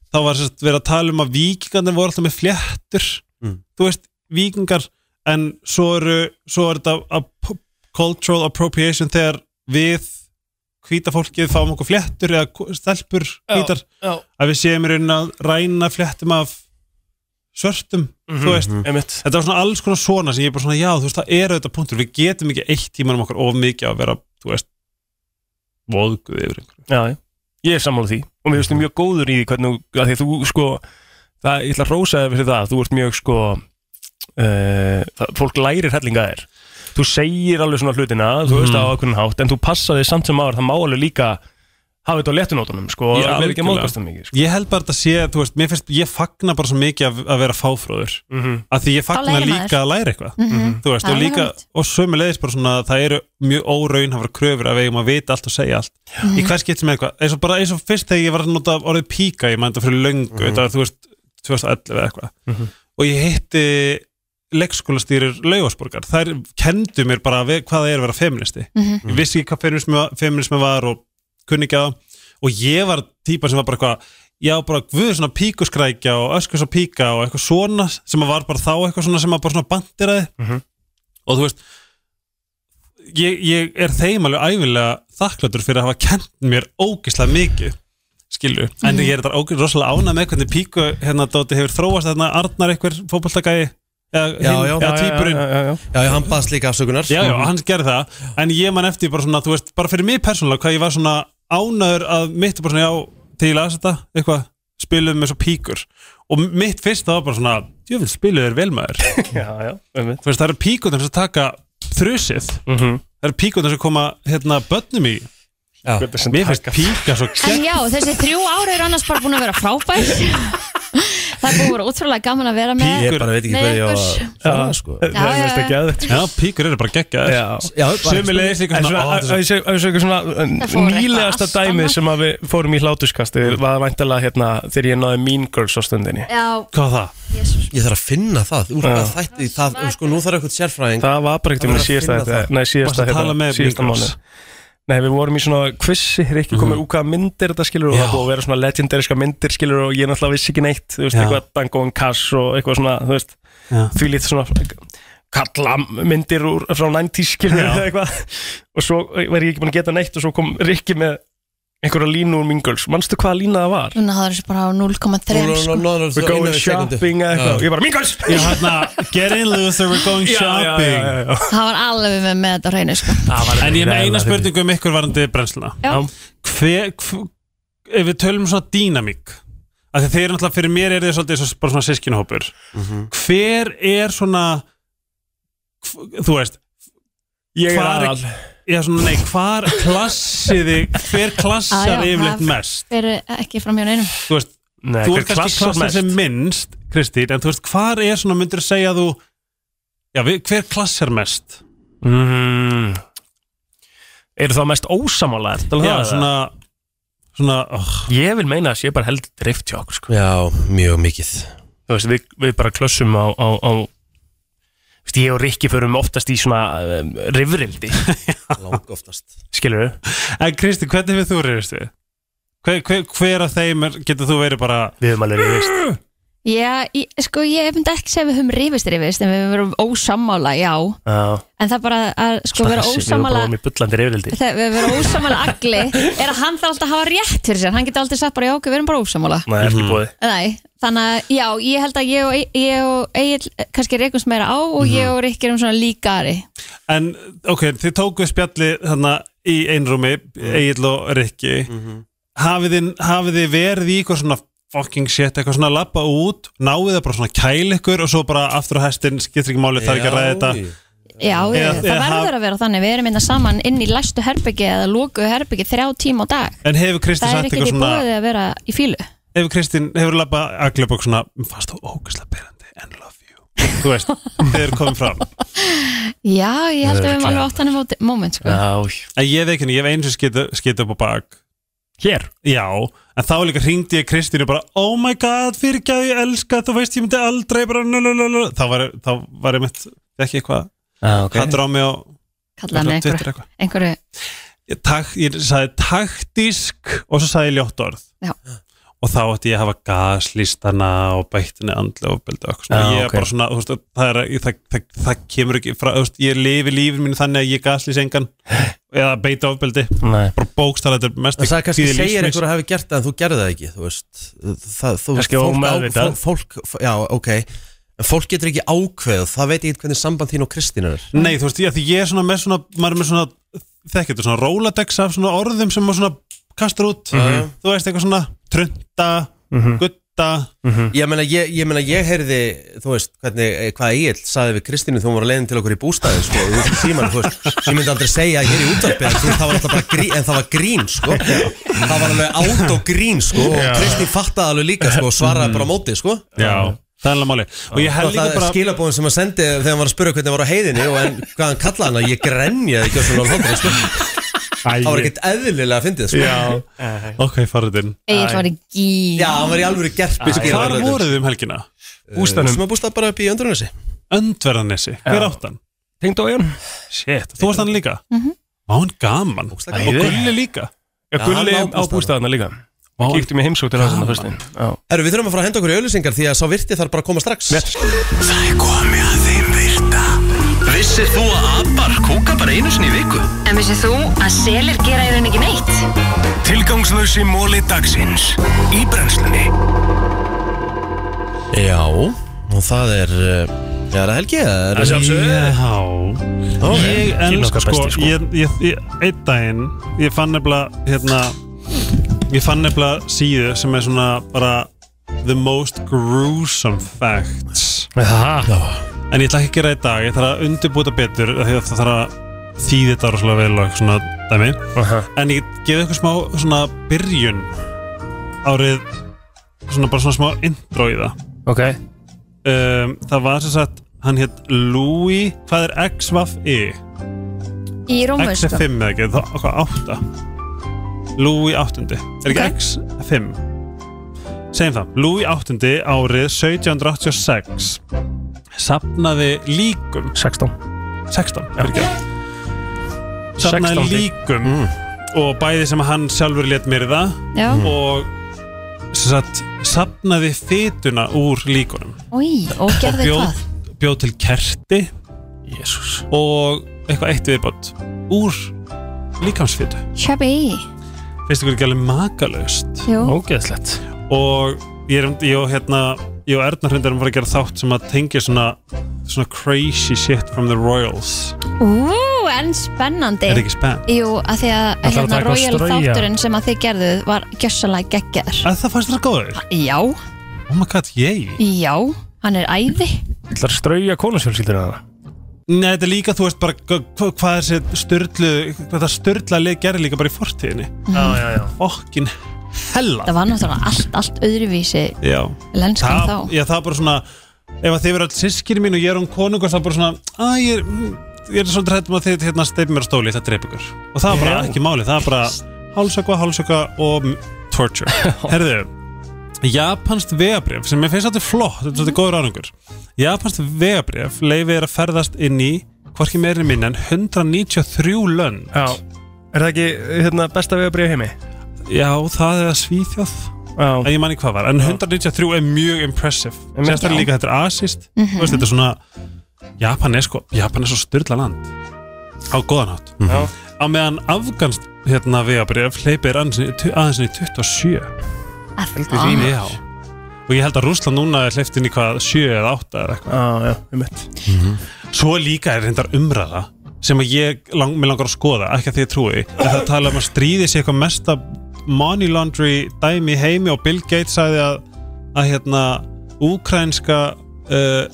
þá var sérst verið að tala um að vikingarnir voru alltaf með fléttur þú veist, vikingar en svo eru, svo er þetta ap- cultural appropriation þegar við hvíta fólkið fáum okkur fléttur eða ko- stelpur hvítar já. að við séum í raunin að ræna fléttum af svörtum Mhm, þú veist, einmitt. þetta var svona alls konar svona sem ég er bara svona, já, þú veist, það eru þetta punktur við getum ekki eitt tímanum okkar of mikið að vera, þú veist voðguð yfir einhverju Já, já. ég er sammála því og mér finnst þú mjög góður í því hvernig þú- af því að þú sko, það, ég ætla að rósa þér fyrir það, þú ert mjög sko uh, það, fólk lærir hellinga þér þú segir alveg svona hlutina þú veist það á okkurinn hátt, en þú passa þig samt sem áður, það má alveg líka hafa þetta á léttunótunum sko, og Já, alveg ekki að virkilega. móðgast það mikið sko. Ég held bara að þetta sé, þú veist, mér finnst, ég fagna bara svo mikið að, að vera fáfróður mm Mhm. að því ég Þá fagna lærir líka maður. að læra eitthvað Mhm. þú veist, Það og er líka, alveg og sömulegis bara svona, það eru mjög óraunhafra kröfur að við eigum að vita allt og segja allt Mhm. í hvers getur með eitthvað, eins og bara eins og fyrst þegar ég var að nota orðið píka, ég maður þetta fyrir löngu Mhm. þetta var, þú veist, 2011 eða eitthvað Mhm. og ég hitti leikskólastýrir laugasborgar, þær kendu mér bara við, hvað það er að vera feministi Mhm. ég vissi ekki hvað feminismi var, feminismi var og kunninga og ég var típa sem var bara eitthvað já bara guður svona píkuskrækja og öskus og píka og eitthvað svona sem að var bara þá eitthvað svona sem að bara svona bandiraði Mhm. og þú veist ég, ég er þeim alveg æfilega þakkláttur fyrir að hafa kent mér ógislega mikið skilju, en Mhm. ég er þetta ógislega rosalega ánað með hvernig píku hérna Dóti hefur þróast þarna Arnar einhver fótboltagæi eða Já, hinn- já. eða Já, já, tvíburinn já, já, já, já, hann baðst líka afsökunar Já, já, Mhm. hann gerði það En ég man eftir bara svona, þú veist, bara fyrir mig persónulega Hvað ég var svona ánæður að mitt bara svona Já, þegar ég las þetta, eitthvað Spiluðum með svo píkur Og mitt fyrst það var bara svona, jöfnveld spiluðu þér vel (laughs) maður Já, já, Þú einmitt. veist, það eru píkundum sem taka þrusið -hmm. Það eru píkundum sem koma, hérna, börnum í Já. Mér finnst píka svo en já, þessi þrjú ára er annars bara búin að vera frábær það er búin að vera útrúlega gaman að vera með Ég bara veit ekki hvað ég á að fara fara, sko. Já, já, já. Já, píkur eru bara Já, geggjað Sömulegis líka svona, svona á, að- að- þessu- að- að- að- svona Það fór uh, eitthvað nýlegasta allt dæmið annað. sem að við fórum í hlátuskasti var væntalega hérna þegar ég náði Mean Girls á stundinni Já. Hvað var það? Ég þarf að finna það, úr Já. hvað þætti það, sko, nú þarf eitthvað sérfræðing Það var bara ekkert um að síðasta finna það. þetta Nei, síðasta, Varstu að tala hérna, með síðasta Bíkars? mánu Nei, við vorum í svona quiz Rikki kom með úr hvaða myndir þetta skilur og það búið að vera svona legendariska myndir skilur og ég náttúrulega vissi ekki neitt þú veist, Já. eitthvað Dango and Cash og eitthvað svona þú veist, Já. því lítið svona kalla myndir úr, frá 90s skilur Já. eða eitthvað og svo eh, var ég ekki búin að geta neitt og svo kom Rikki með einhverja línu úr Mingles manstu hvaða lína það var? Þannig að það er bara á 0,3 sko. We're going shopping eða eitthvað Ég bara, Mingles! Já, hérna, get in loser, we're going Já, já, já, shopping já, já. Það var alveg með, með þetta á hreinu sko. En ég er með vel eina að spurningu um ykkur varandi brennsluna Já. Hver, hv- ef við tölum svona dýnamík af því þeir eru náttúrulega fyrir mér er þið svolítið svo, bara svona sískinhópur Hver er svona hv- þú veist Ég er hvar- aðal. Já, svona, nei, hvar klassiði hver Á, já, klassar yfirleitt það mest Fer ekki fram hjá neinum þú veist, Nei, þú hver ert kannski klassar klassar mest? sem minnst Kristín, en þú veist, hvar er svona myndir segja þú, já, við, hver klassar mest? Mm. Eru það mest ósamálaðir? Já, svona, svona oh. Ég vil meina að sé bara heldur drift hjá okkur sko. Já, mjög mikið Þú veist, við, við bara klössum á, á, á Þú veist, Ég og Rikki förum oftast í svona um, rifrildi Lang oftast Skilur við? En Kristi, hvernig við þú reyðist við? Hver, hver, hver af þeim er, getur þú verið bara Við höfum alveg reyðist Já, ég, sko ég myndi ekki segja við höfum rífist rífist en við höfum ósammála, já Já en það bara að sko vera Við ósammála vorum í bullandi rifrildi þegar við vera ósammála agli er að hann þarf alltaf að hafa rétt fyrir sér hann getur aldrei sagt bara já, ok, við erum bara ósammála Nei, ekki búið Nei, þannig að já, ég held að ég og, ég og Egil kannski reikumst meira á og Mhm. ég og Rikki erum svona líkari En, ok, þið tókuð spjalli þarna í einrúmi, Egil og Rikki hafið, þið, hafið þið verið í eitthvað svona fucking shit, eitthvað svona labba út, náið það bara svona kæl ykkur og svo bara aftur á hestin, skiptir ekki máli, það er ekki að ræða þetta Já, Eða- ég, það eða haf- verður að vera þannig við erum innan saman inn í læstu herbyggi eða lóku herbyggi þrjá tíma á dag En hefur Kristi það er sagt ekki eitthvað ekki svona búið að vera í fílu Hefur Kristín, hefur labba agljöfbók svona "Mér fannst þú ógæslega berandi and love you Þú (laughs) veist, þeir komið fram Já, ég held að við höfum alveg Örugglega. átt hann um moment sko. En ég veit henni, ég hef eins og skita upp á bak Hér? Já, en þá líka hringdi ég Kristínu bara Oh my god, fyrirgæði, ég elska Þú veist, ég myndi aldrei bara lulululu. Þá var, þá var ég mitt ekki eitthvað ah, okay. Hattur á mig og kallaði hann Twitter einhverju, eitthvað. einhverju ég, tak, ég sagði taktísk og svo sagði ég ljótt orð Já. og þá ætti ég að hafa gaslistana og bættinni andlega og beldi og eitthvað svona. Já, ég er ok. bara svona, þú veist, það, er, ég, það, það, það kemur ekki frá, þú veist, ég lifi lífin mínu þannig að ég gaslýs engan eða beita ofbeldi, Nei. bara bókstala þetta er mest Það kannski tíði lífs segir míns. einhver að hafi gert það en þú gerði það ekki Þú veist það, þú, Kannski fólk á- ómeðvitað. fó- Fólk, já, ok En fólk getur ekki ákveð Það veit ég ekki hvernig samband þín og Kristín er Nei, þú veist, ég, því ég er svona með svona maður er með svona, þekkir þetta svona róladex af svona orðum sem maður svona kastar út, Mhm. þú veist, eitthvað svona trunta, gutta Ég meina, ég, ég meina, ég heyrði, þú veist, hvernig, eh, hvað Egil saði við Kristínu þegar hún var að leiðin til okkur í bústæðin, sko, og þú síman, þú veist, ég myndi aldrei segja hér í útvarpið, en þú veist, það var alltaf bara grín, en það var grín, sko, það var alveg átt og grín, sko, og Kristín fattaði alveg líka, sko, og svaraði bara á móti, sko. Já, það er alveg máli og ég held Og líka það bara skilabóðin sem að sendi þegar hann var að spura hvernig hann var á heiðinni og en, hvað hann kallaði hana, ég grenjaði ekki á svona hlóttri, sko. Það var ekkert eðlilega að fyndið, sko. Já, ok, farðin Egil var í gíl Já, hann var í alvöru gerpis. Hvar voruð þið um helgina? Bústanum Sem að bústað bara upp í öndrunarsi. Öndverðanesi, hver átt hann? Tengd á eigin Shit Þú varst hann líka? Mhm. Má hann gaman Og Ógeðslega gaman. Gulli líka Já, Já, Gulli hann á á bústæðana líka Vá, Kíktu mig heimsók til hans þarna fyrst inn. Já. Herru, við þurfum að fara að henda okkur í auðlýsingar því að sá virti þarf bara að koma strax. Rétt. Það er komið að þeim virta Vissir þú að abar kúka bara einu sinni í viku? En vissið þú að selir gera í raun ekki neitt? Tilgangslösi móli dagsins Í brennslunni Já, og það er uh, Já, það er helgi eða er- Það sjálfsögðu. Já Ok. Ég Kynna elsku okkar sko, besti, sko. ég, ég, ég, einn daginn Ég fann nefnilega, hérna Ég fann nefnilega síðu sem er svona bara The most gruesome facts Já. En ég ætla ekki að gera það í dag, ég þarf að undirbúta betur af því að það þarf að þýði þetta rosalega vel og eitthvað svona dæmi Aha. En ég gefið eitthvað smá svona byrjun árið svona bara svona smá intro í það Ok um, Það var sem sagt, hann hétt Louis, hvað er XVAF-I? Í Rómu X er sko 5 eða ekki, þá hvað, 8 Louis 8 Er ekki Ok. X 5 Segjum það, Louis 8 árið 1786 Sapnaði líkum 16 16 já. safnaði 16. líkum og bæði sem hann sjálfur let mér það Já. Mm. og sem sagt, safnaði fytuna úr líkunum Í, og gerði bjó, hvað? bjó til kerti Jesus. og eitthvað eitt viðbátt úr líkamsfytu Shabby finnst ykkur ekki alveg makalaust Jú. ógeðslegt og ég er ég og hérna ég og Erna hrindar um að fara að gera þátt sem að tengja svona, svona crazy shit from the royals Ú, en spennandi Er það ekki spenn? Jú, að því að þarf að hérna taka og Royal strauja. þátturinn sem að þið gerðuð var gjössalega geggjær að það fannst það góður Já, oh my god, yay já, hann er æði ætlar að strauja konusfjölskyldina það Nei, þetta er líka, þú veist bara hva- hva- hvað þessi styrlu, hvað það styrla leið gerir líka bara í fortíðinni Já, já, já Fokkin hella Það var náttúrulega allt, allt öðruvísi Já lenskan það, þá Já, það er bara svona Ef að þið verður alls sískinni mín og ég er um konungur Það er bara svona að, ég, er, mm, ég er svolítið hrættum að þið hérna steipir mér á stóli Það dreip ykkur Og það er bara Já. ekki máli Það er bara hálsökva, hálsökva og m- (laughs) torture Herðu Japanskt vegabrif sem mér finnst þetta flott Þetta er svolítið góður árangur Japanskt vegabrif leifir að ferðast inn í Hvorki meirinu minn en 193 lönd Já Er það ekki hérna, besta vegabrif heimi? Já, það er að svíþjóð En ég manni hvað var, en 193 er mjög impressive Einmitt. Sérstaklega líka þetta er asist mm Mhm. veist, Þetta er svona Japan er sko, Japan er svo styrla land Á góðan hátt Mhm. Já. Á meðan afganst hérna vegabrif hleypir aðeins í- aðeins inn í 27 Heldur því maður. Já Og ég held að Rússland núna er hleypt inn í hvað 7 eða 8 eða eitthvað Já, já, um mitt Svo líka er reyndar umræða sem að ég lang, mig langar að skoða, ekki að því ég trúi en það tala um að stríði sé eitthvað mesta money laundry dæmi í heimi og Bill Gates sagði að, að hérna, úkrænska uh,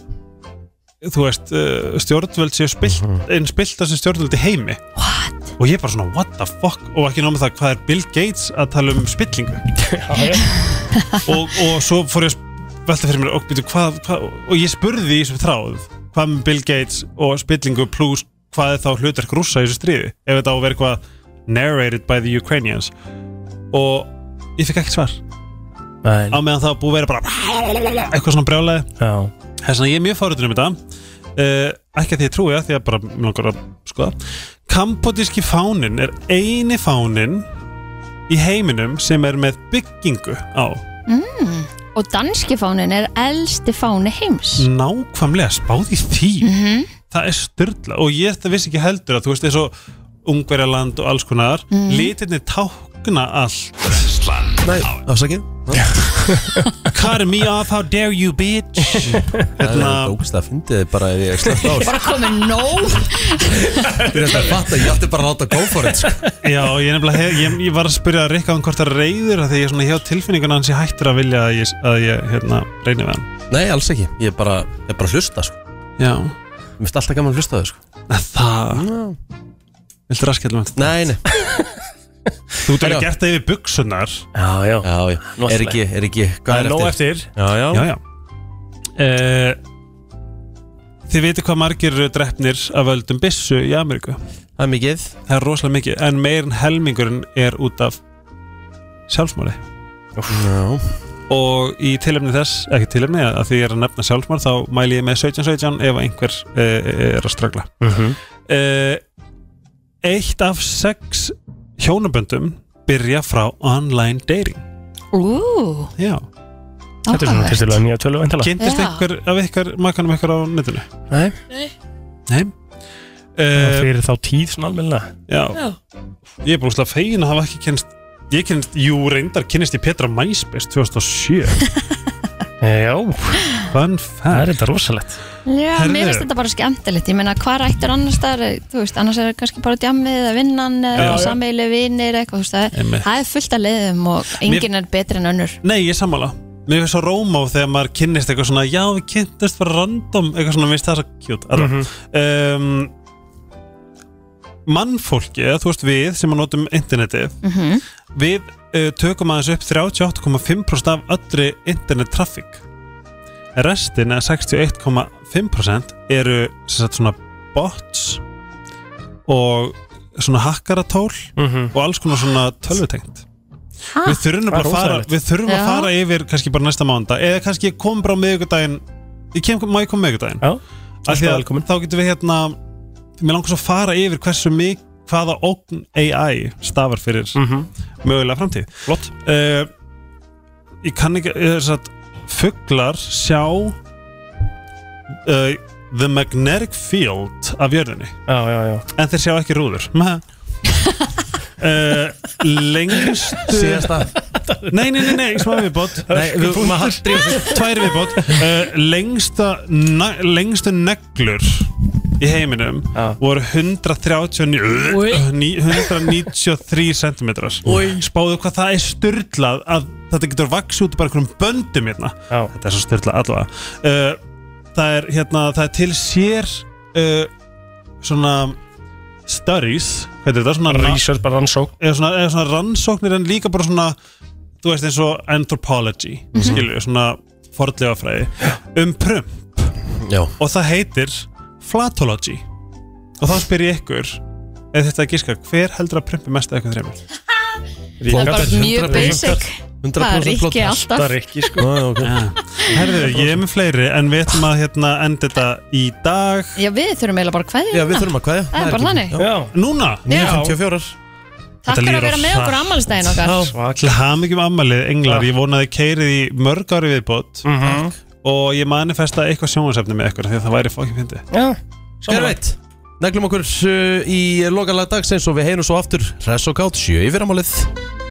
þú veist uh, stjórnvöld séu spilt einn spilta sem stjórnvöld í heimi what? og ég bara svona what the fuck og ekki nóg með það hvað er Bill Gates að tala um spillingu og, og svo fór ég að velta fyrir mér og, byrju, hvað, hvað, og ég spurði í þessum þráð hvað með Bill Gates og spillingu pluss hvað er þá hlutverk rússa í þessu stríði ef þetta á að vera eitthvað narrated by the Ukrainians og ég fikk ekkert svar Nei. á meðan það var búið að vera bara eitthvað svona brjálæði þess vegna ég er mjög fórhundin um þetta uh, ekki að því ég trúi að því að bara mig langar að skoða Kampodíski fánin er eini fánin í heiminum sem er með byggingu á mm. Og danski fánin er elsti fáni heims nákvæmlega spáð í því það er styrla og ég þetta vissi ekki heldur að þú veist eins og Ungverjaland og alls konar Mhm. litirni tákna allt Nei, afsakið Karmi off, how dare you bitch Það er ógust að fyndi þið bara ef ég slögt á Bara komið nóg Fyrir þetta að fatta, ég átti bara að láta go for it sko. Já, ég, nefnilega hef, ég, ég var að spyrja að Rikka um hvort það er reyður af því ég svona hjá tilfinningun hans ég hættur að vilja að ég, að ég hérna, reyni við hann Nei, alls ekki, ég er bara, ég er bara að hlusta sko. Já Mér finnst alltaf gaman að hlusta á þau sko. Það Viltu raskjallum þetta? Nei, nei Þú ert alveg gert það yfir buksunar Já, já, já, já. Er ekki, er ekki, hvað Það er er nóg eftir? eftir. Já, já, Já, já. Eh, Þið veitir hvað margir eru drefnir af völdum byssu í Ameríku Það er mikið Það er rosalega mikið, en meirin helmingurinn er út af sjálfsmáli Já Og í tilefni þess, ekki tilefni að því ég er að nefna sjálfsmál þá mæli ég með 17-17 ef einhver eh, er að stragla Mhm. Eh, Eitt af sex hjónaböndum byrja frá online dating Mm. Ú, Já Þetta er svona kristilega nýja tölu vantala Kynntist einhver af ykkar makanum ykkar á netinu? Nei Nei uh, Fyrir þá tíð svona almenna Já. Ég er bara úrslega fegin að hafa ekki kynst Ég kynst, jú reyndar kynist ég Petra Mæsbest 2007 Já Fun fact Það er þetta rosalegt Já, Herðu. mér finnst þetta bara skemmtilegt Ég meina, hvað rættur annars þar Þú veist, annars er það kannski bara djammið eða vinnan Já, eða já. sameilu vinir eitthvað, þú veist, það, Einmitt. er- það er fullt af leiðum og enginn er betri en önnur Nei, ég er sammála Mér finnst svo róm á þegar maður kynnist eitthvað svona Já, við kynntist bara random Eitthvað svona, mér finnst það svo kjút mm Mhm. um, Mannfólki, eða þú veist við sem að notum internetið Mhm. Við uh, tökum aðeins upp 38,5% af öllri internet traffic Restin, eða 61,5% eru sem sagt svona bots og svona hakkaratól og alls konar svona tölvutengt Mhm. Ha? Við þurfum Það er bara að fara, óþægilegt. við þurfum Já. að fara yfir kannski bara næsta mánda eða kannski ég kom bara á miðvikudaginn ég kem, má ég koma á miðvikudaginn Já, Af því að þá getum við hérna mér langar svo að fara yfir hversu, mik- hvaða ógn AI stafar fyrir mögulega framtíð Flott Ég kann ekki eh, þess að fuglar sjá uh, the magnetic field af jörðinni já, já, já. en þeir sjá ekki rúður (laughs) uh, lengstu Síðasta. nei, nei, nei, nei, smá viðbót Nei, við- við- maður- drífum sig. tvær viðbót uh, lengsta, na, lengstu neglur í heiminum voru 139 Oj. 193 cm spáðu hvað það er styrlað að þetta getur vaksið út úr bara einhverjum böndum hérna Já. þetta er svo styrlað allavega uh, það er hérna það er til sér uh, svona studies hvað er þetta svona Research, bara rannsókn eða svona, eða svona rannsóknir en líka bara svona þú veist eins og anthropology mm Mhm. svona fornleifafræði um prump Já. og það heitir flatology og þá spyr ég ykkur eða þetta að gíska, hver heldur að prumpi mest af ykkur þreymur? Það er bara mjög basic Það er ekki alltaf Rikki sko Herðu, ég er með fleiri en við ætlum að hérna, enda þetta í dag Já, við þurfum eiginlega bara hvað kveðja Það er bara þannig Núna, Já. 9.54 Takk fyrir að vera með okkur ammálstæðin okkar Til hamingjum ammalið, englar Ég vona að þið keirið í mörg ári viðbót Mhm. Og ég manifesta eitthvað sjónvarsefni með ykkur Því að það væri fokkin fyndi Já, hér veit Neglum okkur uh, í lokalega dagsins og við heynum svo aftur Hress og kátt, sjö yfir ámálið